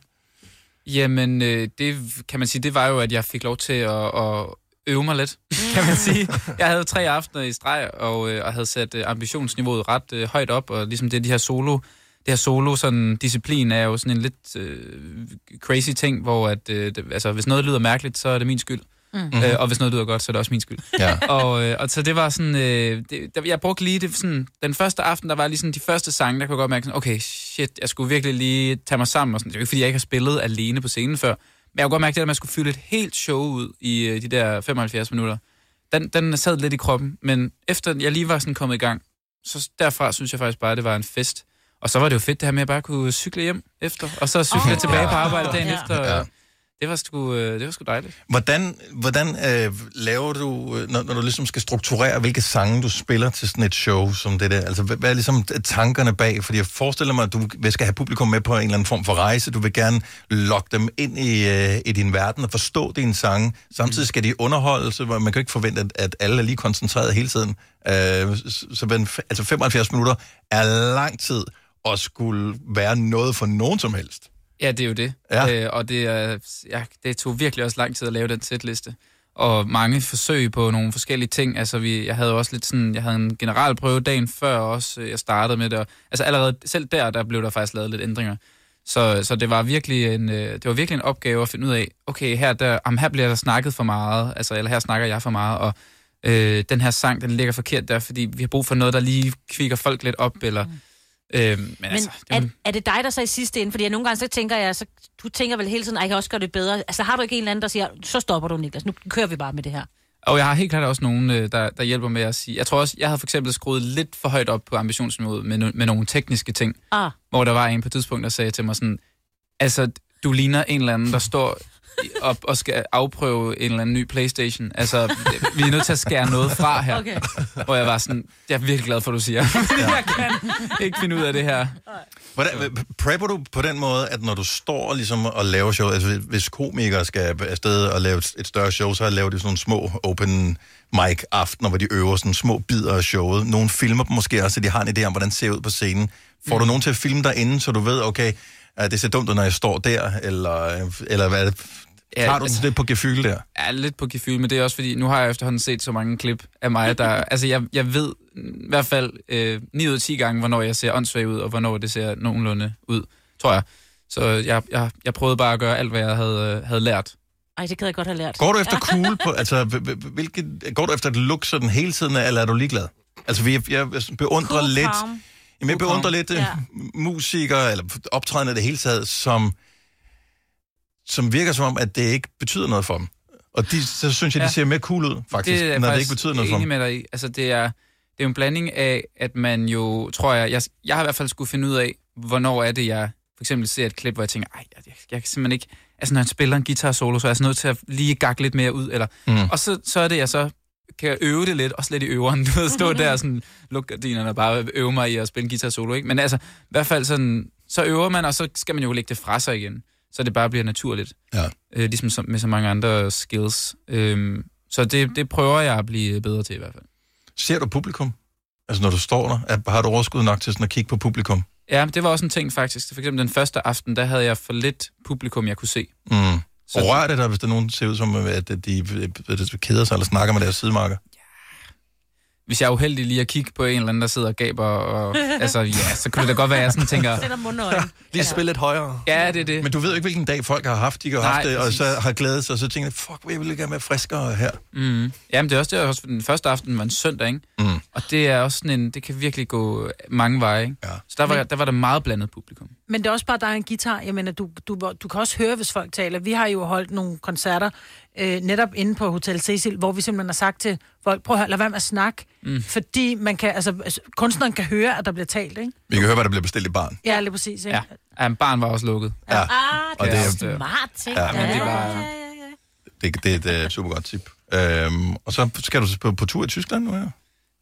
Speaker 18: Jamen, øh, det kan man sige, det var jo, at jeg fik lov til at, at øve mig lidt, <laughs> kan man sige. Jeg havde tre aftener i streg, og, øh, og havde sat øh, ambitionsniveauet ret øh, højt op, og ligesom det, de her solo, det her solo sådan, disciplin er jo sådan en lidt øh, crazy ting, hvor at, øh, det, altså, hvis noget lyder mærkeligt, så er det min skyld. Mm.
Speaker 2: Mm.
Speaker 1: Mhm.
Speaker 18: Øh, og hvis noget lyder godt, så er det også min skyld.
Speaker 1: Ja.
Speaker 18: og, øh, og så det var sådan... Øh, det, der, jeg brugte lige det, sådan, den første aften, der var lige sådan de første sange, der kunne jeg godt mærke sådan, okay, shit, jeg skulle virkelig lige tage mig sammen. Og sådan. Det er jo ikke, fordi jeg ikke har spillet alene på scenen før. Men jeg kunne godt mærke det, der, at man skulle fylde et helt show ud i øh, de der 75 minutter. Den, den sad lidt i kroppen, men efter jeg lige var sådan kommet i gang, så derfra synes jeg faktisk bare, at det var en fest. Og så var det jo fedt det her med, at jeg bare kunne cykle hjem efter, og så cykle oh, tilbage på arbejde dagen
Speaker 1: Ja.
Speaker 18: ja. efter.
Speaker 1: Ja.
Speaker 18: Ja. Det var sgu, øh, det var sgu dejligt.
Speaker 1: Hvordan, hvordan øh, laver du, øh, når, når du ligesom skal strukturere, hvilke sange du spiller til sådan et show som det der? Altså, hvad, hvad er ligesom tankerne bag? Fordi jeg forestiller mig, at du vil- skal have publikum med på en eller anden form for rejse. Du vil gerne lokke dem ind i, øh, i din verden og forstå dine sange. Samtidig skal de underholde, så man kan jo ikke forvente, at, at alle er lige koncentreret hele tiden. Øh, så, så men, f- altså 75 minutter er lang tid at skulle være noget for nogen som helst.
Speaker 18: Ja, det er jo det. Ja. Øh, og det, er, ja, det tog virkelig også lang tid at lave den sætliste. Og mange forsøg på nogle forskellige ting. Altså, vi, jeg havde også lidt sådan, jeg havde en generalprøve dagen før også, øh, jeg startede med det. Og, altså allerede selv der, der blev der faktisk lavet lidt ændringer. Så, så det var virkelig en, øh, det var virkelig en opgave at finde ud af, okay, her, der, om her bliver der snakket for meget, altså, eller her snakker jeg for meget, og øh, den her sang, den ligger forkert der, fordi vi har brug for noget, der lige kvikker folk lidt op, eller... Øh, men, men altså, det,
Speaker 2: er, er det dig, der så i sidste ende? Fordi jeg nogle gange så tænker jeg, så, du tænker vel hele tiden, at jeg kan også gøre det bedre. Altså har du ikke en eller anden, der siger, så stopper du, Niklas, nu kører vi bare med det her.
Speaker 18: Og jeg har helt klart også nogen, øh, der, der hjælper med at sige... Jeg tror også, jeg havde for eksempel skruet lidt for højt op på ambitionsniveauet med, no- med nogle tekniske ting,
Speaker 2: Ah.
Speaker 18: hvor der var en på et tidspunkt, der sagde til mig sådan, altså, du ligner en eller anden, der står i- op og skal afprøve en eller anden ny Playstation. Altså, vi er nødt til at skære noget fra her.
Speaker 2: Okay.
Speaker 18: Hvor jeg var sådan, jeg er virkelig glad for, at du siger. <laughs> jeg kan <laughs> ikke finde ud af det her.
Speaker 1: Hvordan, prepper du på den måde, at når du står ligesom og laver show, altså hvis komikere skal afsted og lave et- et større show, så laver de sådan nogle små open mic aftener, hvor de øver sådan små bidder af showet. Nogle filmer dem måske også, så de har en idé om, hvordan det ser ud på scenen. Får du nogen til at filme dig inden, så du ved, okay, øh, det ser dumt ud, når jeg står der, eller, eller hvad er det?
Speaker 18: Ja,
Speaker 1: Ja, Tager du
Speaker 18: altså-
Speaker 1: altså... det på gefyl der?
Speaker 18: er lidt på gefyl, men det er også fordi, nu har jeg efterhånden set så mange klip af mig,
Speaker 1: <laughs>
Speaker 18: der... altså, jeg, jeg ved mm, i hvert fald øh, 9 ud af 10 gange, hvornår jeg ser åndssvag ud, og hvornår det ser nogenlunde ud, tror jeg. Så jeg, jeg, jeg prøvede bare at gøre alt, hvad jeg havde, øh, havde lært.
Speaker 2: Ej, det kan jeg godt have lært.
Speaker 1: Går du
Speaker 2: <laughs>
Speaker 1: efter cool på, altså, h- h- hvilket, går du efter et look sådan hele tiden, eller er du ligeglad? Altså, vi- jeg, jeg beundrer
Speaker 2: Cool
Speaker 1: lidt...
Speaker 2: calm.
Speaker 1: Jamen, jeg
Speaker 2: Cool
Speaker 1: beundrer
Speaker 2: calm.
Speaker 1: lidt ja.
Speaker 2: Ja.
Speaker 1: musikere, eller optrædende i det hele taget, som, som virker som om, at det ikke betyder noget for dem. Og de, så synes jeg, de
Speaker 18: Ja.
Speaker 1: ja. ser mere cool ud, faktisk, det når det ikke betyder noget for
Speaker 18: enig
Speaker 1: dem.
Speaker 18: med dig. i. Altså, det er, det er jo en blanding af, at man jo, tror jeg, jeg, jeg har i hvert fald skulle finde ud af, hvornår er det, jeg for eksempel ser et klip, hvor jeg tænker, ej, jeg, jeg, jeg kan simpelthen ikke, altså når han spiller en guitar solo, så er jeg sådan nødt til at lige gakke lidt mere ud, eller,
Speaker 1: Mm.
Speaker 18: mm. og så, så er det, jeg så kan øve det lidt, også lidt i øveren, <laughs> du ved, stå der og sådan, lukke gardinerne og bare øve mig i at spille en guitar solo, ikke? Men altså, i hvert fald sådan, så øver man, og så skal man jo lægge det fra sig igen, så det bare bliver naturligt.
Speaker 1: Ja.
Speaker 18: Øh, ligesom som, med så mange andre skills. Øhm, så det, det prøver jeg at blive bedre til i hvert fald.
Speaker 1: Ser du publikum? Altså, når du står der, er, har du overskud nok til sådan at kigge på publikum? Mm.
Speaker 18: Ja, det var også en ting faktisk. For eksempel den første aften, der havde jeg for lidt publikum, jeg kunne se.
Speaker 1: Mm.
Speaker 18: Så-
Speaker 1: Og rører det dig, hvis der er nogen, der ser ud som, at de øh, keder sig eller snakker med deres sidemarker?
Speaker 18: Hvis jeg er uheldig lige at kigge på en eller anden, der sidder og gaber,
Speaker 1: <laughs>
Speaker 18: og, altså, ja, så kunne det da godt være, at jeg sådan tænker...
Speaker 2: Sætter mundøjen.
Speaker 18: Lige spille lidt højere. Ja, det er det.
Speaker 1: Men du ved jo ikke, hvilken dag folk har haft. De har
Speaker 18: Nej,
Speaker 1: haft det, og
Speaker 18: præcis.
Speaker 1: så har glædet sig, og så tænker de, fuck, hvor jeg ville gerne være friskere her.
Speaker 18: Mm. Jamen, det er også det, også den første aften var en søndag, ikke?
Speaker 1: Mm.
Speaker 18: Og det er også sådan en, det kan virkelig gå mange veje, ikke? Ja. Så der var, der var der meget blandet publikum.
Speaker 19: Men det er også bare, der er en guitar. Jeg mener, du, du, du kan også høre, hvis folk taler. Vi har jo holdt nogle koncerter øh, netop inde på Hotel Cecil, hvor vi simpelthen har sagt til folk, prøv at høre, lad være med at snakke. Mm. Fordi man kan, altså, altså, kunstneren kan høre, at der bliver talt, ikke?
Speaker 1: Vi kan høre, hvad der bliver bestilt i barn.
Speaker 19: Ja, lige præcis, ikke?
Speaker 18: Ja. ja barn var også lukket.
Speaker 1: Ja.
Speaker 2: Ah,
Speaker 1: Og det er-
Speaker 2: smart ting.
Speaker 1: Ja, men det
Speaker 18: var-
Speaker 1: Det, det er et uh, super godt tip. Øhm, og så skal du på, på tur i Tyskland nu her?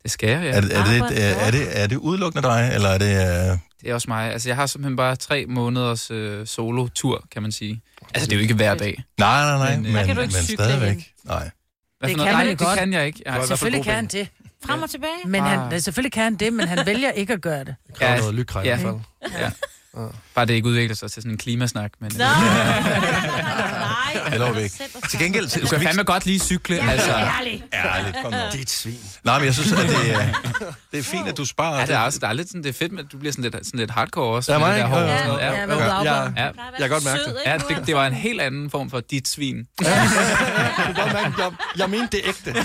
Speaker 18: Det skal jeg, ja.
Speaker 1: Er, det- er, det,
Speaker 18: Ah,
Speaker 1: er, er, det, er det udelukkende dig, eller er det... Uh...
Speaker 18: Det er også mig. Altså, jeg har simpelthen bare tre måneders øh, solo-tur, kan man sige. Altså, det er jo ikke hver dag.
Speaker 1: Nej, nej,
Speaker 18: Men,
Speaker 1: nej,
Speaker 18: øh,
Speaker 1: men,
Speaker 18: Der
Speaker 1: men,
Speaker 18: kan du
Speaker 1: men
Speaker 18: ikke cykle
Speaker 1: stadigvæk.
Speaker 18: hen.
Speaker 1: Nej.
Speaker 18: Hvad for
Speaker 19: Det kan
Speaker 18: noget? Nej,
Speaker 19: man det
Speaker 18: det
Speaker 19: godt.
Speaker 18: kan jeg ikke. Jeg har i hvert fald
Speaker 19: Selvfølgelig kan
Speaker 18: gode
Speaker 19: han
Speaker 18: ben.
Speaker 19: det.
Speaker 2: Frem og tilbage.
Speaker 19: Men han,
Speaker 18: Ah.
Speaker 19: det, selvfølgelig kan han det, men han vælger ikke at gøre det.
Speaker 3: kræver noget lykrej i hvert fald.
Speaker 1: Mm.
Speaker 18: Ja. Bare det ikke udvikler sig til sådan en klimasnak. Men... <laughs>
Speaker 19: Nå.
Speaker 1: Nej, jeg lover det ikke. Til gengæld...
Speaker 18: Du kan fandme godt lige cykle.
Speaker 1: Ja,
Speaker 18: altså.
Speaker 1: ærligt. Ærligt, kom nu.
Speaker 3: Det er et svin.
Speaker 1: Nej, men jeg synes, at det, øh, det, Det er fint, at du sparer.
Speaker 18: Ja, det er også, der er lidt sådan, det er fedt, men du bliver sådan lidt, sådan lidt hardcore også.
Speaker 1: Ja,
Speaker 18: med
Speaker 1: mig,
Speaker 18: det
Speaker 1: ikke?
Speaker 18: hår og
Speaker 1: Ja,
Speaker 18: sådan noget.
Speaker 1: ja, med ude at afbrænde.
Speaker 18: ja.
Speaker 1: Jeg kan godt mærke det. Sød, ikke?
Speaker 18: Ja, det, det var en helt anden form for dit
Speaker 1: <laughs>
Speaker 18: svin.
Speaker 1: Jeg mente det ægte.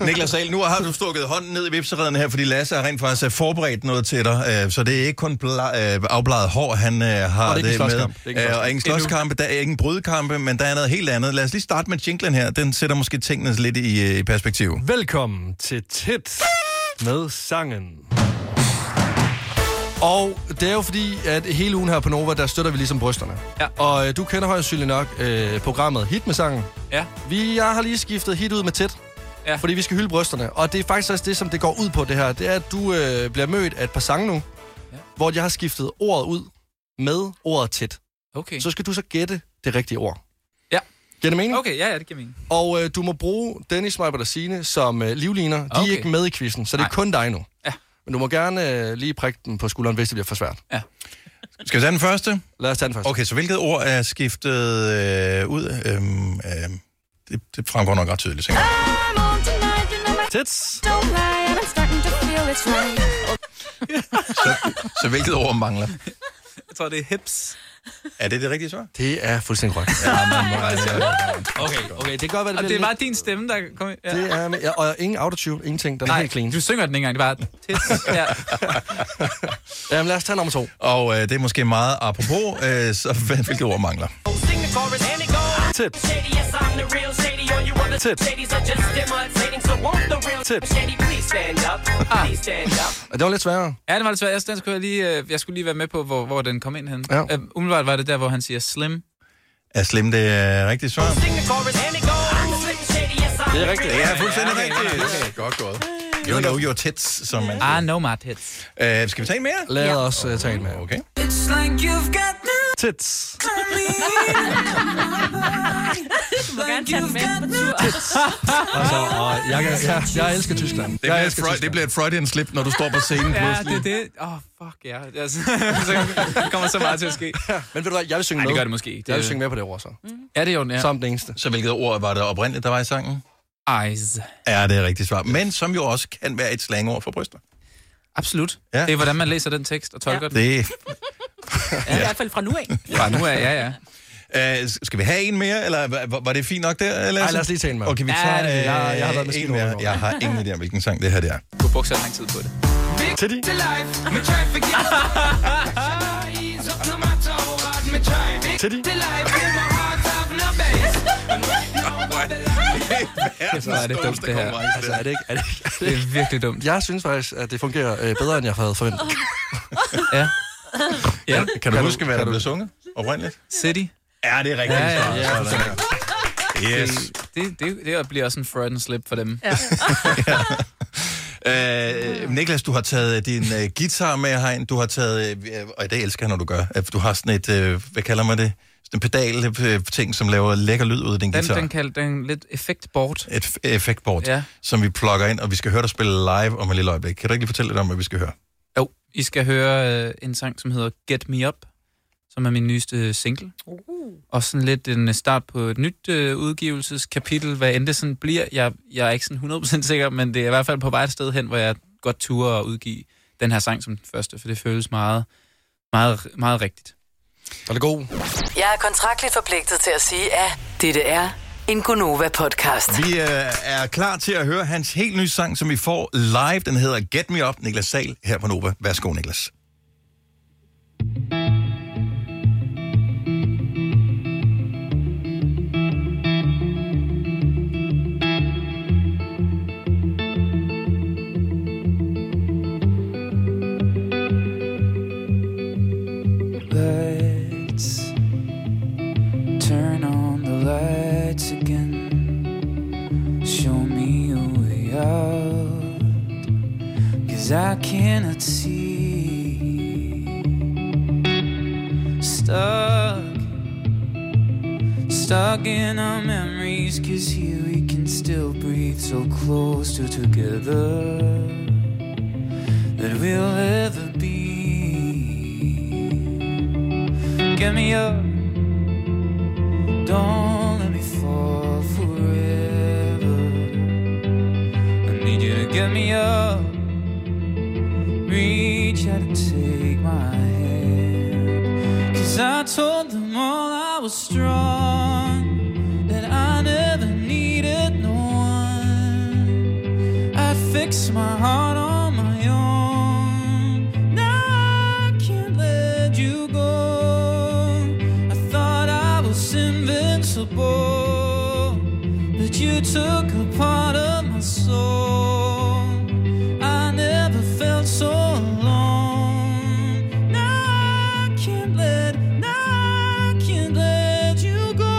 Speaker 1: Niklas Ahl, nu har du stukket hånden ned i vipseredden her, fordi Lasse har rent faktisk øh, forberedt noget til dig, øh, så det er ikke kun bla- øh, afbladet hår, han øh, har
Speaker 3: Og
Speaker 1: det,
Speaker 3: det er ikke en
Speaker 1: med.
Speaker 3: slåskamp. Det er ikke en
Speaker 1: Øh, og
Speaker 3: slåskamp.
Speaker 1: ingen slåskampe, der er ingen brydkampe, men der er noget helt andet. Lad os lige starte med jinglen her. Den sætter måske tingene lidt i, øh, i perspektiv.
Speaker 20: Velkommen til Tæt med sangen.
Speaker 3: Og det er jo fordi, at hele ugen her på Nova, der støtter vi ligesom brysterne. Ja. Og øh, du kender højst sandsynligt nok øh, programmet Hit med sangen.
Speaker 18: Ja.
Speaker 3: Vi, jeg har lige skiftet hit ud med tæt.
Speaker 18: Ja.
Speaker 3: Fordi vi skal hylde brysterne. Og det er faktisk også det, som det går ud på det her. Det er, at du øh, bliver mødt af et par sange nu, ja. hvor jeg har skiftet ordet ud med ordet tæt.
Speaker 18: Okay.
Speaker 3: Så skal du så gætte det rigtige ord.
Speaker 18: Ja.
Speaker 3: Giver det mening?
Speaker 18: Okay, ja, ja, det giver mening.
Speaker 3: Og øh, du må bruge Dennis, mig og Signe som øh, livliner. De
Speaker 18: Okay.
Speaker 3: er ikke med i quizzen, så det er kun dig nu. Ja. Men du må gerne øh, lige prikke den på skulderen, hvis det bliver for svært.
Speaker 18: Ja.
Speaker 1: Skal vi tage den første?
Speaker 3: Lad os tage den første.
Speaker 1: Okay, så hvilket ord er skiftet øh, ud? Øhm, øh, det, det fremgår nok ret tydeligt. tænker jeg.
Speaker 3: Tits. <laughs>
Speaker 1: Så hvilket ord mangler?
Speaker 18: Jeg tror, det er hips.
Speaker 1: Er det det rigtige svar?
Speaker 3: Det er fuldstændig korrekt.
Speaker 18: altså- Okay,
Speaker 3: okay, det kan godt være,
Speaker 18: Og
Speaker 3: det bliver
Speaker 18: det er
Speaker 3: lidt-
Speaker 18: bare din stemme, der kom ind. Ja.
Speaker 3: Det er, med- ja, og ingen autotune, ingenting. Den er
Speaker 18: Nej,
Speaker 3: helt clean.
Speaker 18: du synger den ikke engang. Det er bare tits.
Speaker 3: <laughs>
Speaker 18: Ja.
Speaker 3: Jamen, lad os tage nummer to.
Speaker 1: Og øh, det er måske meget apropos, øh, så <laughs> hvad- hvilket ord mangler?
Speaker 20: Tips.
Speaker 3: Tips. Tips. Og det var lidt sværere.
Speaker 18: Ja, det var det svært. Jeg, den skulle jeg, lige, øh, jeg skulle lige være med på, hvor, hvor den kom ind hen.
Speaker 1: Ja.
Speaker 18: Øh, umiddelbart var det der, hvor han siger slim.
Speaker 1: Er slim det øh, rigtige svar?
Speaker 18: Det er rigtigt.
Speaker 1: Det er fuldstændig
Speaker 18: Ja, okay,
Speaker 1: rigtigt.
Speaker 18: okay,
Speaker 1: Okay, godt gået. You know your tits, som man
Speaker 18: Ah, no my tits.
Speaker 1: Øh, skal vi tage en mere? Oh,
Speaker 3: Lad os uh, tage en mere.
Speaker 1: Okay.
Speaker 2: <laughs>
Speaker 3: Tits. Altså, og jeg, kan, jeg, jeg elsker Tyskland.
Speaker 1: Det
Speaker 3: jeg
Speaker 1: bliver, et
Speaker 3: elsker
Speaker 1: Freud, det bliver et Freudian slip, når du står på scenen
Speaker 18: Ja,
Speaker 1: pludselig.
Speaker 18: det er det. Åh, oh, fuck ja. Yeah. Altså, <laughs> så kommer så meget til at ske.
Speaker 3: Men ved du hvad, jeg vil synge
Speaker 18: Ej, det
Speaker 3: med.
Speaker 18: gør det Mm. måske ikke.
Speaker 3: Jeg vil synge med på det ord, så.
Speaker 18: Ja, det er jo den, ja.
Speaker 3: Som det eneste.
Speaker 1: Så hvilket ord var det oprindeligt, der var i sangen?
Speaker 18: Eyes.
Speaker 1: Ja, det er rigtigt svar. Men som jo også kan være et slangord for bryster.
Speaker 18: Absolut.
Speaker 1: Ja.
Speaker 18: Det er, hvordan man læser den tekst og tolker
Speaker 1: Ja.
Speaker 18: den.
Speaker 1: Det
Speaker 2: I hvert fald fra nu af.
Speaker 18: Fra nu af, ja, ja.
Speaker 1: <laughs> Uh, skal vi have en mere, eller var- var- var det fint nok der? Lasse?
Speaker 3: Ej, lad os lige tage en mere.
Speaker 1: Okay, vi
Speaker 3: Ja,
Speaker 1: tager
Speaker 3: det er fint. Jeg-
Speaker 1: øh,
Speaker 3: jeg har været med
Speaker 1: en
Speaker 3: skidt
Speaker 1: mere.
Speaker 3: over.
Speaker 1: Jeg har ingen idé om, hvilken sang det her det er.
Speaker 18: Du har brugt så lang tid på det.
Speaker 3: Titty. Ah.
Speaker 1: <laughs>
Speaker 13: Titty.
Speaker 1: <laughs>
Speaker 3: Så er det dumt, det her. Altså, er det ikke? Er det, ikke, er det,
Speaker 18: det er virkelig dumt.
Speaker 3: Jeg synes faktisk, at det fungerer øh, bedre, end jeg havde forventet.
Speaker 18: Ja.
Speaker 1: Ja. Kan, kan du
Speaker 3: Kan
Speaker 1: huske,
Speaker 3: du-
Speaker 1: hvad
Speaker 3: kan
Speaker 1: der
Speaker 3: du-
Speaker 1: blev sunget oprindeligt?
Speaker 18: City.
Speaker 1: Ja, det er rigtigt.
Speaker 18: Ja, ja,
Speaker 1: svar.
Speaker 18: ja.
Speaker 1: Sådan der. Yes.
Speaker 18: Det, det, det bliver også en Freudian slip for dem.
Speaker 19: Ja.
Speaker 1: Øh, Niklas, du har taget øh, din øh, guitar med herind. Du har taget, øh, og i dag elsker jeg, når du gør, at du har sådan et, øh, hvad kalder man det? Sådan en pedal-ting, som laver lækker lyd ud af
Speaker 18: Den,
Speaker 1: din guitar.
Speaker 18: den kaldte den lidt effektboard.
Speaker 1: Et f- effektboard,
Speaker 18: Ja.
Speaker 1: som vi plukker ind, og vi skal høre dig spille live om et lille øjeblik. Kan du ikke lige fortælle lidt om, hvad vi skal høre?
Speaker 18: Jo, I skal høre øh, en sang, som hedder Get Me Up, som er min nyeste single. Uh. Og sådan lidt en øh, start på et nyt øh, udgivelseskapitel, hvad end det sådan bliver. Jeg, jeg er ikke sådan 100% sikker, men det er i hvert fald på vej et sted hen, hvor jeg godt turer at udgive den her sang som den første, for det føles meget, meget, meget rigtigt.
Speaker 3: Var det god?
Speaker 6: Jeg er kontraktligt forpligtet til at sige, at dette er en Gunova-podcast.
Speaker 1: Vi øh, er klar til at høre hans helt nye sang, som vi får live. Den hedder Get Me Up, Niklas Sal her på Nova. Værsgo, Niklas.
Speaker 21: Lights. Turn on the lights again. Show me a way out. Cause I cannot see. Stuck. Stuck in our memories. Cause here we can still breathe so close to together. That we'll ever be. Get me up. Don't let me fall forever. I need you to get me up. you to take my hand. Cause I told them all I was strong, that I never needed no one. I fixed my heart on my own. Now I can't let you go. I thought I was invincible, but you took a part of my soul. I never felt so alone. Now I can't let, now I can't let you go.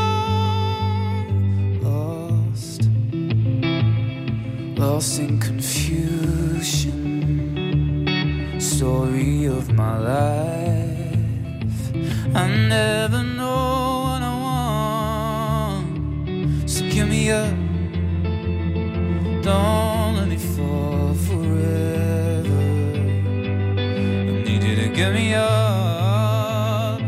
Speaker 21: Lost lost in confusion. Story of my life. I never know what I want. So give me up. Don't let me fall forever. I need you to give me up.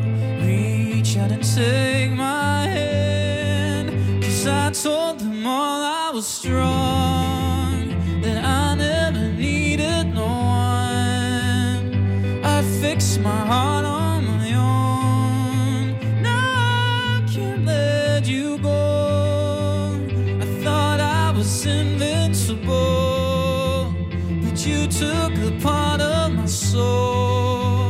Speaker 21: Reach out and take my hand. Cause I told them all I was strong. That I never needed no one. I fixed my heart on my own. Now I can't let you go. I thought I was invincible, but you took a part of my soul.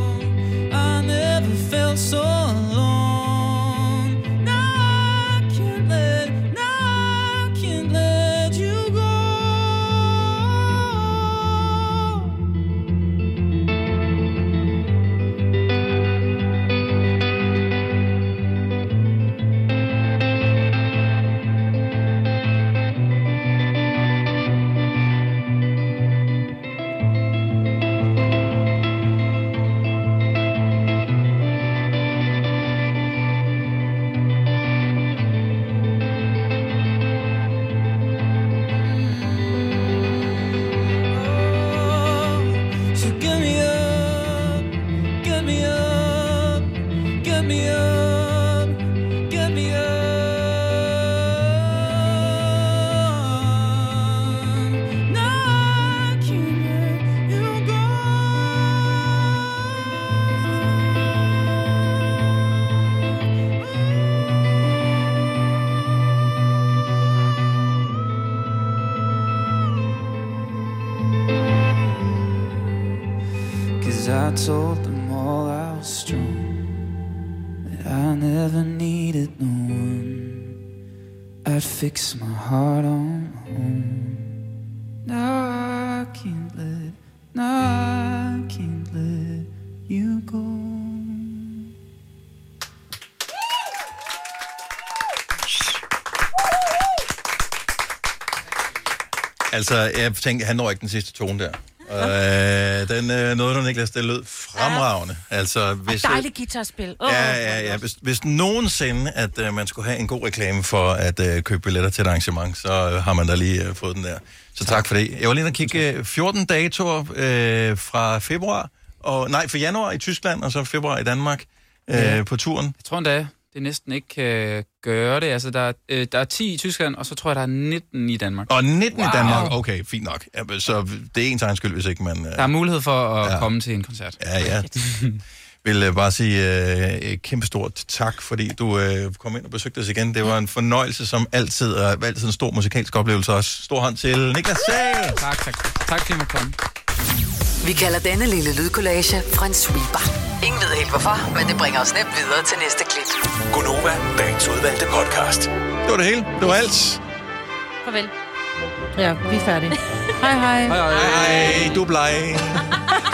Speaker 21: I never felt so alone. Now I can't let, now I can't let you go. So give me up, give me up, give me up, give me up. Now I can let you Cause I told them all I was strong, that I never needed no one. I'd fix my heart on my own. Now I can't let, now I can't let you go.
Speaker 1: Altså, jeg tænkte, han når ikke den sidste tone der. Øh, den øh, nåede du, Niklas. Det lød fremragende. Altså, hvis,
Speaker 2: Dejligt guitarspil. Åh,
Speaker 1: Ja, ja, ja. Hvis, hvis nogensinde, at øh, man skulle have en god reklame for at øh, købe billetter til et arrangement, så øh, har man da lige øh, fået den der. Så tak for det. Jeg var lige inde og kigge øh, 14 datoer øh, fra februar, og nej, fra januar i Tyskland, og så februar i Danmark øh,
Speaker 18: Ja.
Speaker 1: på turen.
Speaker 18: Jeg tror endda, det næsten ikke kan gøre det. Altså, der, er, øh, der er 10 i Tyskland, og så tror jeg, der er 19 i Danmark.
Speaker 1: Og 19 wow. i
Speaker 18: Wow.
Speaker 1: Danmark, okay, fint nok. Ja, så det er ens egen skyld, hvis ikke man... Øh,
Speaker 18: Der er mulighed for at ja. komme til en koncert.
Speaker 1: Ja, ja.
Speaker 18: <laughs>
Speaker 1: vil øh, bare sige øh, et kæmpe stort tak, fordi du øh, kom ind og besøgte os igen. Det var en fornøjelse som altid, og altid en stor musikalsk oplevelse også. Stor hånd til Niklas Sahl!
Speaker 18: Tak, tak. Tak fordi jeg måtte komme.
Speaker 6: Vi kalder denne lille lydkollage en sweeper. Ingen ved helt hvorfor, men det bringer os nemt videre til næste klip.
Speaker 5: Gunova, dagens udvalgte podcast.
Speaker 1: Det var det hele. Det var alt.
Speaker 2: Farvel.
Speaker 4: Ja, vi er færdige. hej hej.
Speaker 1: Hej, du er bleg.